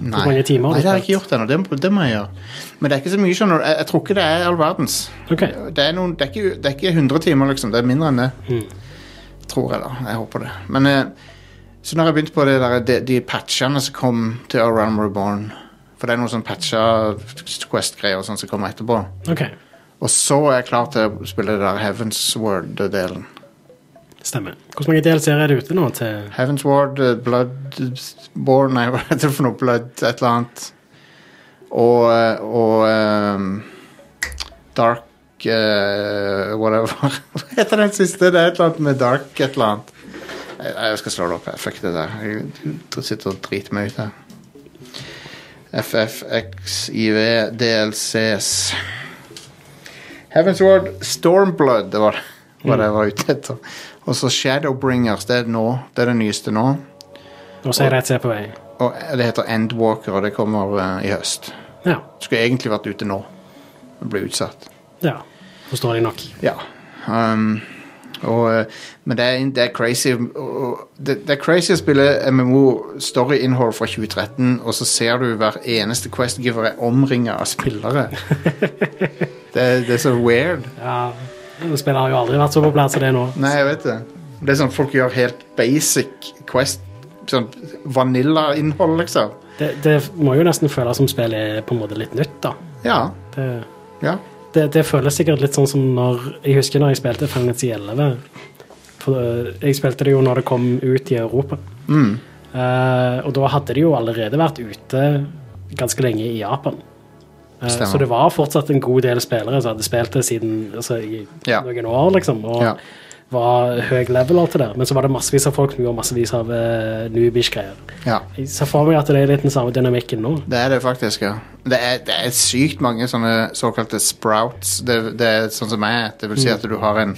S1: Nei,
S2: mange timer har
S1: Nei
S2: du
S1: det har jeg ikke
S2: spilt?
S1: gjort ennå. Det, må- det må jeg gjøre. Men det er ikke så mye, skjønner du. Jeg, jeg tror ikke det er all verdens.
S2: Ok,
S1: Det er, noen, det, er ikke, det er ikke 100 timer, liksom. Det er mindre enn det. Tror jeg, da. Jeg håper det. Men eh, så når jeg begynte på det der, de, de patchene som kom til Around Reborn For det er noen sånne patcha Quest-greier og sånn som kommer etterpå.
S2: ok,
S1: Og så er jeg klar til å spille det der Heavens Word-delen.
S2: stemmer. Hvor mange DLC-er er det ute nå til?
S1: Heaven's Ward, eh, Bloodborne Nei, hva heter det for noe? Blood et eller annet. Og, eh, og ehm, Dark eh, Whatever. Hva heter den siste? Det er et eller annet med Dark et eller annet. Jeg, jeg skal slå det opp. Jeg fuck det der. Jeg sitter og driter meg ut her. FFXIV DLCs. Heaven's Ward Stormblood, det var hva det jeg var ute etter. Og så Shadowbringers, det er nå. Det er det nyeste nå.
S2: Nå ser jeg rett se på vei.
S1: Og det heter Endwalker, og det kommer eh, i høst.
S2: Ja,
S1: Skulle egentlig vært ute nå. Det ble utsatt.
S2: ja, forstår jeg nok.
S1: Ja. Um, og, eh, men det er, det er crazy og- og, det, det er crazy å spille MMO storyinnhold fra 2013, og så ser du hver eneste Quest-giver er omringa av spillere. det, er- det er så weird.
S2: Ja, spillet har jo aldri vært så på plass som det er nå.
S1: Nei, jeg vet det. Det er sånn folk gjør helt basic Quest, sånn vanilla-innhold, liksom.
S2: Det, det må jo nesten føles som spillet er på en måte litt nytt, da.
S1: Ja.
S2: Det,
S1: ja.
S2: det, det føles sikkert litt sånn som når Jeg husker når jeg spilte Fantasy 11. For det- jeg spilte det jo når det kom ut i Europa.
S1: Mm.
S2: Eh, og da hadde det jo allerede vært ute ganske lenge i Japan. Eh,
S1: Stemmer.
S2: så det var fortsatt en god del spillere som hadde spilt det siden altså, i
S1: Ja.
S2: noen år, liksom. Og
S1: Ja.
S2: var høy level til det. Men så var det massevis av folk som gjorde massevis av uh, noobish-greier.
S1: ja.
S2: Jeg ser for meg at det er litt den samme dynamikken nå.
S1: Det er det faktisk, ja. Det er, det er sykt mange sånne såkalte sprouts. Det, det er sånn som jeg. Det vil si at du har en,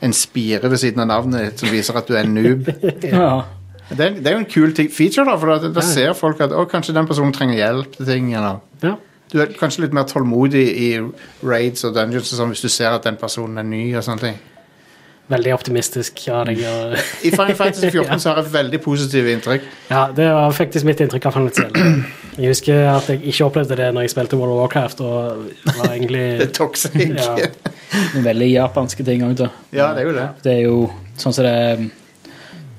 S1: en spire ved siden av navnet ditt som viser at du er en noob.
S3: Ja.
S1: Det er, det er jo en kul ting, feature, da, for at da ser folk at å, kanskje den personen trenger hjelp til ting. eller...
S2: Ja,
S1: Du er kanskje litt mer tålmodig i raids og dungeons og sånn, hvis du ser at den personen er ny. og sånne ting.
S2: veldig optimistisk av deg. og-
S1: I Final Fantasy 14 så har jeg veldig positive inntrykk.
S2: Ja, det var faktisk mitt inntrykk av Final Fantasy. Jeg husker at jeg ikke opplevde det når jeg spilte World of Warcraft, og var
S1: Det
S2: egentlig
S1: er toxic.
S2: Ja.
S1: Ja.
S3: Men Veldig japanske ting òg, da.
S1: det er jo det.
S3: Det er jo sånn som det um,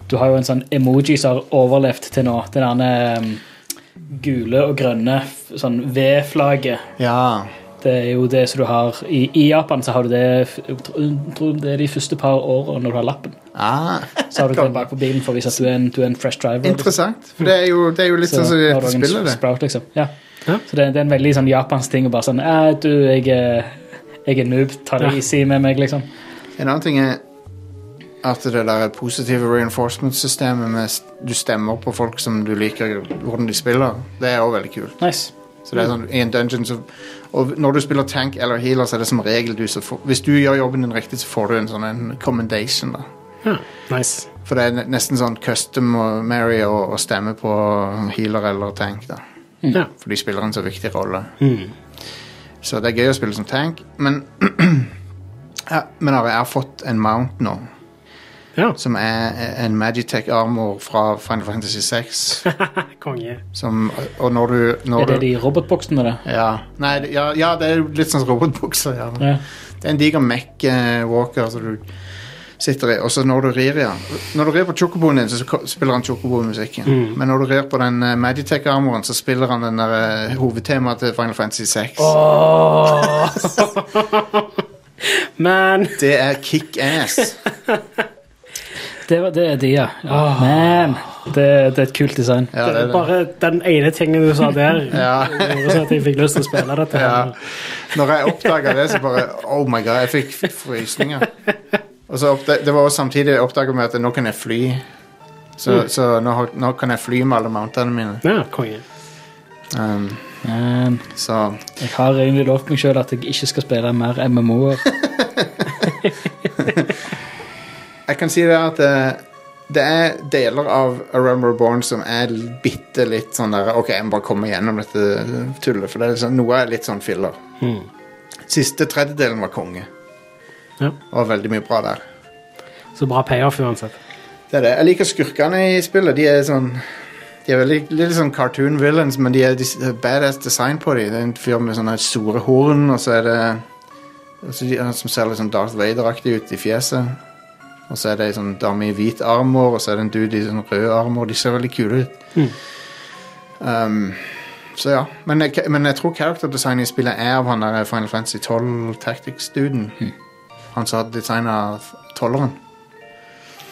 S3: Du har jo en sånn emoji som har overlevd til nå. Den mm, derne um, gule og grønne f- sånn V-flagget.
S1: Ja.
S3: Det er jo det som du har I, i Japan så har du det f- tro- tro- Det er de første par årene når du har lappen.
S1: Ah,
S3: Så har du den bak på bilen for å vise at du er en, du er en fresh driver. liksom.
S1: interessant. For det er jo, det er jo litt sånn som
S3: har du
S1: de
S3: en
S1: spiller det.
S3: Sprout, liksom. ja.
S2: Ja.
S3: Så det, det er en veldig sånn japansk ting å bare sånn «Eh, du, jeg, er- jeg er noob, ta det
S2: Ja.
S3: easy med meg, liksom.
S1: En annen ting er at det der positive reinforcement-systemet med s- du stemmer på folk som du liker hvordan de spiller, det er òg veldig kult.
S3: Nice.
S1: Så det er sånn, i en dungeon så, Og når du spiller tank eller healer, så er det som regel du som får Hvis du gjør jobben din riktig, så får du en sånn en commendation, da.
S2: Ja, nice.
S1: For det er ne- nesten sånn custom og Mary å, å stemme på healer eller tank, da.
S2: Ja.
S1: For de spiller en så viktig rolle.
S2: Mm.
S1: Så det er gøy å spille som tank, men ja, Men Are, jeg har fått en mount nå,
S2: ja.
S1: som er en Magitech Armor fra Final Fantasy 6.
S2: Konge.
S1: Som, og når du, når
S3: Er det
S1: du
S3: de robotboksene, det?
S1: ja, nei, det- ja, ja, det er litt sånn robotbukser. Ja, men.
S3: Ja.
S1: Det er en diger Mac-walker som du sitter i. Og så når du rir i den Når du rir på chocoboen din, så ko- spiller han chocobo-musikken. Men når du rir på den Magitech-armoren, så spiller han den der, eh, hovedtemaet til Final Fantasy 6.
S2: Men
S1: Det er kick-ass.
S3: Det, var, det er de, ja. Man, det, det er et kult design.
S1: Ja, det er det.
S2: bare den ene tingen du sa der,
S1: Ja.
S2: gjorde så at jeg fikk lyst til å spille dette.
S1: Ja.
S2: her.
S1: Når jeg oppdaga det, så bare Oh my god, jeg fikk f- frysninger. Og så oppda- Det var også samtidig jeg oppdaga at nå kan jeg fly. Så, så nå, har- nå kan jeg fly med alle mountene mine.
S2: Ja, konge.
S1: Um,
S3: Man,
S1: så
S3: jeg har egentlig lovt meg sjøl at jeg ikke skal spille mer MMO-er.
S1: Jeg kan si det at eh, det er deler av A Realm Reborn som er l- bitte litt sånn der Ok, jeg må bare komme gjennom dette tullet, for det er sånn, noe er litt sånn filler. Siste tredjedelen var konge.
S2: Ja.
S1: Og veldig mye bra der.
S2: Så bra payoff uansett.
S1: Det er det. Jeg liker skurkene i spillet. De er sånn De er veldig litt sånn cartoon villains, men de er dis- badass design på dem. Det er en fyr med sånne store horn, og så er det og så de, han som ser litt sånn Darth Vader-aktig ut i fjeset. Og så er det ei sånn dame i hvit armor, og så er det en dude i sånn rød armor. De ser veldig kule ut. Um, så ja. Men jeg, men jeg tror characterdesignet i spillet er av han der Final Fantasy 12 Tactics-duden. Han som har designa tolleren.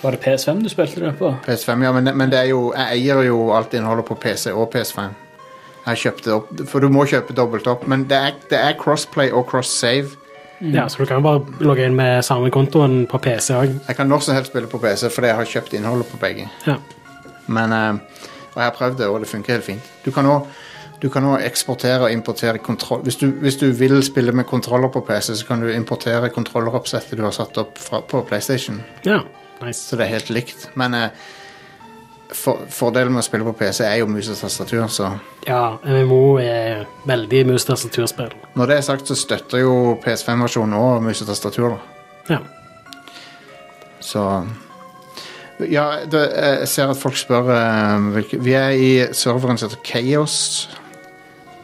S3: Var det PS5 du spilte det på?
S1: PS5, ja, men, men det er jo, jeg eier jo alt innholdet på PC og PS5. Jeg kjøpte opp, For du må kjøpe dobbelt opp, men det er, det er crossplay og cross-save.
S2: Ja, Så du kan jo bare logge inn med samme kontoen på PC òg.
S1: Jeg kan når som helst spille på PC, fordi jeg har kjøpt innholdet på begge.
S2: Ja.
S1: Men, eh, og jeg har prøvd det, og det funker helt fint. Du kan også, du kan også eksportere og importere kontroll... Hvis du, hvis du vil spille med kontroller på PC, så kan du importere kontrolleroppsettet du har satt opp fra, på PlayStation.
S2: ja. Nice.
S1: Så det er helt likt. Men eh, for, fordelen med å spille på PC er jo mus og tastatur, så
S2: Ja, MMO er veldig mus-tastaturspill.
S1: Når det er sagt, så støtter jo PS5-versjonen og mus og tastatur. da.
S2: Ja.
S1: Så Ja, det, jeg ser at folk spør eh, hvilke Vi er i serveren som heter Chaos.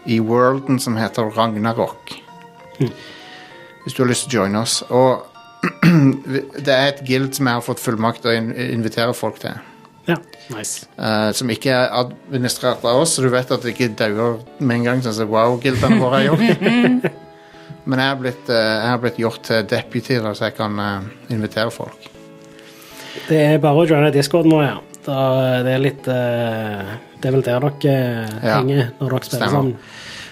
S1: I worlden som heter Ragnarok. Hvis du har lyst til å joine oss. Og det er et guild som jeg har fått fullmakt til å in- invitere folk til.
S2: ja. Nice.
S1: eh, som ikke er administrert av oss, så du vet at det ikke dauer med en gang, sånn som wow-guildene våre har gjort. Men jeg har blitt, eh, jeg har blitt gjort til deputy, da, så jeg kan eh, invitere folk.
S2: Det er bare å joine Discord nå, ja. Da, det er litt eh, Det er vel der dere eh,
S1: Ja.
S2: henger når dere spiller sånn.
S1: Stemmer.
S2: sammen.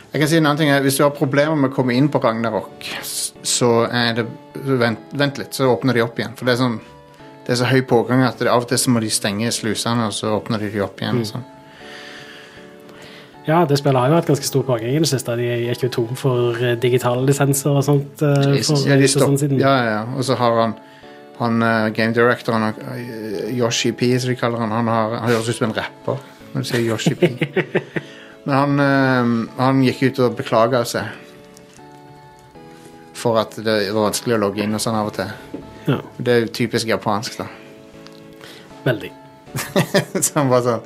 S1: Jeg kan si en annen ting, eh, Hvis du har problemer med å komme inn på Ragnarok, s- så er det Vent, vent litt, så åpner de opp igjen. For det er, sånn, det er så høy pågang at det, av og til så må de stenge slusene, og så åpner de de opp igjen. Sånn.
S2: Ja, det spillet har jo vært ganske stor pågang i det siste. De gikk jo tom for eh, digitale lisenser og sånt. eh, for
S1: Ja, de
S2: litt og
S1: stopp-
S2: sånn siden.
S1: ja, ja, ja. Og så har han, han eh, game directoren, han, eh, Yoshi P, som de kaller han, han, har, han høres ut som en rapper når du sier Yoshi P. Men han, eh, han gikk ut og beklaga seg for at det var vanskelig å logge inn og sånn av og til.
S2: Ja,
S1: Det er jo typisk japansk, da.
S2: veldig.
S1: Så han bare sånn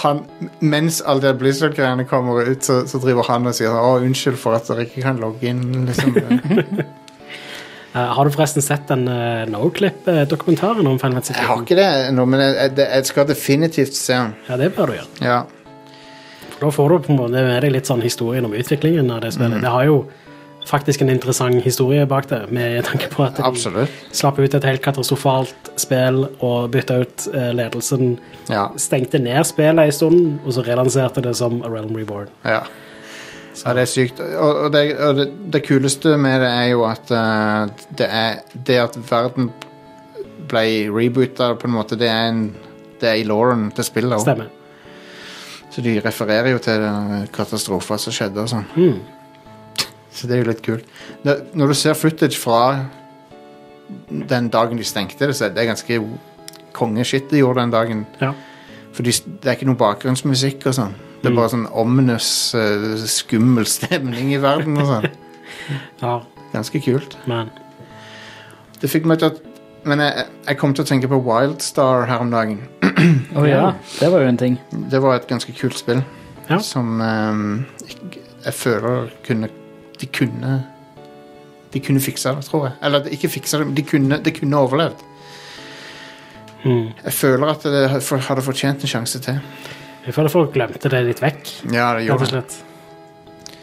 S1: han, Mens alle de Blizzard-greiene kommer ut, så, så driver han og sier sånn, å, unnskyld for at dere ikke kan logge inn. Liksom.
S2: Eh, har du forresten sett den eh, Noclip-dokumentaren om Final Fantasy
S1: Jeg har
S2: 14?
S1: ikke det ennå, men jeg, jeg, jeg skal definitivt se den.
S2: Ja, det bør du gjøre.
S1: Ja. Mm.
S2: For da får du på en måte med deg litt sånn historien om utviklingen av det spillet. Det har jo faktisk en interessant historie bak det, med tanke på at de
S1: Absolutt.
S2: slapp ut et helt katastrofalt spill og bytta ut eh, ledelsen.
S1: Ja.
S2: Stengte ned spillet en stund, og så relanserte det som A Realm Reborn.
S1: ja. Ja, det er sykt. Og, og, det, og det, det kuleste med det er jo at eh, det, er, det at verden ble reboota, på en måte, det er, en, det er i lauren til spillet også.
S2: Stemmer.
S1: Så de refererer jo til den katastrofen som skjedde og sånn.
S2: Mm.
S1: Så det er jo litt kult. Når, når du ser footage fra den dagen de stengte det, så er det ganske kongeshit de gjorde den dagen.
S2: Ja.
S1: For de, det er ikke noe bakgrunnsmusikk og sånn. Det er bare sånn ominous, eh, skummel stemning i verden og sånn.
S2: ja,
S1: Ganske kult.
S2: men
S1: Det fikk meg til at Men jeg, jeg kom til å tenke på Wildstar her om dagen.
S3: Å ja, det var jo en ting.
S1: Det var et ganske kult spill.
S2: Ja.
S1: Som ehm, jeg, jeg føler kunne De kunne De kunne fiksa det, tror jeg. Eller ikke fiksa det, men de kunne, de kunne overlevd.
S2: mm.
S1: Jeg føler at det ha- for- hadde fortjent en sjanse til.
S2: Jeg føler folk glemte det litt vekk,
S1: Ja, det
S2: rett og
S1: gjorde det.
S2: slett.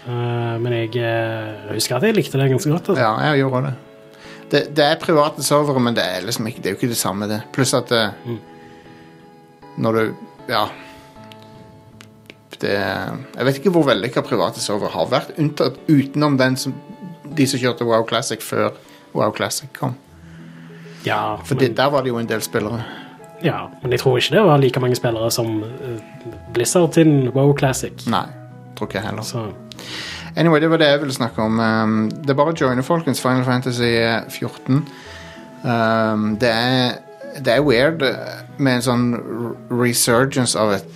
S2: Eh, men jeg eh, husker at jeg likte det ganske godt. Altså.
S1: Ja, jeg gjorde det. det. Det er private servere, men det er, liksom ikke, det er jo ikke det samme, det. Pluss at eh,
S2: Mm.
S1: Når du Ja. Det, er- jeg vet ikke hvor vellykka private servere har vært, unntatt utenom den som, de som kjørte Wow Classic før Wow Classic kom.
S2: Ja,
S1: For
S2: men,
S1: det, der var det jo en del spillere.
S2: ja, men jeg tror ikke det var like mange spillere som eh, Blizzard sin Wow Classic.
S1: Nei, tror ikke jeg heller.
S2: Så
S1: Anyway, det var det jeg ville snakke om. Um, det er bare å joine, folkens. Final Fantasy eh, 14. Um, det, er, det er weird uh, med en sånn r- resurgence av et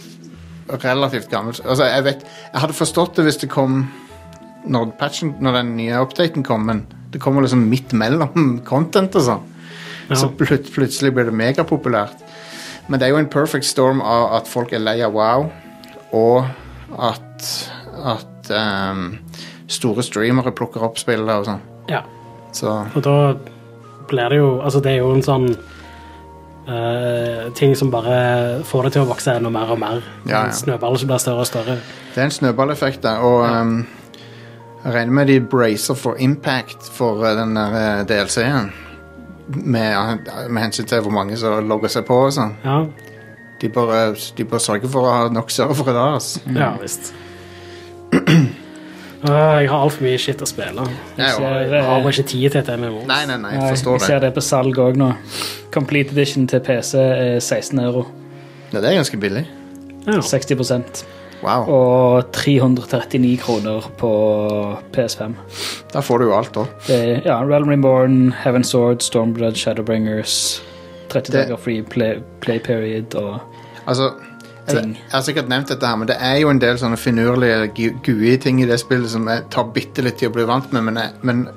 S1: relativt gammelt Altså, jeg vet Jeg hadde forstått det hvis det kom når, patchen, når den nye updaten kom, men det kommer liksom midt mellom content og sånn.
S2: Ja.
S1: Så plut plutselig blir det megapopulært. Men det er jo en perfect storm av at folk er lei av wow, og at, at ehm, store streamere plukker opp spillet og sånn.
S2: ja.
S1: Så
S2: Og da blir det jo Altså, det er jo en sånn eh, ting som bare får det til å vokse enda mer og mer.
S1: Ja, ja.
S2: En snøball som blir større og større.
S1: det er en snøballeffekt der, og ehm, jeg regner med de bracer for impact for eh, den der eh, DLC-en. Med, eh, med hensyn til hvor mange som logger seg på og sånn.
S2: Ja,
S1: De bør, eh, de bør sørge for å ha nok servere der, altså.
S2: ja visst. Ah, jeg har altfor mye shit å spille.
S1: Jeg
S3: ser,
S1: var-
S2: Jeg har
S3: eh,
S2: bare ikke tid til et MMO.
S1: Nei, nei, nei,
S3: nei,
S1: jeg forstår
S3: jeg ser
S1: det.
S3: det på salg òg nå. Complete edition til PC er 16 euro.
S1: Ja, det er ganske billig.
S2: Ja.
S3: 60
S1: Wow.
S3: Og 339 kroner på PS5.
S1: Da får du jo alt, da.
S3: Det er ja, Realm Reborn, Heaven Sword, Stormblood, Shadowbringers 30
S1: Det-
S3: dager free play, play period og
S1: Altså, jeg,
S3: Ting.
S1: jeg har sikkert nevnt dette her, men det er jo en del sånne finurlige, gu- gui ting i det spillet som jeg tar bitte litt tid å bli vant med, men, jeg, men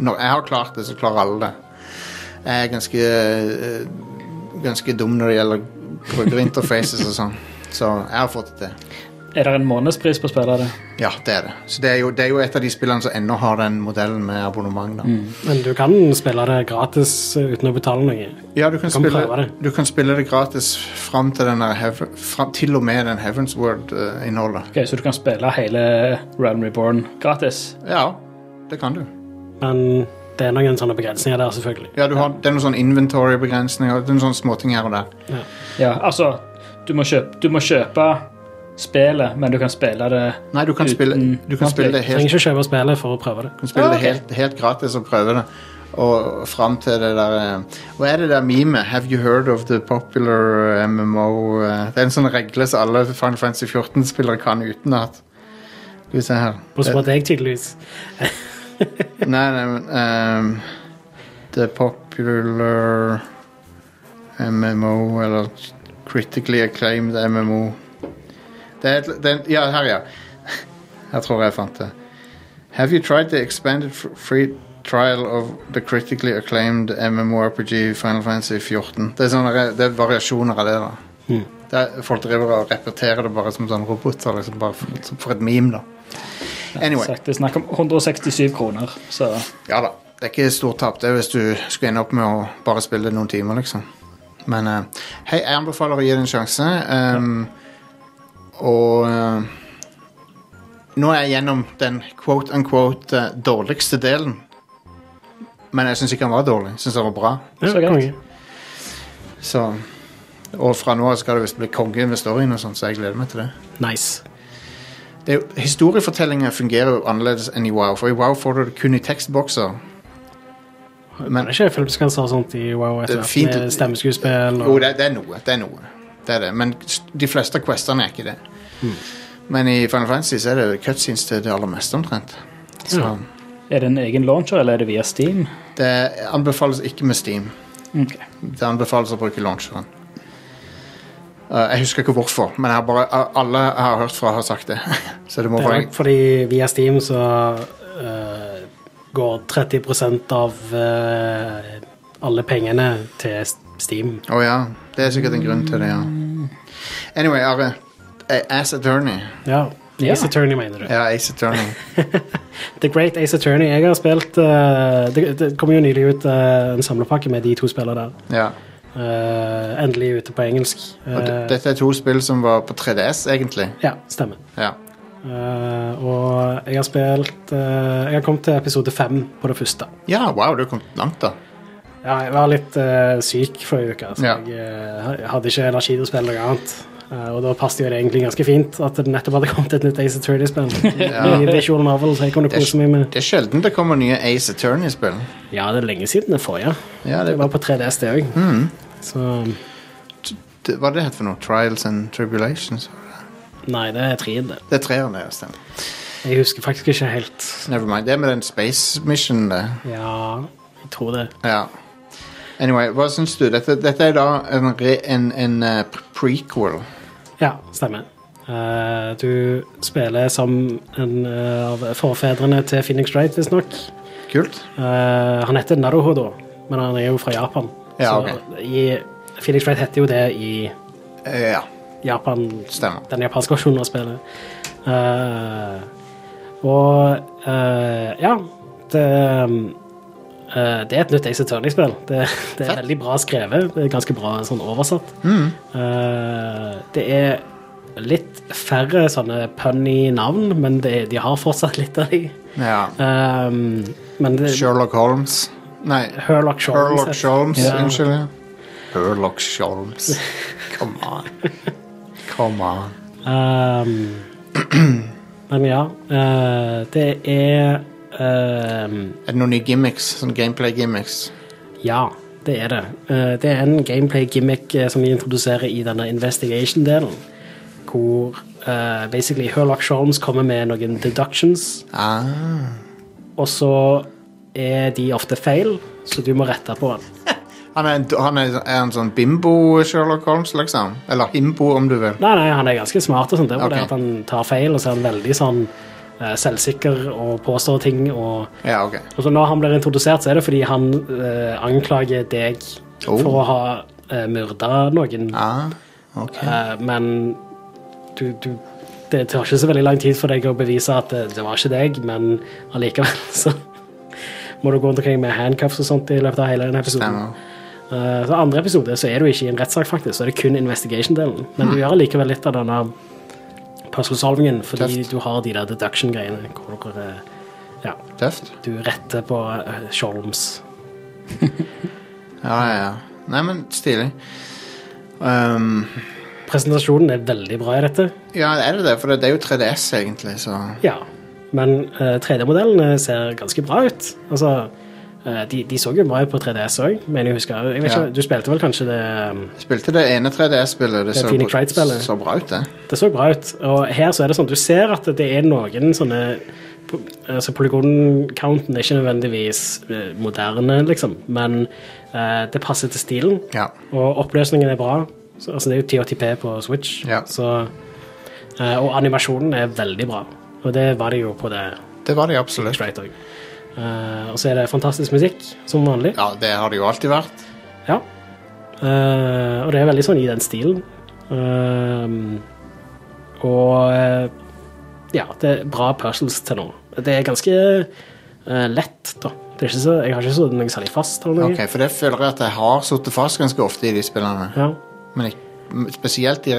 S1: når jeg har klart det, så klarer alle det. Jeg er ganske, eh, ganske dum når det gjelder brukerinterfaces og sånn, så jeg har fått det til.
S3: Er det en månedspris på spillet? Det?
S1: Ja, det er det. Så det er jo, det er jo et av de spillene som ennå har den modellen med abonnement, da.
S2: Men du kan spille det gratis eh, uten å betale noe.
S1: Ja, du kan,
S2: kan
S1: spille,
S2: prøve det.
S1: du kan spille det gratis fram til, den der Heaven- fram, til og med den Heavens eh, Word-innholdet.
S3: Ok, så du kan spille hele Realm Reborn gratis?
S1: Ja, det kan du.
S2: Men det er sånn noen sånne begrensninger der, selvfølgelig.
S1: Ja, du har, Det er noen sånn inventory-begrensninger. Det er noen sånne småting her og der.
S3: Ja, altså Du må kjøpe, du må kjøpe spillet, men du kan spille det
S1: Nei, du kan
S3: Uten-
S1: spille, du kan
S3: Ok.
S1: spille det, helt,
S2: Trenger ikke kjøpe spillet for å prøve det.
S1: du kan spille
S3: Ah, ok.
S1: det helt, helt gratis og prøve det. Og fram til det der eh, Hva er det der memet? Have you heard of the popular MMO eh, Det er en sånn regle som alle Final Fantasy 14-spillere kan utenat. Skal vi se her.
S2: Bortsett fra deg, tydeligvis.
S1: Nei, nei, men ehm, The popular MMO Eller critically acclaimed MMO det er, et, det er, Ja, her ja Her tror jeg jeg fant det Have you tried the expanded fr- free trial of the critically acclaimed MMORPG Final Fantasy 14? Det er, sånne, re- det er variasjoner av det da.
S2: Mhm.
S1: Det er, folk driver og repeterer det bare som sånne roboter, liksom bare for, for et meme da. Anyway.
S3: Sagt, det er snakk om 167 kroner, så
S1: Ja da. Det er ikke stort tap det er hvis du skulle ende opp med å bare spille det noen timer, liksom. Men eh, hei, jeg anbefaler å gi det en sjanse. ehm, Og eh, Nå er jeg gjennom den quote unquote eh, dårligste delen. Men jeg syns ikke han var dårlig. Jeg synes han var bra.
S2: Ja,
S3: Så greit.
S2: konge.
S1: Så, og fra nå av skal det visst bli konge med storyen, og sånt, så jeg gleder meg til det.
S2: Nice.
S1: det er jo- historiefortellinger fungerer jo annerledes enn i Wow, for i Wow får du det kun i tekstbokser.
S2: Men
S1: Men
S2: det er ikke filmsekvenser og sånt i WoW
S1: Det
S2: etter
S1: er
S2: hvert,
S1: fint.
S2: med stemmeskuespill
S1: jo,
S2: og
S1: det, det er noe. Det er noe. Det er det. Men s- de fleste av questene er ikke det.
S2: Hmm.
S1: Men i Final Fantasy så er det cutscenes til det aller meste, omtrent. Så
S2: Ja.
S3: Er det en egen launcher, eller er det via Steam?
S1: det anbefales ikke med Steam.
S3: Ok.
S1: Det anbefales å bruke launcheren. Eh, jeg husker ikke hvorfor, men jeg har bare, alle jeg har hørt fra, har sagt det. så det må
S2: Det er
S1: være
S2: nok fordi via Steam så eh, går 30 av eh, alle pengene til S- Steam.
S1: Å ja. Det er sikkert en grunn til det, ja. Anyway, Are. eh, Ace Attorney.
S2: Ja.
S3: Ja.
S2: Ace Attorney, mener du.
S1: Ja, Ace Attorney.
S2: The Great Ace Attorney. Jeg har spilt eh, det, det kom jo nylig ut eh, en samlepakke med de to spillene der.
S1: Ja.
S2: Eh, endelig ute på engelsk. Eh,
S1: Og d- dette er to spill som var på 3DS, egentlig.
S2: ja, stemmer.
S1: Ja.
S2: Eh, og jeg har spilt eh, Jeg har kommet til episode fem på det første.
S1: ja, wow, du kom langt, da.
S2: Ja, jeg var litt eh, syk forrige uke, så
S1: Ja.
S2: jeg eh, hadde ikke energi til å spille noe annet. Eh, og da passet jo det egentlig ganske fint at det nettopp hadde kommet et nytt Ace Attorney-spill.
S1: Ja.
S2: I Visual Novel, så jeg kunne
S1: Det er
S2: kose meg med
S1: Det er sjelden det kommer nye Ace Attorney-spill.
S2: Ja, det er lenge siden det forrige.
S1: Ja, det Mm.
S2: Det var på 3DS, det òg. Så
S1: det- Hva er det het for noe? Trials and Tribulations?
S2: Nei, det er treen, det.
S1: Det er treeren, det. ja, Stemmer.
S2: Jeg husker faktisk ikke helt.
S1: Never mind. Det er med den space missionen, det.
S2: Ja, jeg tror det.
S1: Ja. Anyway, hva syns du? Dette, dette er da en, re, en, en eh, pre- prequel.
S2: Ja, stemmer. Eh, du spiller som en eh, av forfedrene til Phoenix Wright, visstnok.
S1: Kult.
S2: Eh, han heter Naruhodo, men han er jo fra Japan.
S1: Ja,
S2: så
S1: ok.
S2: i, Phoenix Wright heter jo det i
S1: Eh, ja,
S2: Japan,
S1: stemmer.
S2: den japanske versjonen av spillet. Eh, og eh, ja det, eh, det er et nytt Ace Attorney-spill. Det,
S1: Fett.
S2: det er
S1: Mm.
S2: veldig bra skrevet. Det er ganske bra sånn oversatt. Eh, det er litt færre sånne punny navn, men det, de har fortsatt litt av de.
S1: Ja.
S2: Um, men det,
S1: Sherlock Holmes. Nei,
S2: Herlock Sholmes.
S1: Sherlock Sholmes.
S2: Ja.
S1: Unnskyld. ja. Sherlock Sholmes. Come on. Come on.
S2: Um, men ja, eh, det er ehm,
S1: Er det noen nye gimmicks? Sånn gameplay-gimmicks?
S2: Ja, det er det. Eh, det er en gameplay-gimmick eh, som vi introduserer i denne investigation-delen. Hvor eh, basically Herlock Sholmes kommer med noen deductions,
S1: Ah.
S2: og så er de ofte feil, så du må rette på den.
S1: Han, er en, han er, er en sånn bimbo-Sherlock Holmes, liksom? Eller himbo, om du vil.
S2: Nei, nei, han er ganske smart og sånt. Det er bare
S1: Ok.
S2: det at han tar feil, og så er han veldig sånn eh, selvsikker og påstår ting. Og,
S1: Ja, ok.
S2: og så Altså, når han blir introdusert, så er det fordi han eh, anklager deg
S1: Oh.
S2: for å ha uh, myrda noen.
S1: Ah, ok.
S2: Eh, men du, du Det tar ikke så veldig lang tid for deg å bevise at eh, det, det var ikke deg, men allikevel så må du gå rundt omkring med handcuffs og sånt i løpet av hele den episoden.
S1: Stemmer.
S2: Eh, så andre episode så er du ikke i en rettssak, faktisk, så er det kun investigation-delen. Men
S1: Hmm.
S2: du gjør likevel litt av denne puzzle-solvingen, fordi du har de der deduction-greiene hvor dere eh, ja,
S1: Tøft.
S2: du retter på eh, Sholmes.
S1: Ja, ja, ja. Nei, men stilig. Um,
S2: Presentasjonen er veldig bra i dette.
S1: ja, er det det? For det, det er jo 3DS, egentlig, så
S2: Ja, men eh, 3D-modellene ser ganske bra ut. Altså, eh, de, de så jo bra ut på 3DS òg, men jeg husker jeg vet
S1: Ja.
S2: ikke, Du spilte vel kanskje det um,
S1: Spilte det ene 3DS-spillet. Det,
S2: Det er
S1: så
S2: Phoenix
S1: bra-
S2: Wright-spillet.
S1: så bra ut, det.
S2: Det så bra ut. Og her så er det sånn du ser at det er noen sånne po- Altså, polygon-counten er ikke nødvendigvis eh, moderne, liksom, men eh, det passer til stilen.
S1: Ja.
S2: Og oppløsningen er bra. Så, altså, det er jo 1080p på Switch,
S1: Ja.
S2: så eh, Og animasjonen er veldig bra. Og det var det jo på det
S1: Det var det absolutt.
S2: Straight også. Eh, og så er det fantastisk musikk, som vanlig.
S1: Ja, det har det jo alltid vært.
S2: Ja. Eh, og det er veldig sånn i den stilen. Eh, og eh, ja, det er bra puzzles til nå. Det er ganske eh, lett, da. Det er ikke så, jeg har ikke sittet noe særlig fast. Eller noe.
S1: Ok, For det føler jeg at jeg har sittet fast ganske ofte i de spillene.
S2: Ja.
S1: Men ikke, m- spesielt i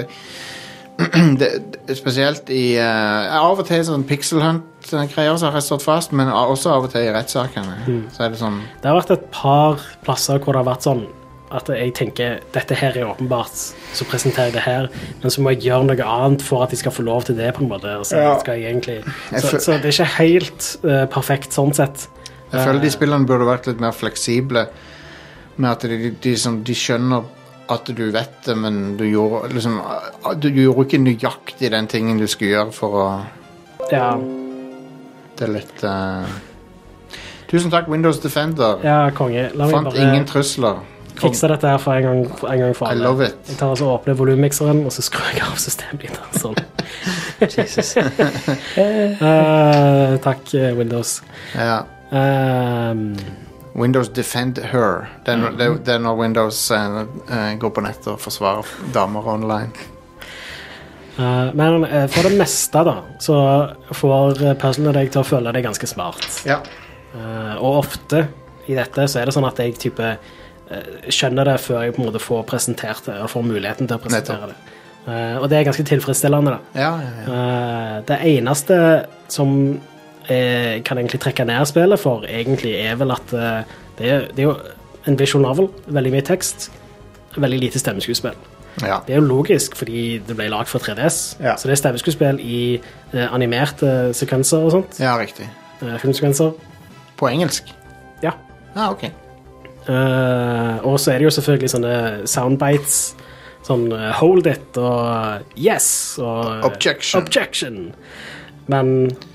S1: det, det, spesielt i eh, Av og til sånn pixel hunt-greier så har jeg stått fast, men a- også av og til i rettssakene.
S2: Mm.
S1: Så er det sånn
S2: Det har vært et par plasser hvor det har vært sånn at jeg tenker dette her er åpenbart, så presenterer jeg det her, men så må jeg gjøre noe annet for at de skal få lov til det. på en måte. og Så,
S1: Ja.
S2: skal jeg egentlig...
S1: Jeg
S2: så,
S1: føl-
S2: så det er ikke helt eh, perfekt sånn sett.
S1: Jeg føler de spillene burde vært litt mer fleksible med at de, de, de, som- de skjønner at du vet det, men du gjorde liksom ah, Du gjorde ikke nøyaktig den tingen du skulle gjøre for å
S2: Ja,
S1: Det er litt eh, Tusen takk, Windows Defender.
S2: ja konge. La meg
S1: Fant
S2: bare
S1: ingen trusler. Kom.
S2: fikse dette her for en gang for, en gang for
S1: I
S2: alle.
S1: love it.
S2: Jeg tar altså og åpner volummikseren, og så skrur jeg av systembiteren sånn. Jesus. takk, eh, Windows.
S1: Ja.
S2: Ehm,
S1: Windows Defend Her. Det er, når-
S2: Mhm.
S1: det, det er når Windows eh, eh, går på nettet og forsvarer damer online.
S2: Eh, men eh, for det meste, da, så får eh, puzzlene deg til å føle deg ganske smart.
S1: Ja.
S2: Eh, og ofte i dette så er det sånn at jeg type eh, skjønner det før jeg på en måte får presentert det, og får muligheten til å presentere
S1: Nettopp.
S2: det. Eh, og det er ganske tilfredsstillende, da.
S1: Ja, ja, ja.
S2: Eh, det eneste som eh, kan egentlig trekke ned spillet for, egentlig er vel at eh, det, er, det er jo en visual novel, veldig mye tekst, veldig lite stemmeskuespill.
S1: ja.
S2: Det er jo logisk, fordi det ble lagd for 3DS,
S1: Ja.
S2: så det er stemmeskuespill i eh, animerte sekvenser og sånt.
S1: ja riktig.
S2: eh, filmsekvenser.
S1: På engelsk?
S2: Ja.
S1: Ja, ok.
S2: Eh, og så er det jo selvfølgelig sånne soundbites, sånn eh, hold it og eh, yes og
S1: Objection.
S2: objection. Men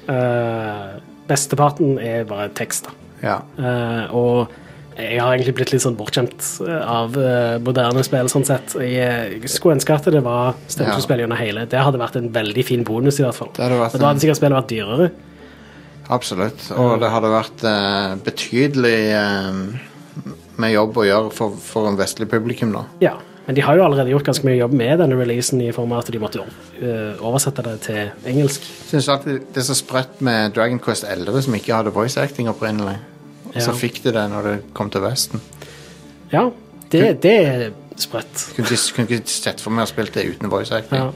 S2: eh, besteparten er bare tekst, da.
S1: Ja.
S2: Eh, og jeg har egentlig blitt litt sånn bortskjemt eh, av eh, moderne spill, sånn sett. Jeg, eh, skulle ønske at det var stemmeskuespill gjennom hele. Det hadde vært en veldig fin bonus, i hvert fall.
S1: Det hadde vært sånn-
S2: Men da hadde sikkert spillet vært dyrere.
S1: Absolutt. Og det hadde vært eh, betydelig eh, med jobb å gjøre for, for en vestlig publikum, da.
S2: Ja, men de har jo allerede gjort ganske mye jobb med denne releasen i form av at de måtte eh, oversette det til engelsk.
S1: Syns alltid det er så sprøtt med Dragon Quest 11, som ikke hadde voice acting opprinnelig. Og
S2: Ja.
S1: så fikk de det når det kom til Vesten.
S2: Ja, det, det er sprøtt.
S1: Kunne ikke- kunne ikke sett for meg å spille det uten voice acting.
S2: Ja.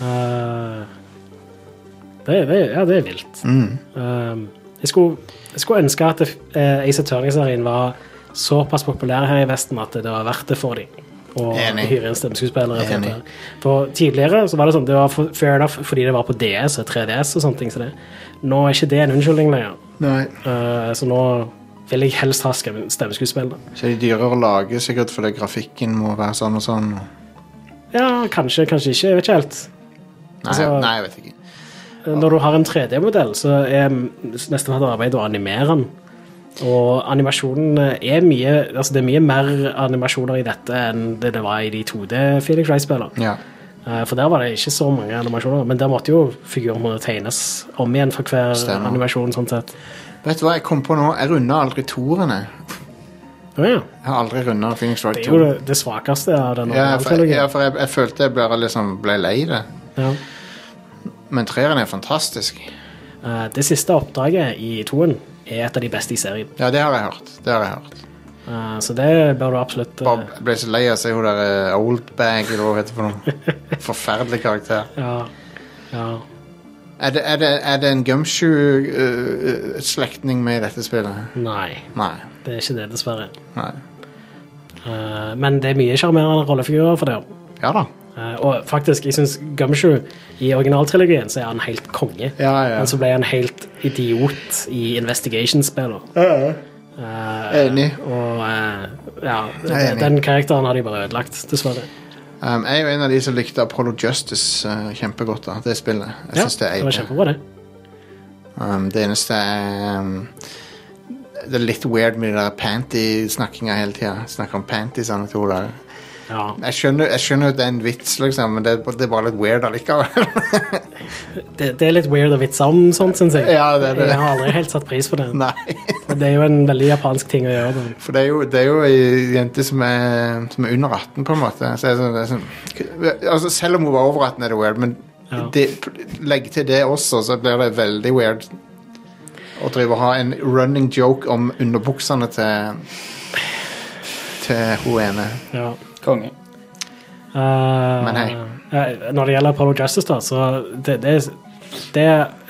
S2: Eh, det, er- det, er- ja, det er vilt.
S1: Mm.
S2: Eh, jeg, skulle, jeg skulle ønske at uh, Ace Attorney-serien var såpass populær her i Vesten at det var verdt det for dem. å
S1: Enig.
S2: hyre inn stemmeskuespillere. til
S1: Enig.
S2: dette. For tidligere så var det sånn, det var for- fair enough fordi det var på DS og 3DS og sånne ting. Så det. Nå er ikke det en unnskyldning lenger.
S1: Nei.
S2: Eh, så nå vil jeg helst ha skrem- stemmeskuespill. da.
S1: Så er de dyrere å lage, sikkert fordi grafikken må være sånn og sånn.
S2: Ja, kanskje, kanskje ikke. Jeg vet ikke helt.
S1: Nei,
S2: Altså-
S1: nei jeg vet ikke.
S2: Eh, Når du har en 3D-modell, så er m- nesten hvert arbeid å animere den. Og animasjonen er mye Altså, det er mye mer animasjoner i dette enn det det var i de 2D Felix Wright-spillene.
S1: Ja.
S2: Eh, For der var det ikke så mange animasjoner, men der måtte jo figurene tegnes om igjen for hver
S1: Stemmer.
S2: animasjon, sånn sett.
S1: Vet du hva jeg kom på nå? Jeg runda aldri toerne.
S2: Å ja.
S1: Jeg har aldri runda Phoenix Wright
S2: Det er
S1: 2.
S2: jo det, det svakeste av den
S1: Ja, for,
S2: originale
S1: ja, for jeg, jeg følte jeg bare liksom ble lei det.
S2: Ja.
S1: Men treeren er fantastisk.
S2: Eh, Det siste oppdraget i toen er et av de beste i serien.
S1: Ja, det har jeg hørt. Det har jeg hørt.
S2: Eh, Så det bør du absolutt eh,
S1: Bob ble så lei av å se hun der eh, Oldbag, eller hva hun heter for noe. Forferdelig karakter.
S2: Ja. ja.
S1: Er det, er det, er det en gumshoe-slektning med i dette spillet?
S2: Nei,
S1: Nei.
S2: det er ikke det, dessverre.
S1: Nei.
S2: Eh, Men det er mye sjarmerende rollefigurer for det.
S1: Ja da.
S2: Eh, Og faktisk, jeg syns Gumshoe i originaltrilogien så er han helt konge.
S1: Ja, ja.
S2: Men så ble han helt idiot i Investigation-spillet. Eh,
S1: Enig.
S2: Og eh, ja,
S1: Jeg er enig.
S2: den karakteren har de bare ødelagt, dessverre.
S1: Um, jeg er jo en av de som likte Apollo Justice eh, kjempegodt. da, Det spillet. Jeg synes det
S2: det
S1: er
S2: var
S1: eid.
S2: kjempebra, det.
S1: Um, det eneste er um, Det er litt weird med de der panty-snakkinga hele tida. Snakker om panties han to der.
S2: Ja.
S1: Jeg skjønner jeg skjønner at det er en vits, liksom, men det, er- det er bare litt weird allikevel.
S2: Det, det er litt weird å vitse om sånt, syns jeg.
S1: Ja, det er det.
S2: Jeg har aldri helt satt pris på det.
S1: Nei.
S2: Det er jo en veldig japansk ting å gjøre. da.
S1: For det er jo, det er jo ei jente som er, som er under 18, på en måte. Så jeg, det er sånn, altså, selv om hun var over 18, er det weird, men
S2: Ja.
S1: det, legg til det også, så blir det veldig weird å drive og ha en running joke om underbuksene til til hun ene.
S2: Ja.
S3: Konge.
S2: Eh,
S1: Men hei.
S2: eh, Når det gjelder Apollo Justice, da, så det, det, det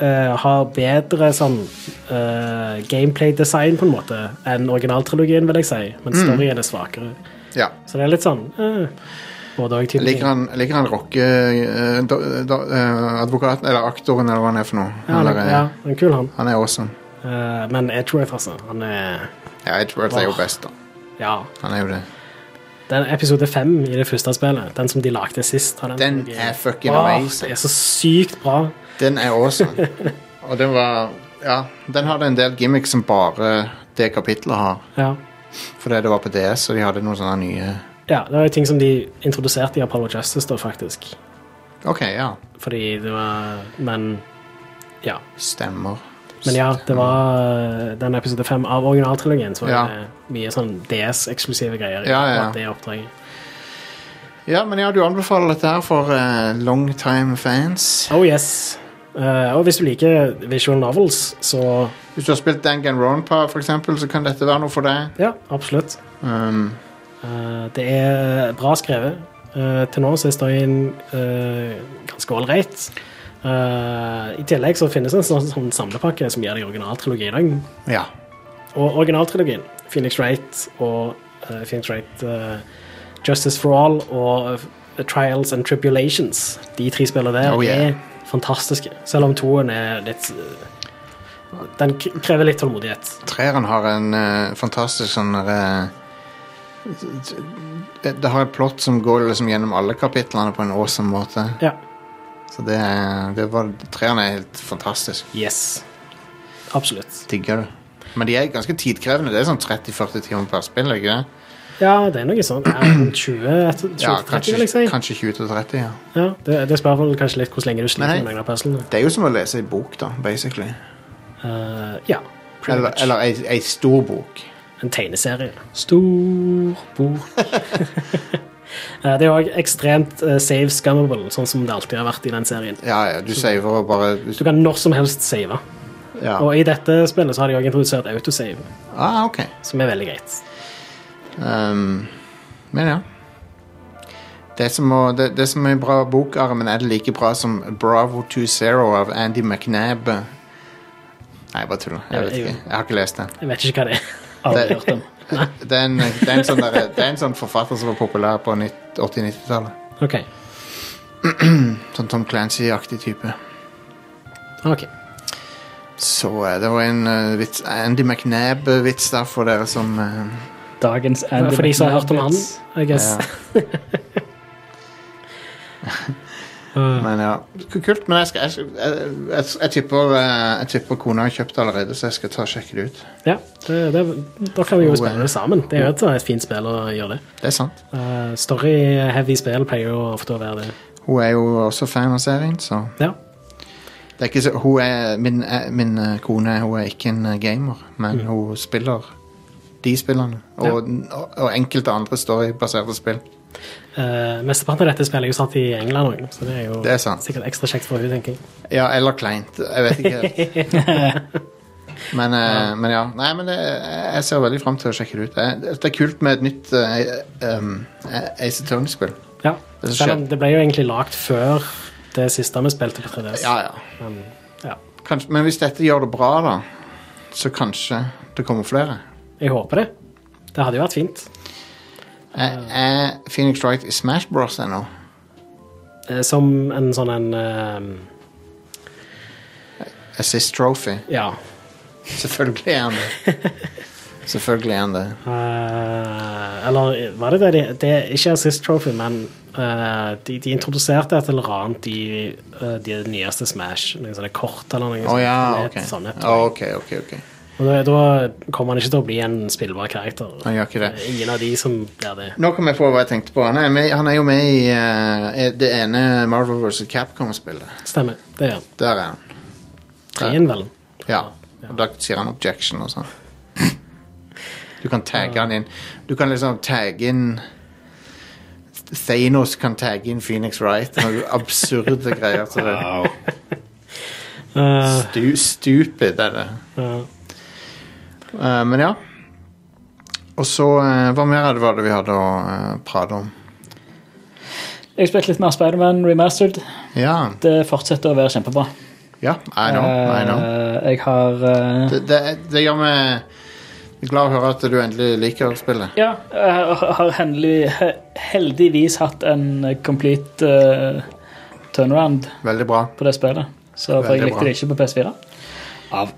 S2: eh, har bedre sånn eh, gameplay-design på en måte enn originaltrilogien, vil jeg si, men
S1: Mm.
S2: storyen er svakere.
S1: Ja.
S2: Så det er litt sånn eh, både og,
S1: Jeg
S2: type
S1: liker
S2: ting.
S1: han, jeg liker han rocke eh, do- do- eh, advokaten, eller aktoren, eller hva han er for noe.
S2: Ja,
S1: Han
S2: han
S1: er,
S2: er- ja, han er kul, han.
S1: han er awesome.
S2: Eh, men Edgeworth, altså. Han er
S1: Ja, Edgeworth er jo
S2: Åh.
S1: best, da.
S2: Ja.
S1: Han er jo det.
S2: Den episode fem i det første spillet, den som de lagde sist av
S1: Den
S2: trilogien.
S1: er fucking
S2: Åh,
S1: amazing.
S2: Det er så sykt bra.
S1: Den er awesome. Og den var Ja, den hadde en del gimmicks som bare det kapitlet har.
S2: Ja.
S1: Fordi det var på DS, og de hadde noen sånne nye
S2: Ja, det var jo ting som de introduserte i Apollo Justice, da, faktisk.
S1: OK, ja.
S2: Fordi det var Men ja.
S1: Stemmer.
S2: Men ja, det var eh, den episode fem av originaltrilogien, så var
S1: Ja.
S2: det mye sånn DS-eksklusive greier. i
S1: Ja, ja, ja.
S2: akkurat Det oppdraget.
S1: Ja, men ja, du anbefaler dette her for eh, longtime fans.
S2: Oh yes. Eh, og hvis du liker visual novels, så
S1: Hvis du har spilt Dangan Ronpa, for eksempel, så kan dette være noe for deg.
S2: ja, absolutt.
S1: Um,
S2: Eh, det er bra skrevet. Eh, til nå så er storyen eh, ganske ålreit. Eh, I tillegg så finnes det en sånn, sånn samlepakke som gir deg originaltrilogien òg.
S1: ja.
S2: Og originaltrilogien, Phoenix Wright og eh, Phoenix Wright eh, Justice for All og eh, Trials and Tribulations, de tre spillene der,
S1: Oh, yeah.
S2: er fantastiske. Selv om toen er litt eh, Den k- krever litt tålmodighet.
S1: Treeren har en eh, fantastisk sånn eh, det, det har et plott som går liksom gjennom alle kapitlene på en awesome måte.
S2: Ja.
S1: Så det, er- det var Treeren er helt fantastisk.
S2: Yes. Absolutt.
S1: Digger det. Men de er ganske tidkrevende. Det er sånn 30-40 timer per spill, er det ikke det?
S2: Ja, det er noe sånn ja, 20 etter- 20
S1: Ja,
S2: til 30, vil jeg
S1: kanskje, liksom.
S2: si.
S1: kanskje 20-30, ja.
S2: Ja, det, det spørs vel kanskje litt hvor lenge du
S1: Men
S2: sliter
S1: hei.
S2: med noen av puzzlene.
S1: Det er jo som å lese ei bok, da, basically.
S2: Eh, ja. pretty
S1: Eller,
S2: much.
S1: eller ei, ei stor bok.
S2: En tegneserie. Stor bok. Eh, det er òg ekstremt eh, save scummable, sånn som det alltid har vært i den serien.
S1: Ja, ja, du saver og bare
S2: Du kan når som helst save.
S1: ja.
S2: Og i dette spillet så har de òg introdusert autosave,
S1: Ah, ok.
S2: som er veldig greit.
S1: Um, men ja. Det som, å, det, det som er bra bokarmen, er det like bra som Bravo 2-0 av Andy McNab. Nei, jeg bare tuller. Jeg vet ikke. Jeg har ikke lest den.
S2: Jeg vet ikke hva det er.
S3: Aldri
S1: Det-
S3: hørt om.
S1: Det er en, det er en, sånn, derre- det er en sånn forfatter som var populær på nitt- 80-90-tallet.
S2: Ok.
S1: Sånn Tom Clancy-aktig type.
S2: ok.
S1: Så eh, det var en eh, vits, Andy McNab-vits der for dere som eh,
S3: Dagens Andy
S2: For de som har hørt om han,
S3: McNabb-vits.
S2: I guess.
S1: Men ja, K- kult. Men jeg, skal, jeg, skal- jeg, jeg, jeg, tipper, eh, jeg tipper kona har kjøpt det allerede, så jeg skal ta og sjekke det ut.
S2: Ja, det, det, da kan vi jo spille det sammen. Det er jo et, et fint spill å gjøre det.
S1: Det er sant.
S2: Eh, Story-heavy spill pleier jo ofte å være det.
S1: Hun er jo også fan av serien, så
S2: Ja.
S1: det er ikke så, hun er, min, eh, min eh, kone hun er ikke en eh, gamer, men
S2: Mm.
S1: hun spiller de spillene. Og, og, og enkelte andre storybaserte spill.
S2: Eh, Mesteparten av dette spillet er jo satt i England òg, så det er jo
S1: Det er sant.
S2: sikkert ekstra kjekt for henne, tenker jeg.
S1: Ja, eller kleint. Jeg vet ikke helt. men, eh, men ja. Nei, men det, jeg ser veldig fram til å sjekke det ut. Det, det er kult med et nytt uh, um, Ace Attorney-spill.
S2: Ja.
S1: Det er så
S2: Selv om
S1: kjekt.
S2: det ble jo egentlig lagd før det siste vi spilte på 3DS.
S1: Ja, ja.
S2: Men, ja.
S1: Kanskje, men hvis dette gjør det bra, da, så kanskje det kommer flere.
S2: Jeg håper det. Det hadde jo vært fint.
S1: Er, er Eh, Phoenix Wright i Smash Bros ennå?
S2: Eh, Som en sånn en eh,
S1: Assist Trophy.
S2: Ja.
S1: Selvfølgelig er han det. Selvfølgelig er han det.
S2: Eh, eller var det det de Det er ikke Assist Trophy, men eh, de, de introduserte et eller annet i eh, de nyeste Smash. Noen sånne kort eller noe
S1: Å ja,
S2: Det
S1: ok.
S2: er et sånt,
S1: Å, ok, ok, ok.
S2: Og da, da kommer han ikke til å bli en spillbar karakter.
S1: Han gjør ikke det.
S2: er Ingen av de som blir det.
S1: Nå kom jeg på hva jeg tenkte på. Han er, med, han er jo med i eh, det ene Marvel vs. Capcom-spillet.
S2: Stemmer. Det er han.
S1: Der er han.
S2: Treen, vel.
S1: Ja. Og da sier han objection og sånn. Du kan tagge han inn. Du kan liksom tagge inn Thanos kan tagge inn Phoenix Wright. Noen absurde greier. Så det.
S2: Eh,
S1: Stu, stupid er det.
S2: eh,
S1: Eh, men ja. Og så eh, Hva mer er det var det vi hadde å eh, prate om?
S3: Jeg spilte litt mer Spiderman remastered.
S1: Ja.
S3: Det fortsetter å være kjempebra.
S1: ja. I know. I know.
S3: Eh, jeg har eh,
S1: Det, det, det gjør meg glad å høre at du endelig liker spillet.
S3: Ja, jeg har hendelig, he- heldigvis hatt en eh, complete eh, turnaround
S1: Veldig bra.
S3: på det spillet. Så for jeg
S1: Veldig bra.
S3: likte det ikke på PS4. Av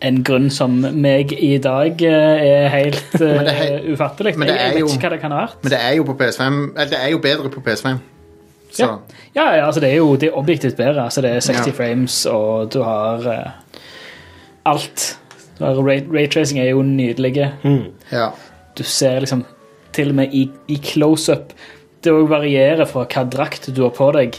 S3: en grunn som meg i dag eh, er helt
S1: Men det er
S3: uh,
S1: hei-
S3: ufattelig.
S1: men det
S3: Jeg, jeg
S1: er
S3: vet
S1: jo-
S3: ikke hva det kan ha vært.
S1: Men det er jo på PS5 Eller det er jo bedre på PS5. Så
S3: Ja. Ja, ja, altså det er jo det er objektivt bedre. Altså det er 60
S1: Ja.
S3: frames, og du har eh, alt. Du har ray- Raytracing er jo nydelig.
S1: ja.
S3: Du ser liksom til og med i, i close-up Det også varierer fra hva drakt du har på deg.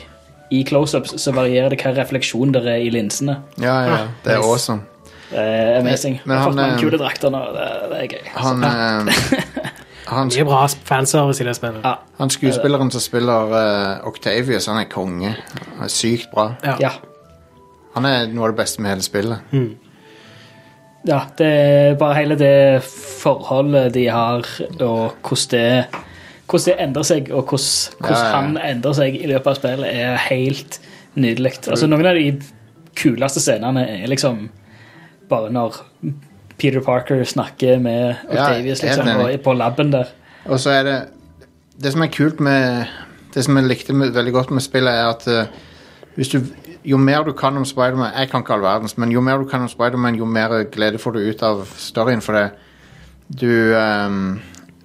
S3: I close-ups så varierer det hva refleksjon det er i linsene.
S1: Ja, ja, det er awesome.
S3: Det er Eh, amazing.
S1: Men- men
S3: jeg har fått
S1: han, eh,
S3: meg en kule drakter nå. Det, det er gøy.
S1: Han, eh, han,
S2: Mye bra fanservice i det spillet.
S3: Ja.
S1: han skuespilleren som spiller eh, Octavius, han er konge. Han er sykt bra.
S3: ja.
S1: Han er noe av det beste med hele spillet.
S3: Ja, det er bare hele det forholdet de har, og hvordan det, hvordan det endrer seg, og hvordan, hvordan
S1: Ja, ja, ja.
S3: han endrer seg i løpet av spillet, er helt nydelig. Altså,
S1: Mm.
S3: noen av de kuleste scenene er liksom bare når Peter Parker snakker med
S1: Ja,
S3: Octavius
S1: helt
S3: liksom,
S1: enig.
S3: og på laben der.
S1: Og så er det Det som er kult med Det som jeg likte med, veldig godt med spillet, er at eh, hvis du, jo mer du kan om Spiderman Jeg kan ikke all verdens, men jo mer du kan om Spiderman, jo mer glede får du ut av storyen. For det du, ehm,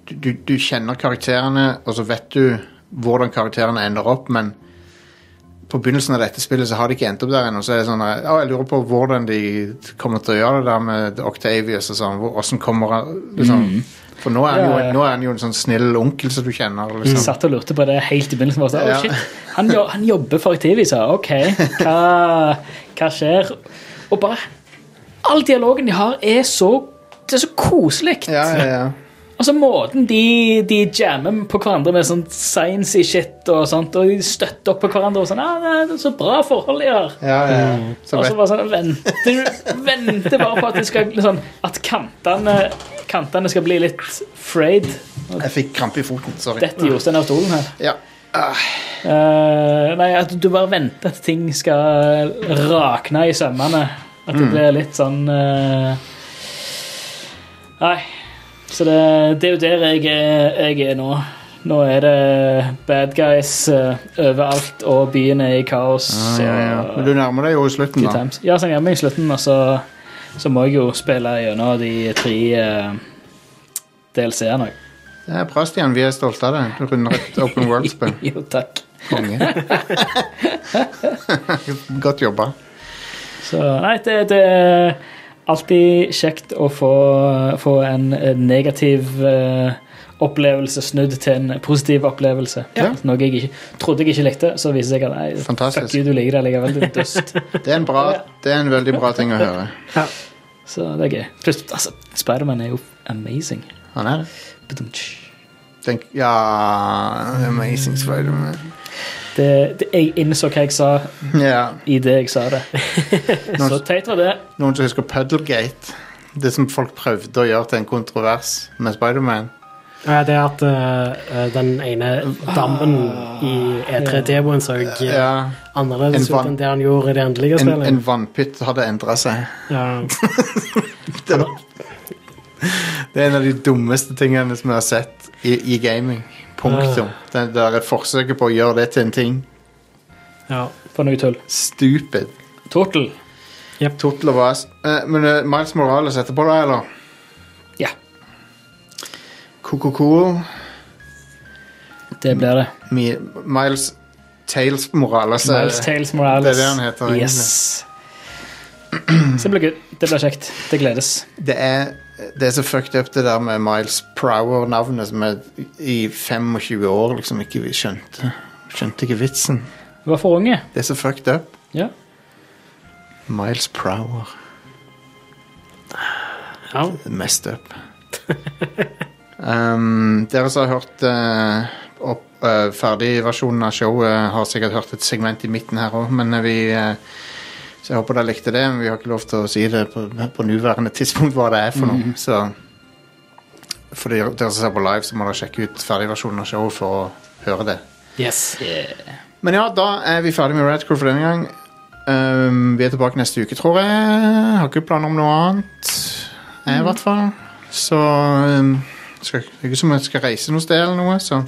S1: du, du, du kjenner karakterene, og så vet du hvordan karakterene ender opp, men på begynnelsen av dette spillet så har de ikke endt opp der ennå. Så er det sånn eh, «Å, jeg lurer på hvordan de kommer til å gjøre det der med Octavius og sånn. hvor- Hvordan kommer han liksom, For nå er, han jo,
S3: Ja, ja.
S1: nå er han jo en sånn snill onkel som du kjenner.
S3: Jeg
S1: Liksom.
S3: satt og lurte på det helt i begynnelsen. Bare, så,
S1: Ja.
S3: «Å, shit, han, jo, han jobber for Activis, ja. ok. Hva, hva skjer? Og bare All dialogen de har, er så det er så koselig.
S1: Ja, ja, ja.
S3: Altså Måten de, de jammer på hverandre med sånn science shit og sånt, og de støtter opp på hverandre og sånn ah, nei, det er 'Så bra forhold de har.'
S1: ja, ja, ja. Så
S3: Og så
S1: vet,
S3: bare sånn venter, du- venter bare på at det skal liksom, At kantene, kantene skal bli litt frayed.
S1: jeg fikk krampe i foten. Sorry.
S3: Dette i Jostein av stolen her.
S1: Ja.
S3: Eh, nei, at du bare venter at ting skal rakne i sømmene. At
S1: Mm.
S3: det blir litt sånn eh, Nei. Så det, det er jo der jeg er, jeg er nå. Nå er det bad guys eh, overalt, og byen er i kaos.
S1: Ah, Ja, ja.
S3: og-
S1: Men du nærmer deg jo slutten, da.
S3: Good times. Ja, så jeg er med i slutten, og så, så må jeg jo spille gjennom de tre eh, DLC-ene. også.
S1: Det er bra, Stian. Vi er stolte av deg. Du runder et Open World-spill.
S3: Jo, takk.
S1: Konge. Godt jobba.
S3: Så nei, det, det er alltid kjekt å få, få en negativ eh, opplevelse snudd til en positiv opplevelse.
S1: Ja.
S3: Noe jeg ikke, trodde jeg ikke likte, så viser jeg at nei,
S1: Fantastisk.
S3: fuck you, du liker det likevel, du er dust.
S1: Det er en bra Det er en veldig bra ting å høre.
S3: så det er gøy. Pluss, altså, Spiderman er jo amazing.
S1: Han er det.
S3: Badum-tsch.
S1: Tenk, ja Amazing Spider-Man.
S3: Det, det, jeg innså hva jeg sa
S1: Ja.
S3: i det jeg sa det. Så teit var det.
S1: Noen som husker Puddlegate? Det som folk prøvde å gjøre til en kontrovers med Spider-Man
S2: Ja, det er at eh, eh, den ene dammen i E3-demoen så
S1: Ah,
S2: eh,
S1: Ja,
S2: annerledes
S1: En
S2: ut
S1: vann-
S2: enn det han gjorde i det endelige
S1: en, en
S2: spillet.
S1: vannpytt hadde endra seg.
S2: Ja.
S1: Det er en av de dummeste tingene som jeg har sett i, i gaming. Punktum.
S3: Ah.
S1: Det der forsøket på å gjøre det til en ting.
S2: Ja.
S3: For noe tull.
S1: Stupid.
S3: Tortel.
S1: Total of us. Eh, Men eh, Miles Morales etterpå, da, eller?
S3: Ja,
S1: Cool.
S3: det blir det.
S1: Miles Tales Morales. er-
S3: Miles Tales Morales.
S1: det er det han heter,
S3: Yes. Så det blir gøy. Det blir kjekt. Det gledes.
S1: det er, det er så fucked up det der med Miles Prower-navnet som jeg i 25 år liksom ikke skjønte. Skjønte ikke vitsen.
S3: Vi var for unge.
S1: Det er så fucked up.
S3: Ja.
S1: Miles Prower.
S2: ja.
S1: Messed up. um, dere som har hørt eh, opp, eh, ferdigversjonen av showet, eh, har sikkert hørt et segment i midten her òg, men eh, vi eh, Så jeg håper dere likte det, men vi har ikke lov til å si det på, på nåværende tidspunkt hva det er for noe. Så for dere, dere som ser på live, så må dere sjekke ut ferdigversjonen av showet for å høre det.
S2: Yes.
S1: Men ja, da er vi ferdig med Radcrew for denne gang. Um, vi er tilbake neste uke, tror jeg. Har ikke planer om noe annet. Jeg, i hvert fall. Så um, skal, Det er ikke som om jeg skal reise noe sted eller noe, så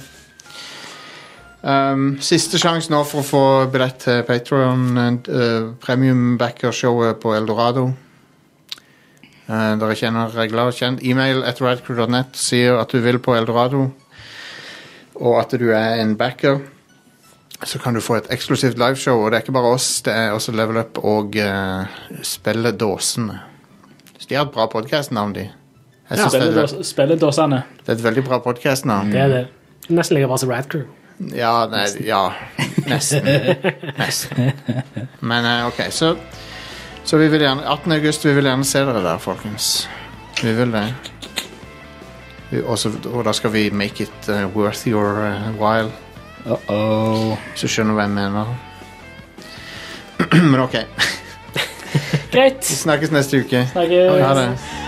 S1: um, Siste sjanse nå for å få billett til Patreon uh, Premium Backer-showet på Eldorado. Uh, dere kjenner regler og kjent. E-mail at radcrew.net sier at du vil på Eldorado, og at du er en backer så kan du få et eksklusivt liveshow. Og det er ikke bare oss, det er også Level Up og uh, Spillet Dåsene. Så de har et bra podkastnavn, de. Jeg synes det, er,
S3: Spilledås- Spilledåsene.
S1: det er et veldig bra podkastnavn.
S2: Det er det. Nesten like bra som Rad Crew.
S1: Ja, nei, ja. Nesten. Nesten. Men eh, OK, så Så vi vil gjerne 18. august, vi vil gjerne se dere der, folkens. Vi vil det. Vi, også, og da skal vi make it eh, worth your eh, while.
S3: Oh.
S1: Hvis du skjønner hva jeg mener. Men OK.
S3: Greit.
S1: Snakkes neste uke.
S3: Snakkes.
S1: Ha det.